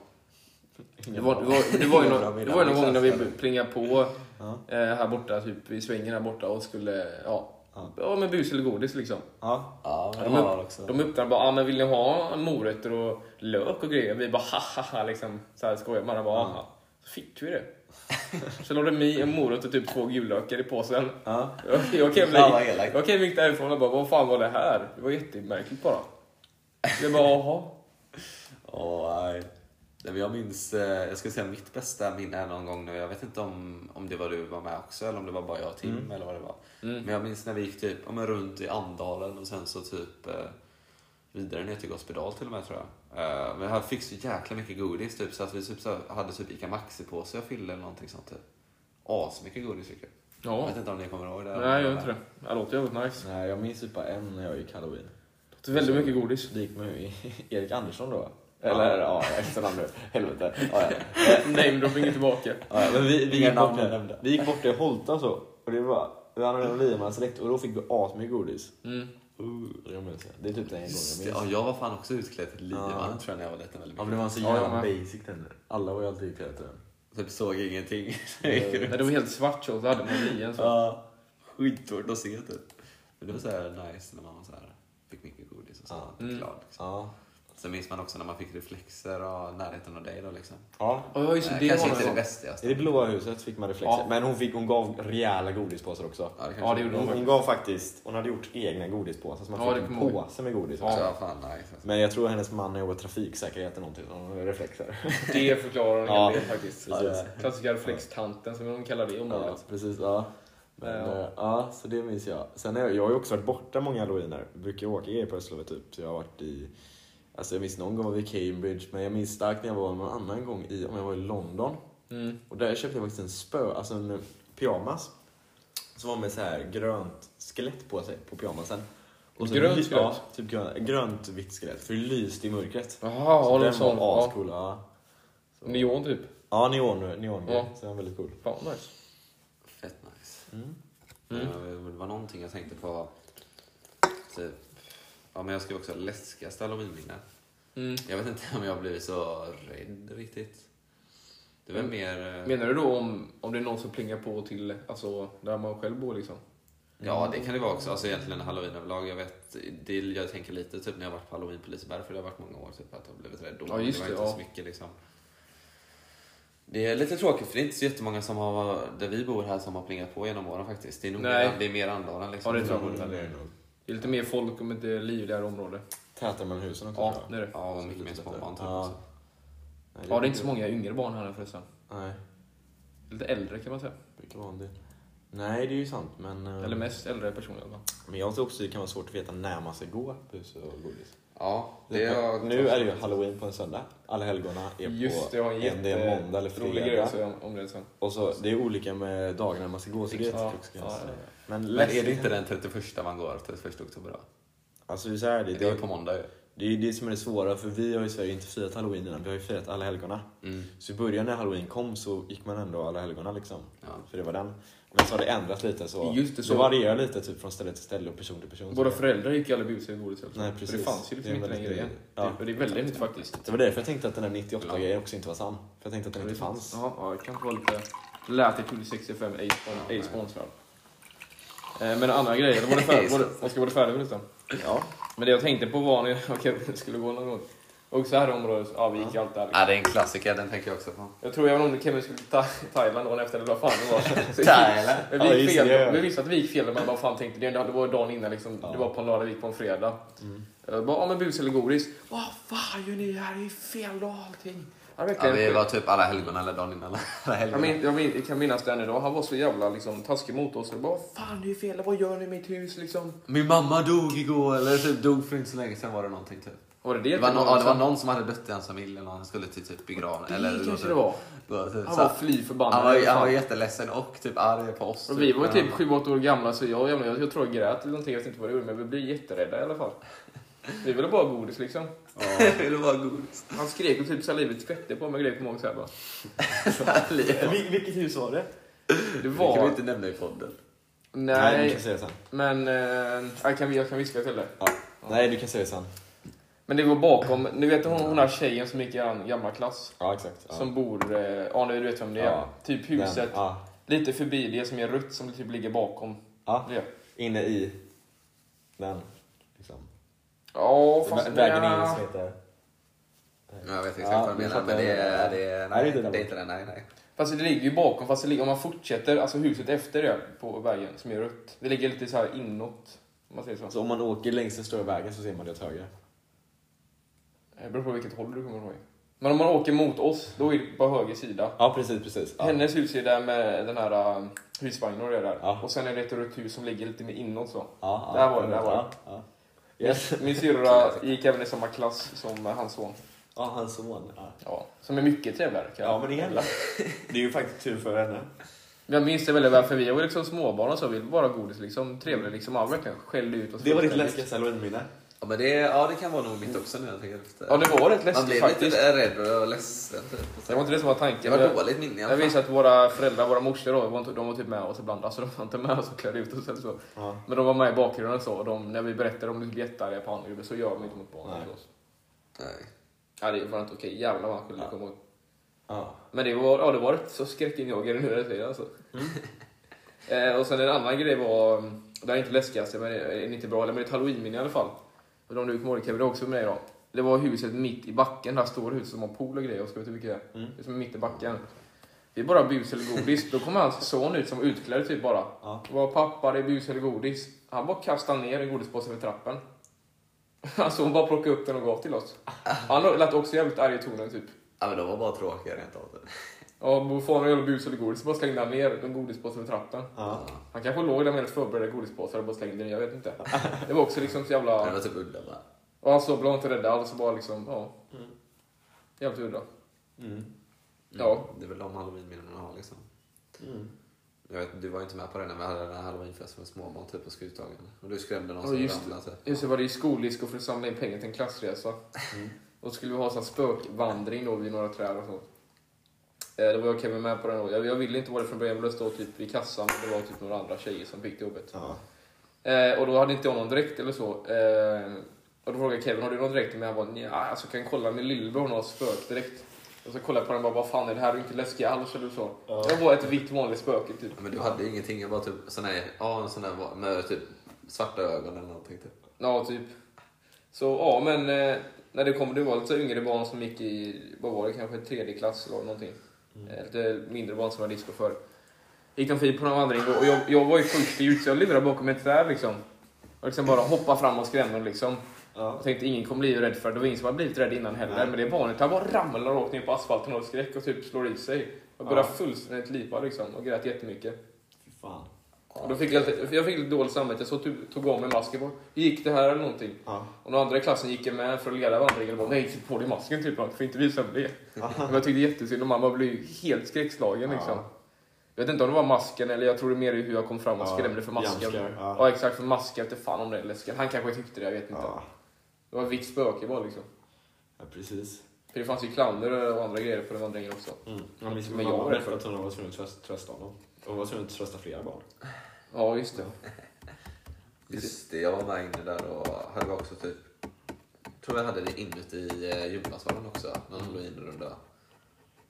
Speaker 2: Det var, det var, det var ju någon, det var ju någon gång när vi plingade på eh, här borta, typ i svängen här borta och skulle, ja, ja men bus eller godis liksom.
Speaker 4: Ja.
Speaker 1: Ja,
Speaker 2: De, upp, de öppnade bara, ah, men vill ni ha morötter och lök och grejer? Vi bara ha ha ha liksom, så här skojar man. Bara, "Aha." Så fick vi det. Så låg det mig en morot och typ två gullökar i påsen.
Speaker 4: Ja.
Speaker 2: Jag, jag kan
Speaker 1: Fan, vad
Speaker 2: bli,
Speaker 1: elakt.
Speaker 2: jag kan gick därifrån och bara, vad fan var det här? Det var jättemärkligt bara. Jag bara, jaha.
Speaker 1: Åh, nej. Nej, men jag minns, eh, jag skulle säga mitt bästa minne är någon gång nu. Jag vet inte om, om det var du var med också eller om det var
Speaker 2: Mm.
Speaker 1: bara jag och Tim eller vad det var. Men jag minns när vi gick typ ja, men runt i Andalen och sen så typ eh, vidare ner till Gospedal till och med tror jag. Eh, Men jag fick så jäkla mycket godis typ så att vi typ, så här hade typ Ica Maxi-påse jag fyllde eller någonting sånt typ. Asmycket godis fick jag. Jag
Speaker 2: Ja.
Speaker 1: vet inte om ni kommer ihåg det.
Speaker 2: Nej, jag gör inte det. Det låter jävligt nice.
Speaker 3: Nej, jag minns typ bara en när jag gick halloween.
Speaker 2: Det är väldigt mycket godis.
Speaker 3: Det gick med Erik Andersson då. Eller ja, efternamn nu. Helvete. Ja, ja.
Speaker 2: Namedropping är tillbaka.
Speaker 3: Ja, ja, men vi, vi,
Speaker 1: Inga
Speaker 3: gick bort
Speaker 1: namn
Speaker 3: där,
Speaker 1: nämnda.
Speaker 3: vi gick bort till Holta så. Och det var, vi hade en Liaman-släkt och då fick vi asmycket godis.
Speaker 2: Mm.
Speaker 3: Jag minns det. Det är typ den gången
Speaker 1: Just
Speaker 3: jag
Speaker 1: det,
Speaker 3: minns.
Speaker 1: Ja, jag var fan också utklädd till livan
Speaker 3: Ja.
Speaker 1: tror jag när jag var liten väldigt
Speaker 3: Ja,
Speaker 1: mycket.
Speaker 3: men det var så
Speaker 2: Ja, jag
Speaker 3: jävla
Speaker 2: med.
Speaker 3: basic den. Alla var ju alltid utklädda till den.
Speaker 1: Typ såg ingenting.
Speaker 2: Nej, det var helt svart så, så hade man lien så.
Speaker 1: Ja, skitsvårt att se typ. Men det var så här nice när man var så här, fick mycket godis och så.
Speaker 3: Ja.
Speaker 1: Mm.
Speaker 2: Mm.
Speaker 1: Glad, liksom.
Speaker 3: Ja.
Speaker 1: Sen minns man också när man fick reflexer och närheten av dig då liksom.
Speaker 3: ja.
Speaker 2: Ja, just det.
Speaker 1: Nej,
Speaker 2: det
Speaker 1: kanske
Speaker 2: var
Speaker 1: inte det
Speaker 2: det.
Speaker 1: bästigaste.
Speaker 3: I det blåa huset fick man reflexer.
Speaker 2: Ja.
Speaker 3: Men hon, fick, hon gav rejäla godispåsar också.
Speaker 1: Ja, det kanske
Speaker 2: Ja, det gjorde
Speaker 3: Hon,
Speaker 2: de.
Speaker 3: hon gav faktiskt, hon hade gjort egna godispåsar så man
Speaker 2: Ja, det
Speaker 3: fick en
Speaker 2: kommer jag ihåg.
Speaker 3: påse med godis
Speaker 1: också
Speaker 3: också.
Speaker 1: var fan nice.
Speaker 2: Mm.
Speaker 1: Alltså.
Speaker 3: Men jag tror hennes man jobbar trafiksäkerhet eller någonting, så hon har reflexer.
Speaker 2: Det förklarar en
Speaker 3: Ja.
Speaker 2: hel del faktiskt.
Speaker 3: Ja, det
Speaker 2: Klassiska reflextanten som de kallar det i
Speaker 3: Ja,
Speaker 2: området.
Speaker 3: precis. Ja. Men,
Speaker 2: Ja.
Speaker 3: eh, ja, så det minns jag. Sen har jag, jag har ju också varit borta många halloweener. Jag brukar åka i påsklovet typ. Så jag har varit i... Alltså jag minns någon gång var vi i Cambridge, men jag minns starkt när jag var någon annan gång i, om jag var i London.
Speaker 2: Mm.
Speaker 3: Och där köpte jag faktiskt en spö, alltså en eh, pyjamas. Som var med så här grönt skelett på sig, på pyjamasen. så-
Speaker 2: Grönt skelett?
Speaker 3: Ja, typ grönt, grönt vitt skelett. För det lyste i mörkret.
Speaker 2: Jaha,
Speaker 3: så
Speaker 2: har de
Speaker 3: den
Speaker 2: sån?
Speaker 3: var
Speaker 2: Ja.
Speaker 3: ascool. Ja. Så-
Speaker 2: Neon typ.
Speaker 3: Ja, neon, neon
Speaker 2: Ja.
Speaker 3: Så den var väldigt cool.
Speaker 2: Fan vad nice.
Speaker 1: Fett nice.
Speaker 3: Mm.
Speaker 2: Mm.
Speaker 1: Eh, Det var någonting jag tänkte på. Typ, ja, men jag skrev också läskigaste halloweenminne.
Speaker 2: Mm.
Speaker 1: Jag vet inte om jag har blivit så rädd riktigt. Det var
Speaker 2: Mm.
Speaker 1: mer... eh,
Speaker 2: Menar du då om, om det är någon som plingar på till alltså, där man själv bor liksom?
Speaker 1: Ja, det kan det vara också. Alltså egentligen halloween överlag. Jag, vet, det, jag tänker lite typ när jag varit på halloween på Liseberg, för det har varit många år typ, att jag har blivit rädd då.
Speaker 2: Ja, just
Speaker 1: det var
Speaker 2: det,
Speaker 1: inte
Speaker 2: ja.
Speaker 1: så mycket liksom. Det är lite tråkigt för det är inte så jättemånga som har, där vi bor här som har plingat på genom åren faktiskt. Det är nog
Speaker 2: Nej.
Speaker 1: mer, det är mer Andalen liksom.
Speaker 2: Ja, det tror jag.
Speaker 1: bor väl-
Speaker 2: Det är lite mer folk om inte liv i det här området.
Speaker 3: Tätare mellan husen också.
Speaker 2: Ja,
Speaker 3: tror jag.
Speaker 2: det är det.
Speaker 1: Ja, och mycket mer småbarn typ.
Speaker 3: Ja.
Speaker 1: också.
Speaker 3: Nej,
Speaker 2: Ja, det är inte så många yngre barn här förresten.
Speaker 3: Nej,
Speaker 2: Lite äldre kan man säga.
Speaker 3: det brukar vara en del. Nej, det är ju sant. Men, eh,
Speaker 2: Eller mest äldre personer i alla fall.
Speaker 3: men jag tror också det kan vara svårt att veta när man ska gå på hus och godis.
Speaker 1: Ja, det är,
Speaker 3: nu är det ju halloween på en söndag. Alla helgona är
Speaker 2: Just
Speaker 3: på
Speaker 2: det, jag har en
Speaker 3: en det är måndag eller
Speaker 2: jätterolig grej att
Speaker 3: fredag.
Speaker 2: säga om- om det sen.
Speaker 3: Och så, det är olika med dagarna man ska gå. Så det är
Speaker 2: Ja,
Speaker 3: också
Speaker 2: ja,
Speaker 3: ganska-
Speaker 2: ja, ja.
Speaker 3: Men
Speaker 1: Men är
Speaker 3: läskigt.
Speaker 1: det inte den 31 man går? 31 oktober då?
Speaker 3: Alltså, det är så här, det,
Speaker 1: Det är ju
Speaker 3: det,
Speaker 1: på måndag ju.
Speaker 3: det är ju det som är det svåra. För vi har i Sverige inte firat halloween innan. Vi har ju firat alla helgona.
Speaker 1: Mm.
Speaker 3: Så i början när halloween kom så gick man ändå alla helgona liksom.
Speaker 1: Ja.
Speaker 3: För det var den. Men så har det ändrats lite så.
Speaker 2: Just det, så.
Speaker 3: varierar lite typ från ställe till ställe och person till person.
Speaker 2: Våra
Speaker 3: Så-
Speaker 2: föräldrar gick ju aldrig busar i godis alltså.
Speaker 3: Nej,
Speaker 2: För
Speaker 3: precis.
Speaker 2: Det fanns ju liksom
Speaker 3: Det är
Speaker 2: inte den
Speaker 3: väldigt-
Speaker 2: grejen.
Speaker 3: ja.
Speaker 2: Det, det är väldigt nytt faktiskt.
Speaker 3: Det var därför jag tänkte att den där 98-grejen också inte var sann. För jag tänkte att den inte fanns.
Speaker 2: Ja, ja, det kanske var lite... Det lät det till 65 ej spon- ej sponsrad. Eh, Men andra grejer, var det färdigt? Var det, jag ska vara färdig med detta.
Speaker 3: Ja.
Speaker 2: Men det jag tänkte på var när jag okej, vi skulle gå någon gång. Och så här i området, ja vi gick ju alltid här.
Speaker 1: Ja, det är en klassiker. Den tänker jag också på.
Speaker 2: Jag tror även om Kevin skulle till Tha- Thailand dagen efter eller vad fan det var. Så-
Speaker 1: Thailand?
Speaker 2: Men
Speaker 3: Ja,
Speaker 2: Vi, gick
Speaker 3: just
Speaker 2: fel,
Speaker 3: det.
Speaker 2: vi visste att vi gick fel, men vad fan tänkte det? Det var dagen innan liksom. Det var på en lördag, vi gick på en fredag.
Speaker 3: Mm.
Speaker 2: Jag bara, ja men bus eller godis? Vad fan gör ni här? Det är ju fel dag allting. Ja,
Speaker 1: Ja,
Speaker 2: verkligen.
Speaker 1: vi var typ alla helgona eller dagen innan. Alla
Speaker 2: Jag,
Speaker 1: helgona.
Speaker 2: min, jag, min, jag kan minnas den idag. Han var så jävla liksom, taskig mot oss. Jag bara, fan det är ju fel. Vad gör ni i mitt hus liksom?
Speaker 1: Min mamma dog igår, eller typ dog för inte så länge sedan var det någonting typ.
Speaker 2: Var det det?
Speaker 1: Det var,
Speaker 2: till
Speaker 1: no- ja, det var
Speaker 2: liksom?
Speaker 1: någon som hade dött i hans familj eller någon skulle till typ begravning.
Speaker 2: Det
Speaker 1: eller
Speaker 2: kanske det var.
Speaker 1: var typ,
Speaker 2: Han
Speaker 1: så-
Speaker 2: var fly förbannad.
Speaker 1: han var, han var
Speaker 2: Fan.
Speaker 1: jätteledsen och typ arg på oss.
Speaker 2: Och vi var typ 7-8 år gamla så jag, jag, jag, jag tror jag grät eller någonting. Jag vet inte vad det gjorde men vi blev jätterädda i alla fall. Vi ville bara ha godis liksom.
Speaker 1: Ville bara godis.
Speaker 2: Han skrek och typ salivet skvätte på mig grejer kommer jag ihåg så här bara.
Speaker 3: Vil- vilket hus var det?
Speaker 2: Det
Speaker 1: Det kan vi
Speaker 2: var...
Speaker 1: inte nämna i podden.
Speaker 3: Nej, du kan
Speaker 2: Nej,
Speaker 3: säga sen.
Speaker 2: men... Eh, jag, kan, jag kan viska till det.
Speaker 3: Ja. Nej, du kan säga sen.
Speaker 2: Men det var bakom, ni vet hon, hon här tjejen som gick i en gamla klass.
Speaker 3: Ja, exakt. Ja.
Speaker 2: Som bor, eh, ja du vet vem det är.
Speaker 3: Ja.
Speaker 2: Typ
Speaker 3: Den,
Speaker 2: huset,
Speaker 3: Ja.
Speaker 2: lite förbi det som är rött som typ ligger bakom.
Speaker 3: ja.
Speaker 2: Det.
Speaker 3: Inne i den. Liksom.
Speaker 2: Ja, fast...
Speaker 3: Vä- Vägen in
Speaker 2: nja.
Speaker 3: som heter...
Speaker 1: Ja, Jag vet exakt
Speaker 3: Ja,
Speaker 1: vad du
Speaker 3: vi
Speaker 1: menar, men
Speaker 3: fattar.
Speaker 1: det är, det är,
Speaker 3: Nej,
Speaker 1: nej,
Speaker 3: det är inte
Speaker 1: det är
Speaker 3: den.
Speaker 1: inte den. Nej, nej.
Speaker 2: Fast det ligger ju bakom, fast det ligger, om man fortsätter, alltså huset efter det på vägen som är rött. Det ligger lite så här inåt, om man säger så.
Speaker 3: Så Alltså, om man åker längs den stora vägen så ser man det åt höger.
Speaker 2: Det beror på vilket håll du kommer ihåg. Men om man åker mot oss, då är det på höger sida.
Speaker 3: Ja, precis, precis. Ja.
Speaker 2: Hennes hus är där med den här um, husvagnen och det där.
Speaker 3: Ja.
Speaker 2: Och sen är det ett rött hus som ligger lite mer inåt så.
Speaker 3: Ja, ja,
Speaker 2: Där var det, där var
Speaker 3: Ja, ja. Yes.
Speaker 2: Min syrra gick även i samma klass som hans son.
Speaker 3: Ja, hans son. Ja.
Speaker 2: Ja, som är mycket trevligare. kan jag-
Speaker 3: ja, men det gäller. Det är ju faktiskt tur för henne.
Speaker 2: Jag minns det väldigt väl, för vi var ju liksom småbarn och så. Vi ville bara ha godis liksom. Trevlig liksom. Ja, verkligen skällde ut oss.
Speaker 3: Det var ditt
Speaker 2: fullständigt.
Speaker 3: läskigaste halloweenminne.
Speaker 1: Ja, men det, ja, det kan vara nog mitt också nu jag tänker efter.
Speaker 2: Ja, det var rätt
Speaker 1: Man
Speaker 2: läskigt
Speaker 1: blev
Speaker 2: faktiskt.
Speaker 1: lite rädd och ledsen. Typ.
Speaker 2: Det var inte det som var
Speaker 1: Det
Speaker 2: tanken.
Speaker 1: var
Speaker 2: Jag-
Speaker 1: dåligt minne i alla fall.
Speaker 2: Jag visade att våra föräldrar, våra morsor då, de var inte- de var typ med oss ibland. Alltså de var inte med oss och klädde ut oss eller så.
Speaker 3: Ja.
Speaker 2: Men de var med i bakgrunden och så. Och de, när vi berättade om det jättearga på andra så gör de inte mot barnen.
Speaker 3: Nej.
Speaker 2: Nej. oss.
Speaker 1: Nej.
Speaker 2: Ja, det var inte okej. Jävlar vad han kunde
Speaker 3: Ja.
Speaker 2: komma ihåg.
Speaker 3: Ja.
Speaker 2: Men det var, ja, det var rätt så skräckinjagande nu när jag säger det, alltså. eh, och sen en annan grej var, det här är inte läskigaste, men det är inte bra, men det är ett halloweenminne i alla fall. Och om du kommer ihåg det Kevin, det var också med idag. Det var huset mitt i backen, det här stora huset som har pool och grejer, Oskar vet du vilket det är? Det är som är mitt i backen. Det är bara bus eller godis. Då kommer hans son ut som utklädd typ bara.
Speaker 3: Ja.
Speaker 2: Vad pappa, det är bus eller godis. Han bara kastade ner en godispåse över trappen. Alltså hon bara plockade upp den och gav till oss. Han lät också jävligt arg i tonen typ.
Speaker 1: Ja, men de var bara tråkiga rent av. typ.
Speaker 2: Ja, bo- får han göra bus eller godis bara slängde han ner en godispåse över trappen.
Speaker 3: Ja.
Speaker 2: Han kanske låg där med ett förberedda godispåsar och bara slängde ner, jag vet inte. Det var också liksom så
Speaker 1: Det var
Speaker 2: jävla...
Speaker 1: typ udda bara.
Speaker 2: Och han så blev inte rädd alls och bara liksom, ja. Jävligt udda.
Speaker 1: Mm.
Speaker 2: Ja.
Speaker 1: Det är väl de halloweenminnen man har liksom.
Speaker 3: Mm.
Speaker 1: Jag vet, du var ju inte med på det när vi hade den här halloweenfesten med småbarn typ på Skuthagen. Och du skrämde någon
Speaker 2: Ja,
Speaker 1: som
Speaker 2: just
Speaker 1: ramlade. Typ.
Speaker 2: Just det, var det i skoldisko för att samla in pengar till en klassresa. Och så skulle vi ha så här spökvandring då vid några träd och sånt. Eh, Det var jag och Kevin med på den då. Jag, jag ville inte vara det från början, jag ville stå typ vid kassan. men Det var typ några andra tjejer som fick det jobbet.
Speaker 3: Ja.
Speaker 2: Eh, och då hade inte jag någon dräkt eller så. Eh, och då frågade jag Kevin, har du någon dräkt? Men jag bara, nja, alltså kan jag kolla min lillebror hon har spökdräkt. Och så kollade jag på den och bara, vad fan är det här? Du är inte läskig alls eller så. Jag var ett vitt vanligt spöke typ.
Speaker 1: Ja, men du hade ju ingenting. Jag bara typ sån här, ja, en sån där va- med typ svarta ögon eller någonting typ.
Speaker 2: Ja, typ. Så ja, men eh, när det kom, det var lite yngre barn som gick i, vad var det, kanske tredje klass eller någonting. Eh, Lite mindre barn som var disco för. Gick de förbi på någon vandring och jag, jag var ju först ut så jag lurade bakom ett träd liksom. Och liksom bara hoppa fram och skrämde dem liksom.
Speaker 3: Ja.
Speaker 2: Jag tänkte ingen kommer bli rädd för det, det var ingen som hade blivit rädd innan heller.
Speaker 3: Nej.
Speaker 2: Men det är vanligt, han bara ramlar rakt ner på asfalten av skräck och typ slår i sig. Jag började fullständigt lipa liksom och grät jättemycket.
Speaker 3: Fy fan.
Speaker 2: Och då fick jag, lite- jag fick lite dåligt samvete, jag så tog, tog av mig masken. bara, Gick det här eller någonting?
Speaker 3: Ja.
Speaker 2: Och den andra i klassen gick jag med för att leda vandringen och bara nej, sätt på dig masken typ, för inte visa mig det. Men jag tyckte jättesynd om mamma blev ju helt skräckslagen liksom.
Speaker 3: Ja.
Speaker 2: Jag vet inte om det var masken eller jag tror det är mer hur jag kom fram och
Speaker 3: Ja,
Speaker 2: skrämde för masken.
Speaker 3: jumpscare, ja.
Speaker 2: exakt, för masken jag vet inte fan om det är läskigt. Han kanske tyckte det, jag vet inte.
Speaker 3: Ja.
Speaker 2: Det var ett vitt spöke bara liksom.
Speaker 3: ja, precis.
Speaker 2: För det fanns ju clowner och andra grejer på den vandringen också.
Speaker 3: Ja, Mm. men
Speaker 2: Men jag
Speaker 3: jag var
Speaker 2: var
Speaker 3: rädd för att hon var tvungen att tröst- trösta honom. Hon var tvungen att trösta flera barn.
Speaker 2: Ja, just det.
Speaker 1: Just det, jag var med inne där och hade också typ... tror jag hade det inuti eh, gymnasalen också, någon halloweenrunda.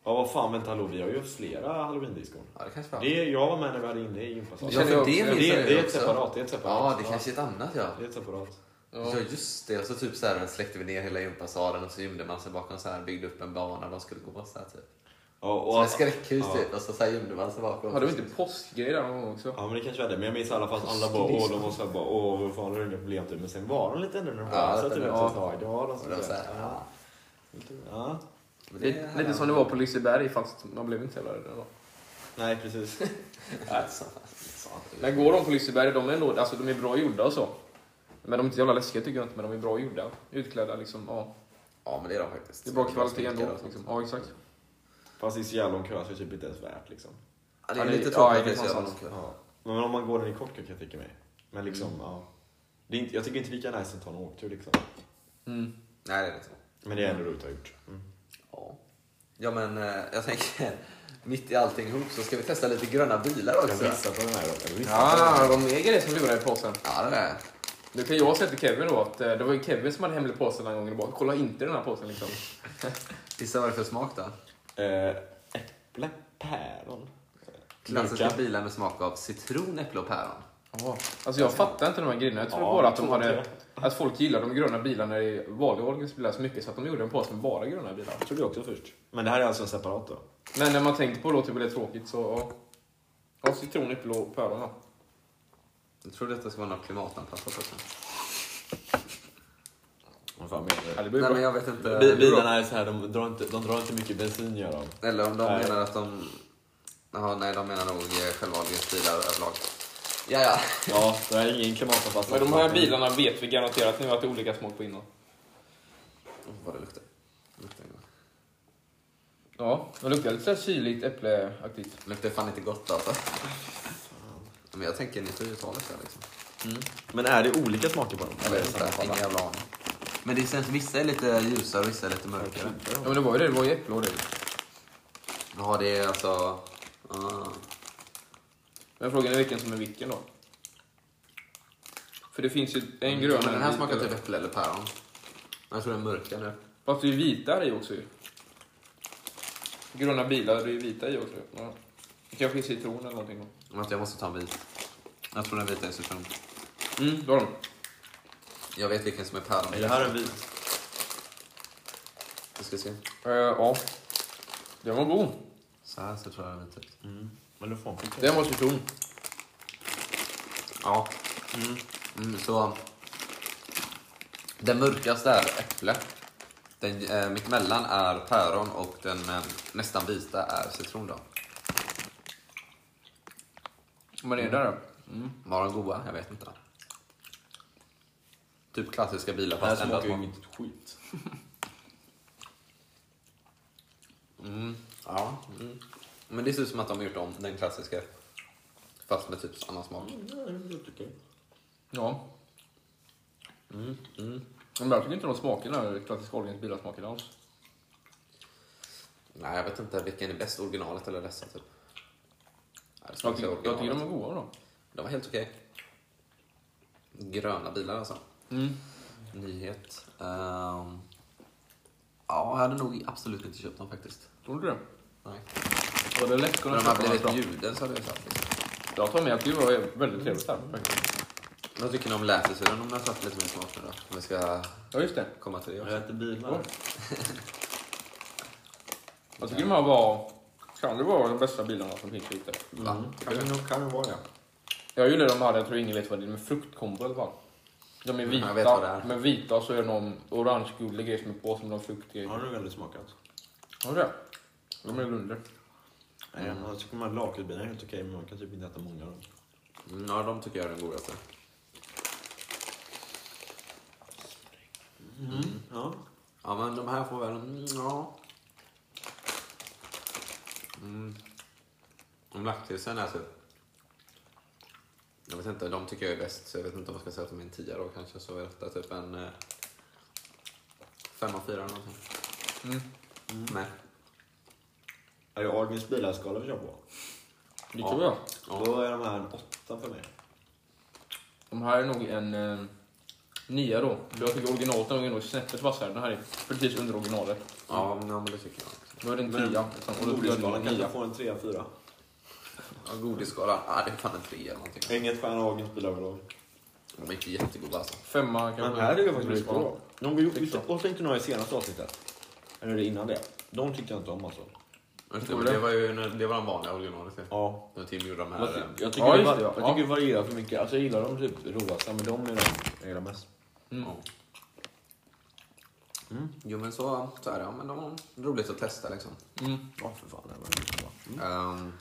Speaker 3: Ja, vad fan, vänta hallå, vi har ju haft flera halloweendiskon.
Speaker 1: Ja, det kanske var.
Speaker 3: Det, jag var med när vi hade inne i gympasalen.
Speaker 1: Ja,
Speaker 2: känner
Speaker 1: för
Speaker 2: jag
Speaker 1: det
Speaker 2: också.
Speaker 1: minns
Speaker 3: Det,
Speaker 1: jag ju
Speaker 3: det är ett
Speaker 1: också.
Speaker 3: separat, det är ett separat.
Speaker 1: Ja, det kanske är ett annat ja.
Speaker 3: Det är ett separat.
Speaker 2: Ja.
Speaker 1: Ja just det, och så typ så här släckte vi ner hela gympasalen och så gömde man sig bakom så här, byggde upp en bana de skulle gå så här typ.
Speaker 3: Ja, och
Speaker 1: Som ett
Speaker 3: att-
Speaker 1: skräckhus
Speaker 3: ja.
Speaker 1: typ och så, så här gömde man sig bakom.
Speaker 2: Hade vi inte påskgrejer där någon gång också?
Speaker 3: Ja men det kanske var det, men jag minns i alla fall att alla bara åh, de var såhär bara åh vad fan har du inga problem typ. Men sen var de lite ändå när de
Speaker 1: Ja,
Speaker 3: ja, satt
Speaker 1: det-
Speaker 3: typ
Speaker 1: ja.
Speaker 3: ett tag. Det var de
Speaker 1: Och
Speaker 3: som
Speaker 1: det var så
Speaker 3: såhär,
Speaker 1: här, ja.
Speaker 3: ja.
Speaker 1: Men
Speaker 2: Det är lite som det var på Liseberg fast man blev inte så jävla rädd ändå.
Speaker 3: Nej precis.
Speaker 1: Alltså,
Speaker 2: Men går de på Liseberg, de är, ändå, alltså, de är bra gjorda och så. Men de är inte jävla läskiga tycker jag inte, men de är bra gjorda. Utklädda liksom, ja.
Speaker 1: Ja men det är de faktiskt.
Speaker 2: Det är bra kvalitet
Speaker 1: sminkade
Speaker 2: ändå.
Speaker 1: och sånt.
Speaker 2: Liksom. Ja, exakt.
Speaker 3: Fast det är så jävla lång kö så det är typ inte ens värt liksom.
Speaker 1: Ja, det är
Speaker 2: Ja, det-
Speaker 1: lite
Speaker 2: ja,
Speaker 1: tråkigt
Speaker 2: det
Speaker 1: att det är så
Speaker 2: fanns
Speaker 1: jävla
Speaker 2: sant.
Speaker 1: lång kö.
Speaker 3: Ja. Men om man går den i kort kö kan jag tänka mig. Men liksom
Speaker 1: Mm.
Speaker 3: ja. Det är inte, jag tycker inte lika nice att ta en åktur liksom.
Speaker 2: Mm.
Speaker 1: Nej det är det inte.
Speaker 3: Men det är ändå roligt att ha gjort. Mm.
Speaker 1: Ja. Ja men eh, jag tänker, mitt i allting ihop så ska vi testa lite gröna bilar
Speaker 3: Jag
Speaker 1: också.
Speaker 3: missar på den här då. Jag missar på den
Speaker 2: Ah,
Speaker 3: här.
Speaker 2: det var mer grejer som lurade i påsen.
Speaker 1: Ja det är
Speaker 2: Nu kan jag säga till Kevin då att eh, det var ju Kevin som hade hemlig påse den här gången och bara kolla inte den här påsen liksom.
Speaker 1: Gissa vad det är för smak då?
Speaker 3: Eh, äpple, päron.
Speaker 1: Klassiska
Speaker 3: Gurka.
Speaker 1: bilar med smak av citron, äpple och päron.
Speaker 2: Alltså jag fattar inte de här grejerna. Jag tror
Speaker 3: Ja,
Speaker 2: bara att de
Speaker 3: jag tror
Speaker 2: hade...
Speaker 3: inte
Speaker 2: Att folk gillar de gröna bilarna i vanliga åldersbilar så mycket så att de gjorde en påse med bara gröna bilar.
Speaker 3: Jag trodde också först. Men det här är alltså en separat då.
Speaker 2: Men när man tänker på det låter det väldigt tråkigt så ja. Ja, citron, äpple och päron ja.
Speaker 1: Jag tror detta ska vara något klimatanpassat också.
Speaker 3: Vad fan menar du?
Speaker 2: Ja, det blir
Speaker 1: Nej men
Speaker 2: bra.
Speaker 1: jag vet inte.
Speaker 3: Bi- Bilarna är så här, de drar inte, de drar inte mycket bensin gör de.
Speaker 1: Eller om de
Speaker 3: Nej.
Speaker 1: menar att de... Jaha, nej, de menar nog eh, självvalda bilar överlag. Ja, ja.
Speaker 3: Ja, det är ingen klimatanpassning.
Speaker 2: Men de här bilarna vet vi garanterat nu att det är olika smak på innan.
Speaker 1: Oh, vad det luktar. Luktar, gott.
Speaker 2: Ja, det luktar lite så här syrligt äppleaktigt.
Speaker 1: luktar fan inte gott alltså. Men jag tänker 90-talet där liksom.
Speaker 3: Men är det olika smaker på dem?
Speaker 1: Jag vet inte, ingen jävla aning. Men det känns, vissa är lite ljusare och vissa är lite mörkare.
Speaker 2: Ja men det var ju det, det var ju äpple och det.
Speaker 1: Ja, det är alltså... Ah.
Speaker 2: Men frågan är vilken som är vilken då. För det finns ju en grön
Speaker 1: Mm, Men den här
Speaker 2: en vit
Speaker 1: smakar
Speaker 2: eller-
Speaker 1: typ äpple eller päron. Jag tror den är mörkare.
Speaker 2: Fast det är ju vita i också ju. Gröna bilar, det är ju vita i också. Ja. Det kanske är citron eller någonting då.
Speaker 1: Vänta, jag måste ta en vit. Jag tror den vita är citron.
Speaker 2: Mm, då har de.
Speaker 1: Jag vet vilken som är päron.
Speaker 3: Är det här en vit?
Speaker 1: Vi ska se.
Speaker 2: Eh, ja. Den var god.
Speaker 1: Så här så tror jag den vita ut.
Speaker 3: Mm. Eller fan.
Speaker 2: Den var citron.
Speaker 1: Ja.
Speaker 3: Mm.
Speaker 1: Mm, så... Den mörkaste är äpple. Den eh, mittemellan är päron och den eh, nästan vita är citron då.
Speaker 2: Men är det där då?
Speaker 1: Var de goda? Jag vet inte. Typ klassiska bilar
Speaker 3: Den här
Speaker 1: fast ändå
Speaker 3: smakar ju
Speaker 1: smak.
Speaker 3: inget skit.
Speaker 1: Mm, ja. Mm. Men det ser ut som att de har gjort om den klassiska. Fast med typ annan smak.
Speaker 2: Ja.
Speaker 1: Mm.
Speaker 2: Men jag tycker inte de smakerna, klassiska Åhlgrens bilarsmaker alls.
Speaker 1: Nej, jag vet inte vilken är bäst. Originalet eller dessa typ. Nej, det
Speaker 2: Jag
Speaker 1: smakar
Speaker 2: tycker, jag tycker de är
Speaker 1: originalet.
Speaker 2: goda då.
Speaker 1: De var helt okej. Gröna bilar alltså.
Speaker 2: Mm.
Speaker 1: Nyhet. Ehm, ja, jag hade nog absolut inte köpt dem faktiskt.
Speaker 2: Tror du det?
Speaker 1: Nej.
Speaker 2: Var det lätt
Speaker 1: Om
Speaker 2: kunna
Speaker 1: de
Speaker 2: köpa
Speaker 1: hade
Speaker 2: något bra?
Speaker 1: blivit bjuden så hade jag köpt. Liksom.
Speaker 2: Jag tar med att det var väldigt trevligt där faktiskt.
Speaker 1: Vad tycker ni om läsesyran om jag har satt lite mer smak nu då? Om vi ska
Speaker 2: Ja just det.
Speaker 1: komma till det
Speaker 3: Jag
Speaker 1: också.
Speaker 3: äter bilar.
Speaker 2: Jag tycker de här var, kan det vara de bästa bilarna som finns lite.
Speaker 1: Va?
Speaker 3: nog kan Mm. det vara det.
Speaker 2: Jag gillar de här, jag tror ingen vet vad det är, med fruktkombo i alla fall. De är
Speaker 1: Mm,
Speaker 2: vita,
Speaker 1: jag vet vad det är.
Speaker 2: men vita så är de någon orange-gullig grej som är på som någon fruktgrej.
Speaker 3: Har du aldrig smakat?
Speaker 2: Har du det? De är under.
Speaker 3: Nej, jag tycker de här lakritsbilarna är helt okej, men man kan typ inte äta många av dem.
Speaker 1: Mm, ja, de tycker jag är den godaste.
Speaker 3: Ja.
Speaker 1: Ja, men de här får väl... Mm, ja. Mm. Om lakritsen är så... Jag vet inte, de tycker jag är bäst. Så jag vet inte om jag ska säga att de är en tia då kanske. Så är detta typ en... Eh, fem av fyra eller någonting.
Speaker 2: Mm.
Speaker 1: Nej.
Speaker 3: Är det Ahlgrens bilarskala vi kör på?
Speaker 2: Det
Speaker 1: Ja.
Speaker 2: tror jag.
Speaker 1: Ja.
Speaker 3: Då är de här en åtta för mig.
Speaker 2: De här är nog en eh, nia då. För jag tycker originalet är nog ändå snäppet vassare. Den här är precis under originalet.
Speaker 1: Ja, men- ja, men det tycker jag också.
Speaker 2: Då är det en
Speaker 3: Men-
Speaker 2: tia. liksom. Och då blir det
Speaker 3: Godisskalan
Speaker 2: en
Speaker 3: kanske
Speaker 2: nia.
Speaker 3: får en trea, fyra.
Speaker 1: Ja, Godisskalan, ah, det är fan en trea eller någonting.
Speaker 3: Inget fan av Ahlgrens bilar överlag.
Speaker 1: De är inte jättegoda alltså.
Speaker 2: Femma kanske.
Speaker 3: Men här är jag faktiskt riktigt
Speaker 2: Godisskalan.
Speaker 3: bra. De gjorde,
Speaker 2: Tycker
Speaker 3: och tänkte några i senaste avsnittet. Eller innan det. De tyckte jag inte om alltså.
Speaker 1: Men Det det var ju det var de vanliga originalet. ju.
Speaker 3: Ja.
Speaker 1: När Tim gjorde de
Speaker 3: Jag,
Speaker 1: här...
Speaker 3: ty-
Speaker 1: eh,
Speaker 3: jag tycker,
Speaker 2: Ja,
Speaker 3: det,
Speaker 2: just
Speaker 3: var,
Speaker 2: det, ja.
Speaker 3: jag tycker det varierar för mycket. Alltså jag gillar de typ roaste, men de är de jag gillar mest. Mm.
Speaker 1: Ja. Mm. Jo men så, så är det. Ja, men de var roligt att testa liksom.
Speaker 2: Mm.
Speaker 3: Ja, för fan. Det var riktigt bra. Mm.
Speaker 1: Ehm,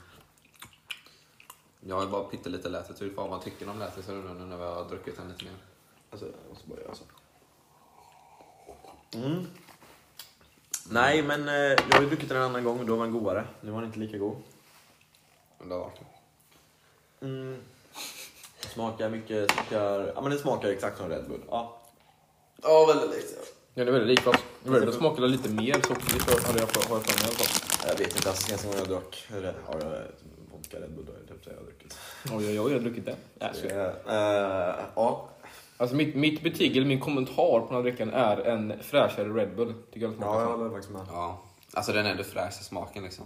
Speaker 1: jag har bara pyttelite lätetur för vad man tycker om lätetur nu när vi har druckit den lite mer.
Speaker 3: Alltså, jag måste bara göra så. Mm. Nej, men eh, jag har ju druckit den en annan gång och då var den godare. Nu var den inte lika god.
Speaker 1: Men det har varit-
Speaker 3: Mm. Smakar mycket, smakar... Ja, men den smakar exakt som Red Bull. Ja. Ja, väldigt likt.
Speaker 2: Ja, det är väldigt likt fast det smakade lite mer sockerigt har hade jag för har jag för mig i alla fall.
Speaker 3: Jag vet inte, alltså, senaste gången jag drack Red- har jag vodka Red Bull, då är det typ det jag har druckit.
Speaker 2: Oj, oj, oj, jag har druckit det. Ja, så-
Speaker 3: Eh, eh, ja.
Speaker 2: Alltså mitt, mitt betyg, eller min kommentar på den här drycken är en fräschare Red Bull. Tycker jag det smakar
Speaker 3: ja, jag
Speaker 2: som.
Speaker 3: håller faktiskt med.
Speaker 1: Ja. Alltså den är ändå fräsch i smaken liksom.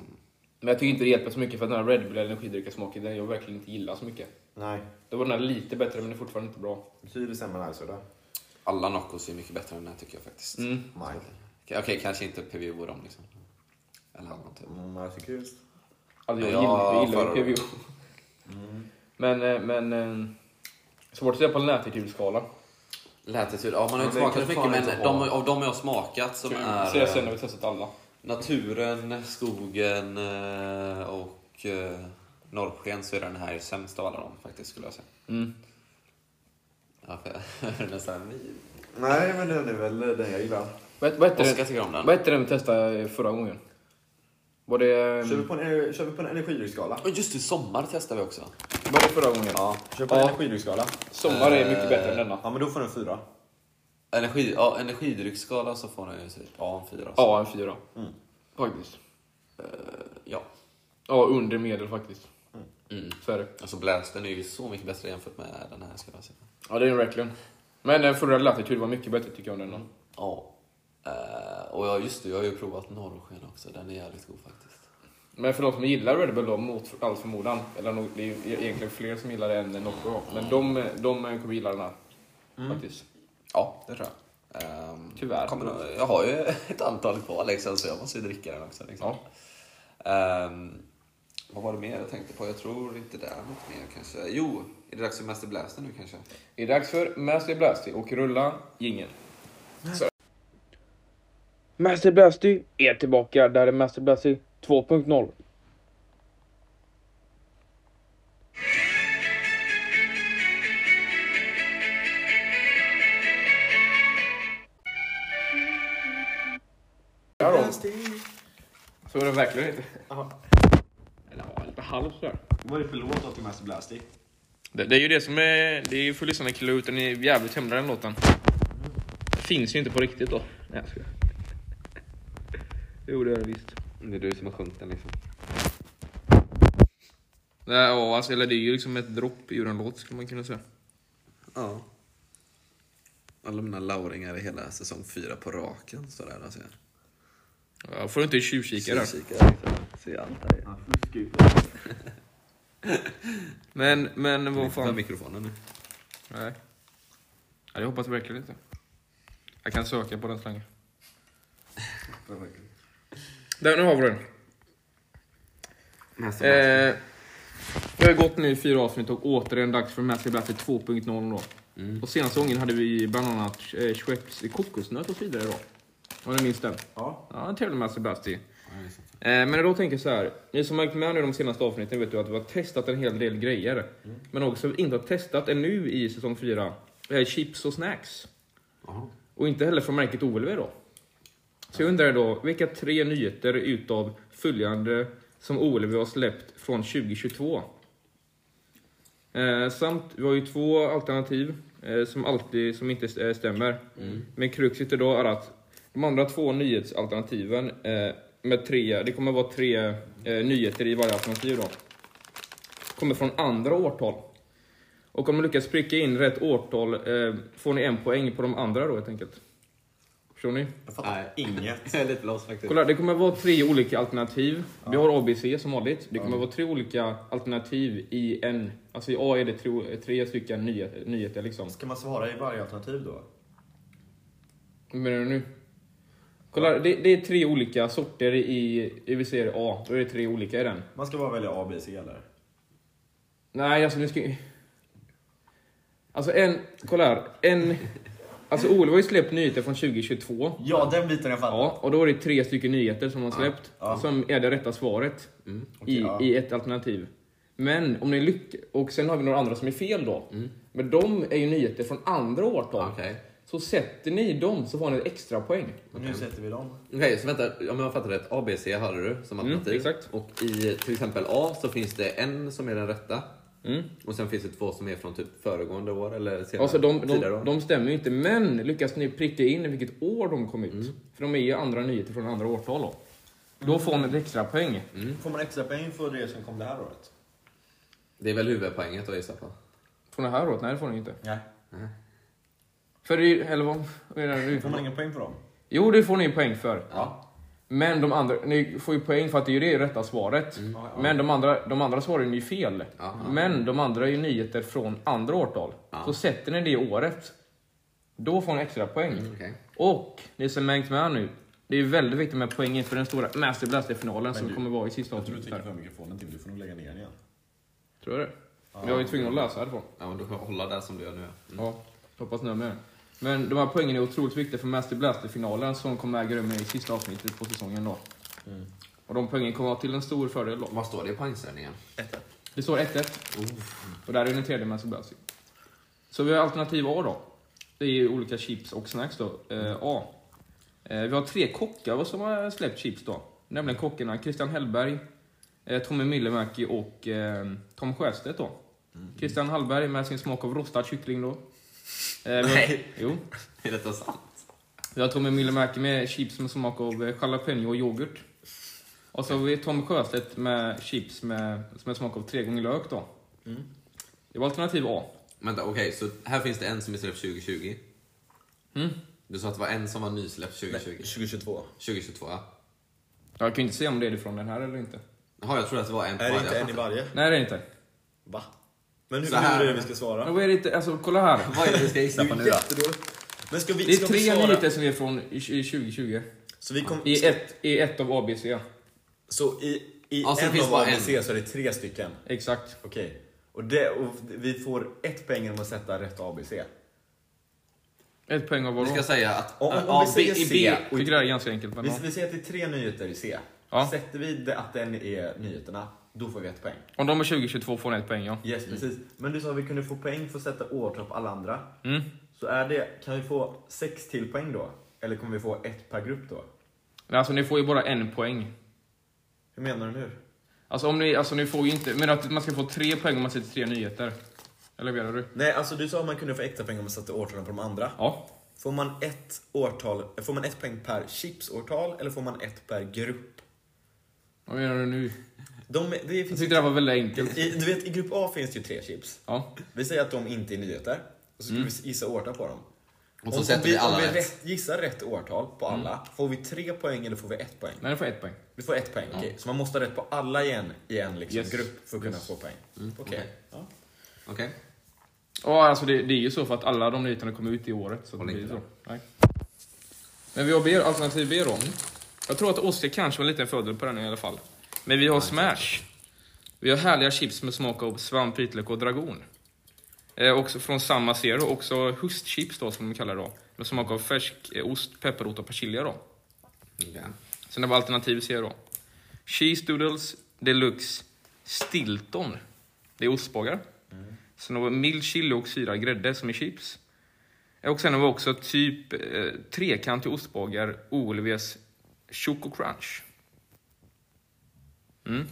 Speaker 2: Men jag tycker inte det hjälper så mycket för att den här Red Bull eller energidryckasmaken, den jag verkligen inte gillar så mycket.
Speaker 3: Nej,
Speaker 2: Då var den här lite bättre men den är fortfarande inte bra.
Speaker 3: betydligt sämre än Isoda.
Speaker 1: Alla Noccos är mycket bättre än den här tycker jag faktiskt.
Speaker 2: Mm.
Speaker 3: Nej.
Speaker 1: Okej, okej, kanske inte PVO och dem liksom. Eller någon typ.
Speaker 3: Mm, jag tycker just...
Speaker 2: Alltså jag
Speaker 1: Ja,
Speaker 2: gillar, gillar
Speaker 1: förra
Speaker 2: ju PVO. Men, eh, men... eh, Svårt att säga på en nätitudskala.
Speaker 1: Lätetur, ja man har ju inte
Speaker 3: Men det
Speaker 1: smakat så
Speaker 3: kan fan
Speaker 1: mycket men
Speaker 3: inte
Speaker 1: de,
Speaker 3: vara. Typ
Speaker 1: av de jag har smakat som är...
Speaker 2: Säga sen när vi testat alla.
Speaker 1: Naturen, skogen eh, och eh, norrsken så är den här sämst av alla dem faktiskt skulle jag säga.
Speaker 2: Mm.
Speaker 1: Ja, för den är så här, vi...
Speaker 4: Nej, men den är väl den jag gillar.
Speaker 2: Vad, vad hette
Speaker 1: Oskar
Speaker 2: det-
Speaker 1: tycker om den.
Speaker 2: vad hette den vi testade eh, förra gången? Var det, eh,
Speaker 4: Kör vi på
Speaker 3: eh,
Speaker 4: en, kör vi på en energidrycksskala?
Speaker 1: Och just i sommar testar vi också.
Speaker 2: var det förra gången?
Speaker 4: Ja, kör på en
Speaker 2: Ja.
Speaker 4: energidrycksskala.
Speaker 2: Sommar är mycket bättre än
Speaker 3: Eh,
Speaker 2: denna.
Speaker 4: Ja, men då får den fyra.
Speaker 1: Energi, ja, energidrycksskala så får den ju typ ja, en fyra. eh,
Speaker 2: Ja, en fyra. Faktiskt.
Speaker 1: ja.
Speaker 2: Ja, under medel faktiskt.
Speaker 1: Mm.
Speaker 2: Så är det.
Speaker 1: Alltså Blästen är ju så mycket bättre jämfört med den här skulle jag säga.
Speaker 2: Ja, det är den verkligen. Men den förra Latitude var mycket bättre tycker jag än denna.
Speaker 1: Ja. Eh, och ja, just det, jag har ju provat norrsken också. Den är jävligt god faktiskt.
Speaker 2: Men för de som gillar Red Bull då, mot all förmodan, eller nog, det är ju e-, egentligen fler som gillar det än Nocco, men de, de eh, kommer gilla den här. Faktiskt.
Speaker 1: Ja, det tror jag. Ehm,
Speaker 2: Tyvärr.
Speaker 1: Kommer, nog- jag har ju ett antal kvar liksom, så jag måste ju dricka den också. Liksom. Ehm, vad var det mer jag tänkte på? Jag tror inte det är något mer kanske. Jo, är det dags för Master Blaster nu kanske?
Speaker 2: Det är dags för Master Blasty och rulla jingeln. Master Blasty är tillbaka. Där är Master Blasty 2.0. Där då. Så är det verkligen inte. Eller ja, lite halvt sådär.
Speaker 4: Vad är det för låt av till Master Blasty?
Speaker 2: Det, det är ju det som är... Det är ju för lyssnarna att klura ut, den är jävligt hemlig den låten. Finns ju inte på riktigt då. Nej jag skojar. Jo det gör det visst.
Speaker 1: Det är du som har sjungit den liksom.
Speaker 2: Nej, ja, alltså, eller det är ju liksom ett dropp ur en låt skulle man kunna säga.
Speaker 1: Ja. Alla mina lauringar i hela säsong fyra på raken står där och ser.
Speaker 2: Ja, får du inte tjuvkika där.
Speaker 1: Kikar, liksom. ser allt där.
Speaker 4: Han fuskar ju.
Speaker 2: Men, men vad
Speaker 1: Ta
Speaker 2: fan.
Speaker 1: mikrofonen nu.
Speaker 2: Nej. Ja, det hoppas jag verkligen inte. Jag kan söka på den slangen. Där, nu har vi den. Eh, det har ju gått nu fyra avsnitt och återigen dags för Master Blaster 2.0 då. Och senaste gången hade vi bland annat eh, Schweppes kokosnöt och så vidare då. Om ni minns den?
Speaker 4: Ja.
Speaker 2: Ja, en trevlig Master Blaster. Eh, men då tänker jag så här. Ni som har varit med nu de senaste avsnitten vet ju att vi har testat en hel del grejer. Men också inte har testat ännu i säsong 4. Eh, chips och snacks. Och inte heller från märket OLW då. Så jag undrar då, vilka tre nyheter utav följande som OLW har släppt från 2022? Eh, samt, vi har ju två alternativ eh, som alltid som inte eh, stämmer. Men kruxet idag är att de andra två nyhetsalternativen eh, med tre, det kommer vara tre eh, nyheter i varje alternativ då. Kommer från andra årtal. Och om ni lyckas pricka in rätt årtal eh, får ni en poäng på de andra då helt enkelt. Förstår ni?
Speaker 4: Nej, inget.
Speaker 1: Jag är lite lost faktiskt.
Speaker 2: Kolla, det kommer vara tre olika alternativ. Vi har ABC som vanligt. Det kommer vara tre olika alternativ i en. Alltså i A är det tre, tre stycken nyheter, nyheter liksom.
Speaker 4: Ska man svara i varje alternativ då?
Speaker 2: Vad menar du nu? Kolla, det, det är tre olika sorter i, i vi ser A. Då är det tre olika i den.
Speaker 4: Man ska bara välja A, B, C eller?
Speaker 2: Nej, alltså nu ska Alltså en, kolla här. En... Alltså Olof har ju släppt nyheter från 2022.
Speaker 4: Ja, den biten jag fattar.
Speaker 2: Ja, och då är det tre stycken nyheter som har släppt, som är det rätta svaret i,
Speaker 4: ja.
Speaker 2: i ett alternativ. Men om ni lyckas, och sen har vi några andra som är fel då. Men de är ju nyheter från andra årtal.
Speaker 1: Okej.
Speaker 2: Så sätter ni dem så får ni ett extra poäng.
Speaker 4: Och nu sätter vi dem.
Speaker 1: Okej, så vänta. Om jag fattar rätt, A, B, C hade du som alternativ.
Speaker 2: Mm, exakt.
Speaker 1: Och i till exempel A så finns det en som är den rätta.
Speaker 2: Mm.
Speaker 1: Och sen finns det två som är från typ föregående år eller senare.
Speaker 2: Alltså de,
Speaker 1: tidigare
Speaker 2: de,
Speaker 1: år.
Speaker 2: de stämmer ju inte, men lyckas ni pricka in vilket år de kom ut? För de är ju andra nyheter från andra årtal då. Då får ni ett extra poäng.
Speaker 3: Mm.
Speaker 1: Mm.
Speaker 4: Får man extra poäng för det som kom det här året?
Speaker 1: Det är väl huvudpoänget att gissa på.
Speaker 2: Från det här året? Nej, det får ni inte.
Speaker 4: Nej.
Speaker 2: För det är ju- eller vad vad menar du?
Speaker 4: Får man ingen poäng för dem?
Speaker 2: Jo, det får ni poäng för.
Speaker 1: Ja.
Speaker 2: Men de andra, ni får ju poäng för att det är ju det rätta svaret.
Speaker 4: Mm.
Speaker 2: Men de andra, de andra svaren är ju fel. Men de andra är ju nyheter från andra årtal. Så sätter ni det i året, då får ni extra poäng.
Speaker 4: Mm,
Speaker 1: okej.
Speaker 2: Och ni som hängt med nu, det är väldigt viktigt med poängen för den stora Master Blaster-finalen som kommer vara i sista
Speaker 4: Jag tror du
Speaker 2: avsnittet.
Speaker 4: trycker
Speaker 2: här.
Speaker 4: för mikrofonen Tim, du får nog lägga ner den igen.
Speaker 2: Tror jag det. Vi var ju tvungna att lösa härifrån.
Speaker 1: Ja, men du kan hålla där som du gör nu. ja.
Speaker 2: Ja, hoppas ni har med. Men de här poängen är otroligt viktiga för Master Blaster-finalen som kommer äga rum i sista avsnittet på säsongen då. Och de poängen kommer vara till en stor fördel då.
Speaker 1: Vad står det i poängställningen?
Speaker 2: Det står 1-1. Och där är den tredje med Sebastian. Så vi har alternativ A då. Det är ju olika chips och snacks då. Eh, A. Eh, vi har tre kockar som har släppt chips då. Nämligen kockarna Christian Hellberg, eh, Tommy Myllymäki och eh, Tom Sjöstedt då. Christian Hallberg med sin smak av rostad kyckling då. Eh, vi har,
Speaker 1: Nej.
Speaker 2: Jo.
Speaker 1: Är detta sant?
Speaker 2: Vi har Tommy Myllymäki med chips med smak av eh, jalapeno och yoghurt. Och så har vi Tom Sjöstedt med chips med, som är smak av tre gånger lök då.
Speaker 3: Mm.
Speaker 2: Det var alternativ A.
Speaker 1: Vänta, okej, så här finns det en som är släppt 2020.
Speaker 2: Mm.
Speaker 1: Du sa att det var en som var nysläppt 2020.
Speaker 4: 2022.
Speaker 1: 2022, ja.
Speaker 2: Jag kan ju inte säga om det är från den här eller inte.
Speaker 1: Jaha, jag trodde att det var en på
Speaker 3: Är det
Speaker 1: varje.
Speaker 3: inte en i varje?
Speaker 2: Nej, det är det inte.
Speaker 3: Va? Men hur
Speaker 1: Så här.
Speaker 3: hur är det vi ska svara?
Speaker 2: Men vad är det inte? Alltså, kolla här.
Speaker 1: Vad är det vi ska gissa på nu då?
Speaker 3: jättedåligt. Men ska vi,
Speaker 2: Det är
Speaker 3: ska vi
Speaker 2: tre
Speaker 3: svara?
Speaker 2: nyheter som är från i- i 2020.
Speaker 3: Så, vi kom,
Speaker 2: I ett, i ett av ABC.
Speaker 3: så i, i
Speaker 1: Ja, så det
Speaker 3: en
Speaker 1: finns
Speaker 3: av
Speaker 1: bara
Speaker 3: A
Speaker 1: en.
Speaker 3: och C så är det tre stycken?
Speaker 2: Exakt.
Speaker 3: Okej. Och, det, och vi får ett poäng genom att sätta rätt ABC.
Speaker 2: Ett poäng av
Speaker 1: Vi
Speaker 2: vadå?
Speaker 1: ska säga att...
Speaker 3: Om, om
Speaker 1: ja,
Speaker 3: vi säger
Speaker 1: B- i
Speaker 3: C.
Speaker 1: B.
Speaker 2: Jag tycker det här är ganska enkelt. Men
Speaker 3: Vi,
Speaker 2: ja.
Speaker 3: vi säger att det är tre nyheter i C.
Speaker 2: Ja.
Speaker 3: Sätter vi det, att den är nyheterna, då får vi ett poäng.
Speaker 2: Om de är 2022 får ni ett poäng, ja.
Speaker 3: Yes,
Speaker 1: Mm.
Speaker 3: precis. Men du sa att vi kunde få poäng för att sätta årtal på alla andra.
Speaker 2: Mm.
Speaker 3: Så är det, kan vi få sex till poäng då? Eller kommer vi få ett per grupp då?
Speaker 2: Men Alltså, ni får ju bara en poäng.
Speaker 3: Hur menar du nu?
Speaker 2: Alltså, om ni, alltså, ni får ju inte... Men att man ska få tre poäng om man sätter tre nyheter. Eller vad menar du?
Speaker 3: Nej, alltså du sa att man kunde få extra poäng om man satte årtalen på de andra.
Speaker 2: Ja.
Speaker 3: Får man ett, årtal, får man ett poäng per chipsårtal eller får man ett per grupp?
Speaker 2: Vad menar du nu?
Speaker 3: De, det
Speaker 2: Jag
Speaker 3: finns
Speaker 2: tyckte det här var väldigt enkelt.
Speaker 3: i, du vet, i grupp A finns det ju tre chips.
Speaker 2: Ja.
Speaker 3: Vi säger att de inte är nyheter. Och så ska vi gissa årtal på dem.
Speaker 1: Mm. Och så
Speaker 3: om,
Speaker 1: sätter
Speaker 3: om vi,
Speaker 1: vi alla
Speaker 3: om vi
Speaker 1: rätt. Mm.
Speaker 3: rätt, gissar rätt årtal på alla, får vi tre poäng eller får vi ett poäng?
Speaker 2: Nej, ni får ett poäng.
Speaker 3: Vi får ett poäng, okej. Så man måste ha rätt på alla igen i en liksom,
Speaker 2: Yes.
Speaker 3: grupp för att kunna få poäng.
Speaker 2: Mm.
Speaker 3: Okej.
Speaker 1: okej.
Speaker 3: Ja.
Speaker 1: Okej.
Speaker 2: Ja, alltså det, det är ju så för att alla de nyheterna kommer ut i året. Så det
Speaker 1: Håll
Speaker 2: blir
Speaker 1: inte
Speaker 2: så.
Speaker 1: med.
Speaker 2: Nej. Men vi har B, alternativ B då. Mm. Jag tror att Oskar kanske var lite fördel på den i alla fall. Men vi har Smash. Vi har härliga chips med smak av svamp, vitlök och dragon. Eh, också från samma serie då, också hustchips då som de kallar det då. Med smak av färsk eh, ost, pepparrot och persilja då.
Speaker 1: Okej.
Speaker 2: Sen det var alternativ C då. Cheese doodles deluxe stilton. Det är ostbågar. Sen det var mild chili och syrad grädde som är chips. Och sen det var också typ eh, trekantig ostbågar, OLVs Choco Crunch. Mm.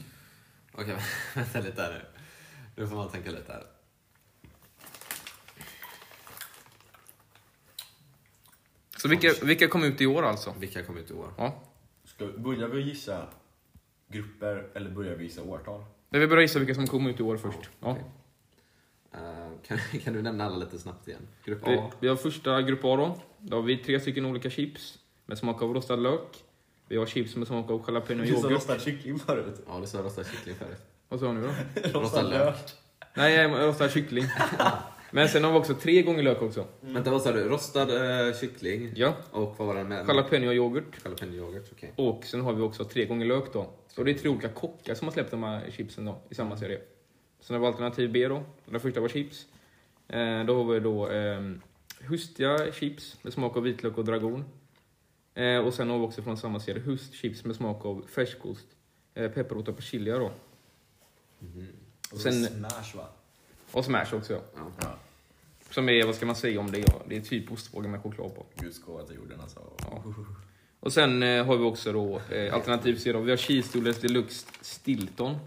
Speaker 1: Okej, vänta lite här nu. Nu får man tänka lite här.
Speaker 2: Så vilka, vilka kom ut i år alltså?
Speaker 1: Vilka kom ut i år?
Speaker 2: Ja.
Speaker 3: Ska vi- Börjar vi gissa grupper eller börjar vi gissa årtal?
Speaker 2: Men vi börjar gissa vilka som kom ut i år först. Ja.
Speaker 1: okej. Eh, kan, kan du nämna alla lite snabbt igen? Grupp
Speaker 2: Vi,
Speaker 1: A.
Speaker 2: vi har första grupp A då. Då har vi tre stycken olika chips med smak av rostad lök. Vi har chips med smak av jalapeno och
Speaker 3: Du sa
Speaker 2: yoghurt.
Speaker 3: rostad kyckling förut.
Speaker 1: Ja, du sa rostad kyckling förut.
Speaker 2: Vad sa jag nu då?
Speaker 1: Rostad lök.
Speaker 2: Nej, jag rostad kyckling. Men sen har vi också tre gånger lök också.
Speaker 1: Mm. Vänta, vad sa du? Rostad eh, kyckling.
Speaker 2: Ja.
Speaker 1: Och vad var den med?
Speaker 2: Jalapeno och yoghurt.
Speaker 1: Jalapeno yoghurt, okej.
Speaker 2: Och sen har vi också tre gånger lök då. Så det är tre olika kockar som har släppt de här chipsen då, i samma serie. Sen har vi alternativ B då. Den första var chips. Eh, då har vi då eh, hustiga chips med smak av vitlök och dragon. Eh, och sen har vi också från samma serie hustchips med smak av färskost, eh, pepparrot och persilja då.
Speaker 3: Och
Speaker 2: Sen-
Speaker 3: sen... Smash va?
Speaker 2: Och smash också ja.
Speaker 1: Ja.
Speaker 2: Som är, vad ska man säga om det? Ja, det är typ ostbågar med choklad på.
Speaker 3: Gud skåda till jorden alltså.
Speaker 2: Ja. Och sen eh, har vi också då eh, alternativ C då. Vi har Cheesedoodles Deluxe Stilton.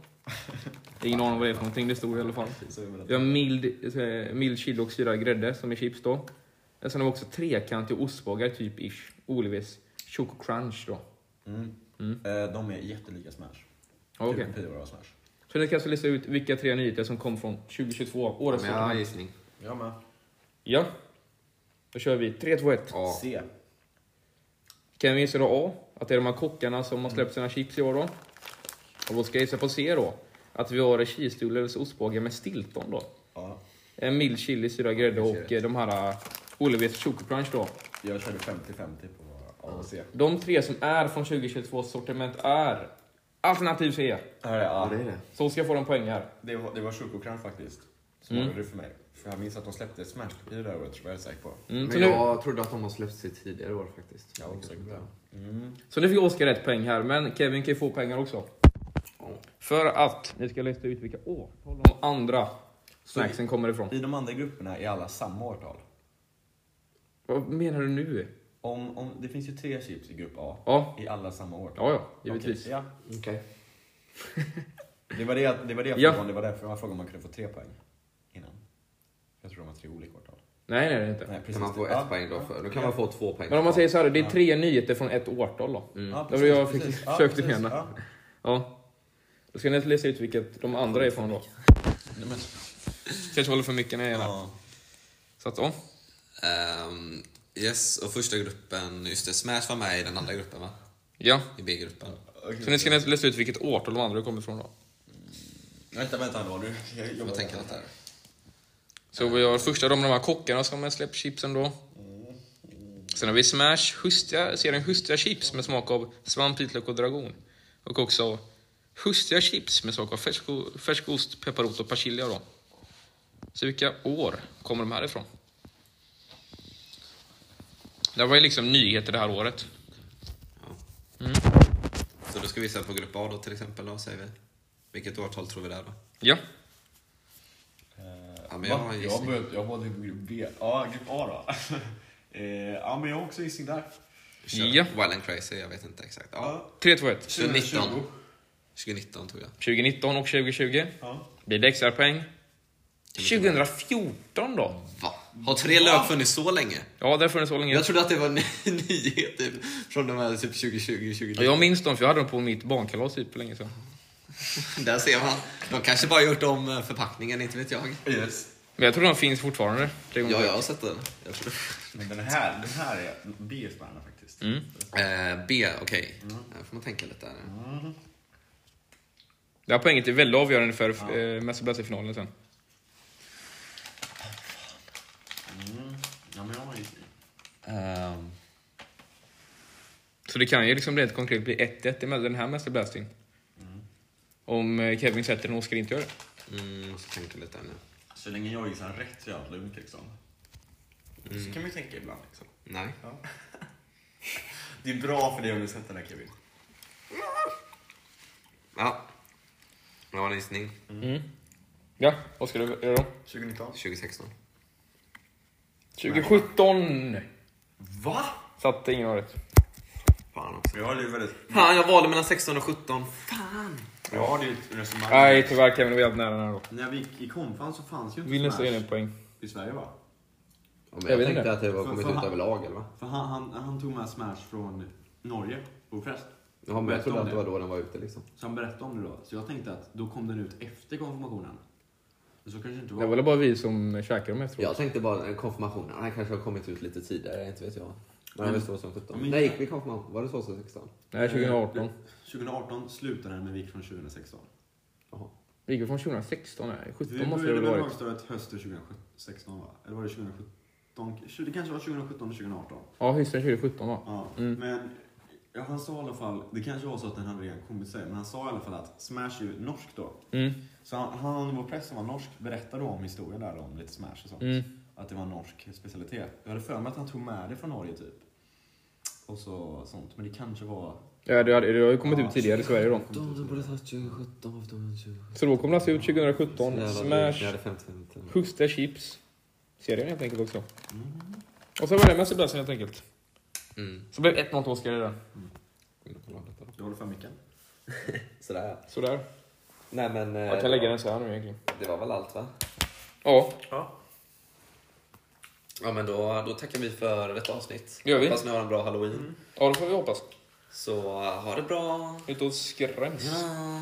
Speaker 2: Ingen aning vad det är för någonting, det stod i alla fall.
Speaker 3: Så jag menar-
Speaker 2: Vi har mild, eh, mild chili och syrad grädde som är chips då. Och sen har vi också trekantig ostbågar, typ ish. Olives Choco Crunch då.
Speaker 3: Mm.
Speaker 2: Mm.
Speaker 3: Eh, de är jättelika Smash.
Speaker 2: Ja, Okej.
Speaker 3: Typ kopior av Smash.
Speaker 2: Så ni kanske alltså lista ut vilka tre nyheter som kom från 2022, årets
Speaker 1: Men jag har en
Speaker 2: sortiment.
Speaker 1: gissning.
Speaker 3: Jag med.
Speaker 2: Ja. Då kör vi 3, 2, 1.
Speaker 1: A.
Speaker 3: C.
Speaker 2: Kan vi gissa då A? Att det är de här kockarna som har släppt sina chips i år då? Och vad ska jag gissa på C då? Att vi har cheesedoodles ostbågar med stilton då.
Speaker 3: Ja.
Speaker 2: En mild chili, syrad grädde och eh, de här eh, Olives Choco Crunch då.
Speaker 3: Jag körde 50-50 på A och C.
Speaker 2: De tre som är från 2022 sortiment är alternativ C.
Speaker 3: Här är A.
Speaker 1: är det.
Speaker 2: Så ska jag få en poäng här.
Speaker 3: Det var, det var Chocokran faktiskt. Som
Speaker 2: Mm.
Speaker 3: avgjorde det för mig. För jag minns att de släppte Smash-kopior det här året, tror jag jag är säker på.
Speaker 2: Mm, så,
Speaker 1: Men
Speaker 2: nu,
Speaker 1: jag trodde att de har släppt sig tidigare år faktiskt.
Speaker 3: Ja, säkert.
Speaker 1: bra.
Speaker 2: så nu fick Oskar rätt poäng här, men Kevin kan ju få pengar också.
Speaker 1: Ja.
Speaker 2: För att ni ska lista ut vilka årtal de andra snacksen kommer ifrån.
Speaker 3: I de andra grupperna är alla samma årtal.
Speaker 2: Vad menar du nu?
Speaker 3: Om, om, det finns ju tre chips i grupp A.
Speaker 2: Ja,
Speaker 3: I alla samma
Speaker 2: ja,
Speaker 3: årtal.
Speaker 2: ja givetvis.
Speaker 3: Okej, ja.
Speaker 5: Okej.
Speaker 3: Det var det, det, var det jag
Speaker 2: Ja.
Speaker 3: frågade om. Det var därför jag frågade om man kunde få tre poäng innan. Jag tror de har tre olika årtal.
Speaker 2: Nej, nej, det är det inte.
Speaker 3: Nej, precis.
Speaker 1: Kan man få ett
Speaker 3: Ja,
Speaker 1: poäng då?
Speaker 3: ja.
Speaker 1: För, då kan man få två poäng.
Speaker 2: Men om man säger så här, det är tre nyheter från ett årtal då.
Speaker 1: Mm.
Speaker 3: Ja,
Speaker 2: Det var det jag
Speaker 3: precis,
Speaker 2: fick-
Speaker 3: precis. Ja,
Speaker 2: försökte
Speaker 3: precis.
Speaker 2: mena.
Speaker 3: Ja.
Speaker 2: Ja. Då ska ni läsa ut vilket de andra är ifrån då. Kanske håller för mycket när jag är här.
Speaker 3: Ja.
Speaker 2: Så att, ja.
Speaker 1: Ehm, yes, och första gruppen, just det, Smash var med i den andra gruppen va?
Speaker 2: ja.
Speaker 1: I B-gruppen.
Speaker 2: Så ni ska nästan läsa ut vilket årtal de andra kommer ifrån då.
Speaker 3: Vänta, vänta då. Du, jag
Speaker 1: Jag
Speaker 3: jobbar
Speaker 1: får tänka lite här.
Speaker 2: Så vi har första de, de här kockarna som har släppt chipsen då. Sen har vi Smash hustiga, serien Hustiga chips med smak av svamp, vitlök och dragon. Och också Hustiga chips med smak av färsk, färsk ost, pepparrot och persilja då. Så vilka år kommer de här ifrån? Det här var ju liksom nyheter det här året.
Speaker 1: Så då ska vi se på grupp A då till exempel, då säger vi. Vilket årtal tror vi där då?
Speaker 2: Ja,
Speaker 1: Ja, men jag har en
Speaker 3: jag,
Speaker 1: gissning.
Speaker 3: började, jag var typ i grupp B. Ja, grupp A då. eh, ja, men jag har också gissning där.
Speaker 1: Kör.
Speaker 2: Ja.
Speaker 1: Wild and Crazy, jag vet inte exakt. Ja.
Speaker 3: Ja,
Speaker 2: 3, 2, 1.
Speaker 1: 2019. 2019 tog jag.
Speaker 2: 2019 och 2020
Speaker 3: Ja.
Speaker 2: blir det extra poäng. 2014 då?
Speaker 1: Va? Har tre lök funnits så länge?
Speaker 2: Ja, där funnits så länge.
Speaker 1: Jag trodde att det var en nyhet typ, från de här typ 2020, 2019.
Speaker 2: Ja, jag minns dem för jag hade dem på mitt barnkalas typ för länge sedan.
Speaker 1: Där ser man. De kanske bara gjort om eh, förpackningen, inte vet jag.
Speaker 3: Yes.
Speaker 2: Men jag tror de finns fortfarande. Tre gånger.
Speaker 1: Ja, jag har sett den. Jag tror.
Speaker 3: Men den här, den här är B-stjärna faktiskt.
Speaker 2: Mm.
Speaker 1: Eh, B, okej. Här får man tänka lite. Där.
Speaker 2: Det här poänget är väldigt avgörande för ja. mästerplatsen i finalen sen.
Speaker 3: Mm. Ja, men jag har gissning.
Speaker 1: Ehm,
Speaker 2: Så det kan ju liksom rent konkret bli 1-1 emellan den här mästerblasting. Om eh, Kevin sätter den och Oskar inte gör det.
Speaker 1: mm, så tänker jag lite här nu.
Speaker 3: Alltså, Så länge jag gissar rätt så är jag lugnt liksom. Så kan man ju tänka ibland liksom.
Speaker 1: Nej.
Speaker 3: Det är bra för dig om du sätter den här Kevin.
Speaker 1: Ja. Jag har en gissning.
Speaker 2: Ja, vad ska du göra då?
Speaker 3: 2019.
Speaker 1: 2016.
Speaker 2: 2017
Speaker 3: Va?
Speaker 2: satte ingen av rätt.
Speaker 1: Fan också.
Speaker 3: Jag har ju väldigt...
Speaker 1: Fan, jag valde mellan 16 och 17. Fan!
Speaker 3: Jag har ju ett resonemang.
Speaker 2: Nej, tyvärr Kevin, du var jävligt nära den här då.
Speaker 3: När vi gick i konfan så fanns ju inte
Speaker 2: Vill nästan
Speaker 3: Smash
Speaker 2: ge en poäng.
Speaker 3: i Sverige va?
Speaker 2: Jag vet inte.
Speaker 1: att det var
Speaker 3: För- för han-
Speaker 1: överlag, eller va?
Speaker 3: För han, han, han tog med Smash från Norge, Ofest.
Speaker 1: Ja, men
Speaker 3: Berätta
Speaker 1: jag trodde att
Speaker 3: om
Speaker 1: det
Speaker 3: det.
Speaker 1: var då den var ute liksom.
Speaker 3: Så han berättade om det då. Så jag tänkte att då kom den ut efter konfirmationen. Men så kanske det inte
Speaker 2: Det
Speaker 3: var.
Speaker 2: var väl bara vi som eh, käkade dem efteråt.
Speaker 1: Jag tänkte bara eh, konfirmationen. Den kanske har kommit ut lite tidigare, inte vet jag. Men det var
Speaker 3: Men-
Speaker 1: väl 2017.
Speaker 3: men-
Speaker 1: När gick vi konfirmation? Var det 2016?
Speaker 2: Nej, 2018.
Speaker 3: 2018 slutade den men vi gick från 2016.
Speaker 1: Jaha.
Speaker 2: Vi gick väl från 2016? Nej,
Speaker 3: Vi
Speaker 2: 17 måste det
Speaker 3: började
Speaker 2: väl
Speaker 3: med
Speaker 2: varit?
Speaker 3: högstadiet hösten 2016 va? Eller var det 2017? Tju- Det kanske var 2017 och 2018.
Speaker 2: Ja, hösten 2017 va?
Speaker 3: Ja.
Speaker 2: Mm.
Speaker 3: Men ja, han sa i alla fall, det kanske var så att den hade redan kommit sig, men han sa i alla fall att Smash är ju norsk då.
Speaker 2: Mm.
Speaker 3: Så han, han vår präst som var norsk berättade då om historien där om lite Smash och sånt.
Speaker 2: Mm.
Speaker 3: Att det var en norsk specialitet. Jag hade för mig att han tog med det från Norge typ. Och så sånt. Men det kanske var...
Speaker 2: Ja, det har, det har ju kommit ut tidigare i Sverige då.
Speaker 1: De borde tagit 2017, varför tog de 2017?
Speaker 2: Så då kommer det alltså ut 2017, Smash,
Speaker 1: hade 50
Speaker 2: Husta Chips. Serien helt enkelt också. Och så var det Messi Blasen helt enkelt.
Speaker 1: Mm.
Speaker 2: Så blev 1-0 till Oskar redan.
Speaker 3: Jag håller för mycket.
Speaker 1: Sådär.
Speaker 2: Sådär.
Speaker 1: Nej men... eh,
Speaker 2: Jag kan lägga den så här nu egentligen.
Speaker 1: Det var väl allt va?
Speaker 2: Ja,
Speaker 1: Ja men då, då tackar vi för ett avsnitt.
Speaker 2: Det gör vi. Mm.
Speaker 1: Hoppas ni har en bra halloween.
Speaker 2: ja då får vi hoppas.
Speaker 1: Så eh, ha det bra.
Speaker 2: Ut och skräms.
Speaker 1: Ja.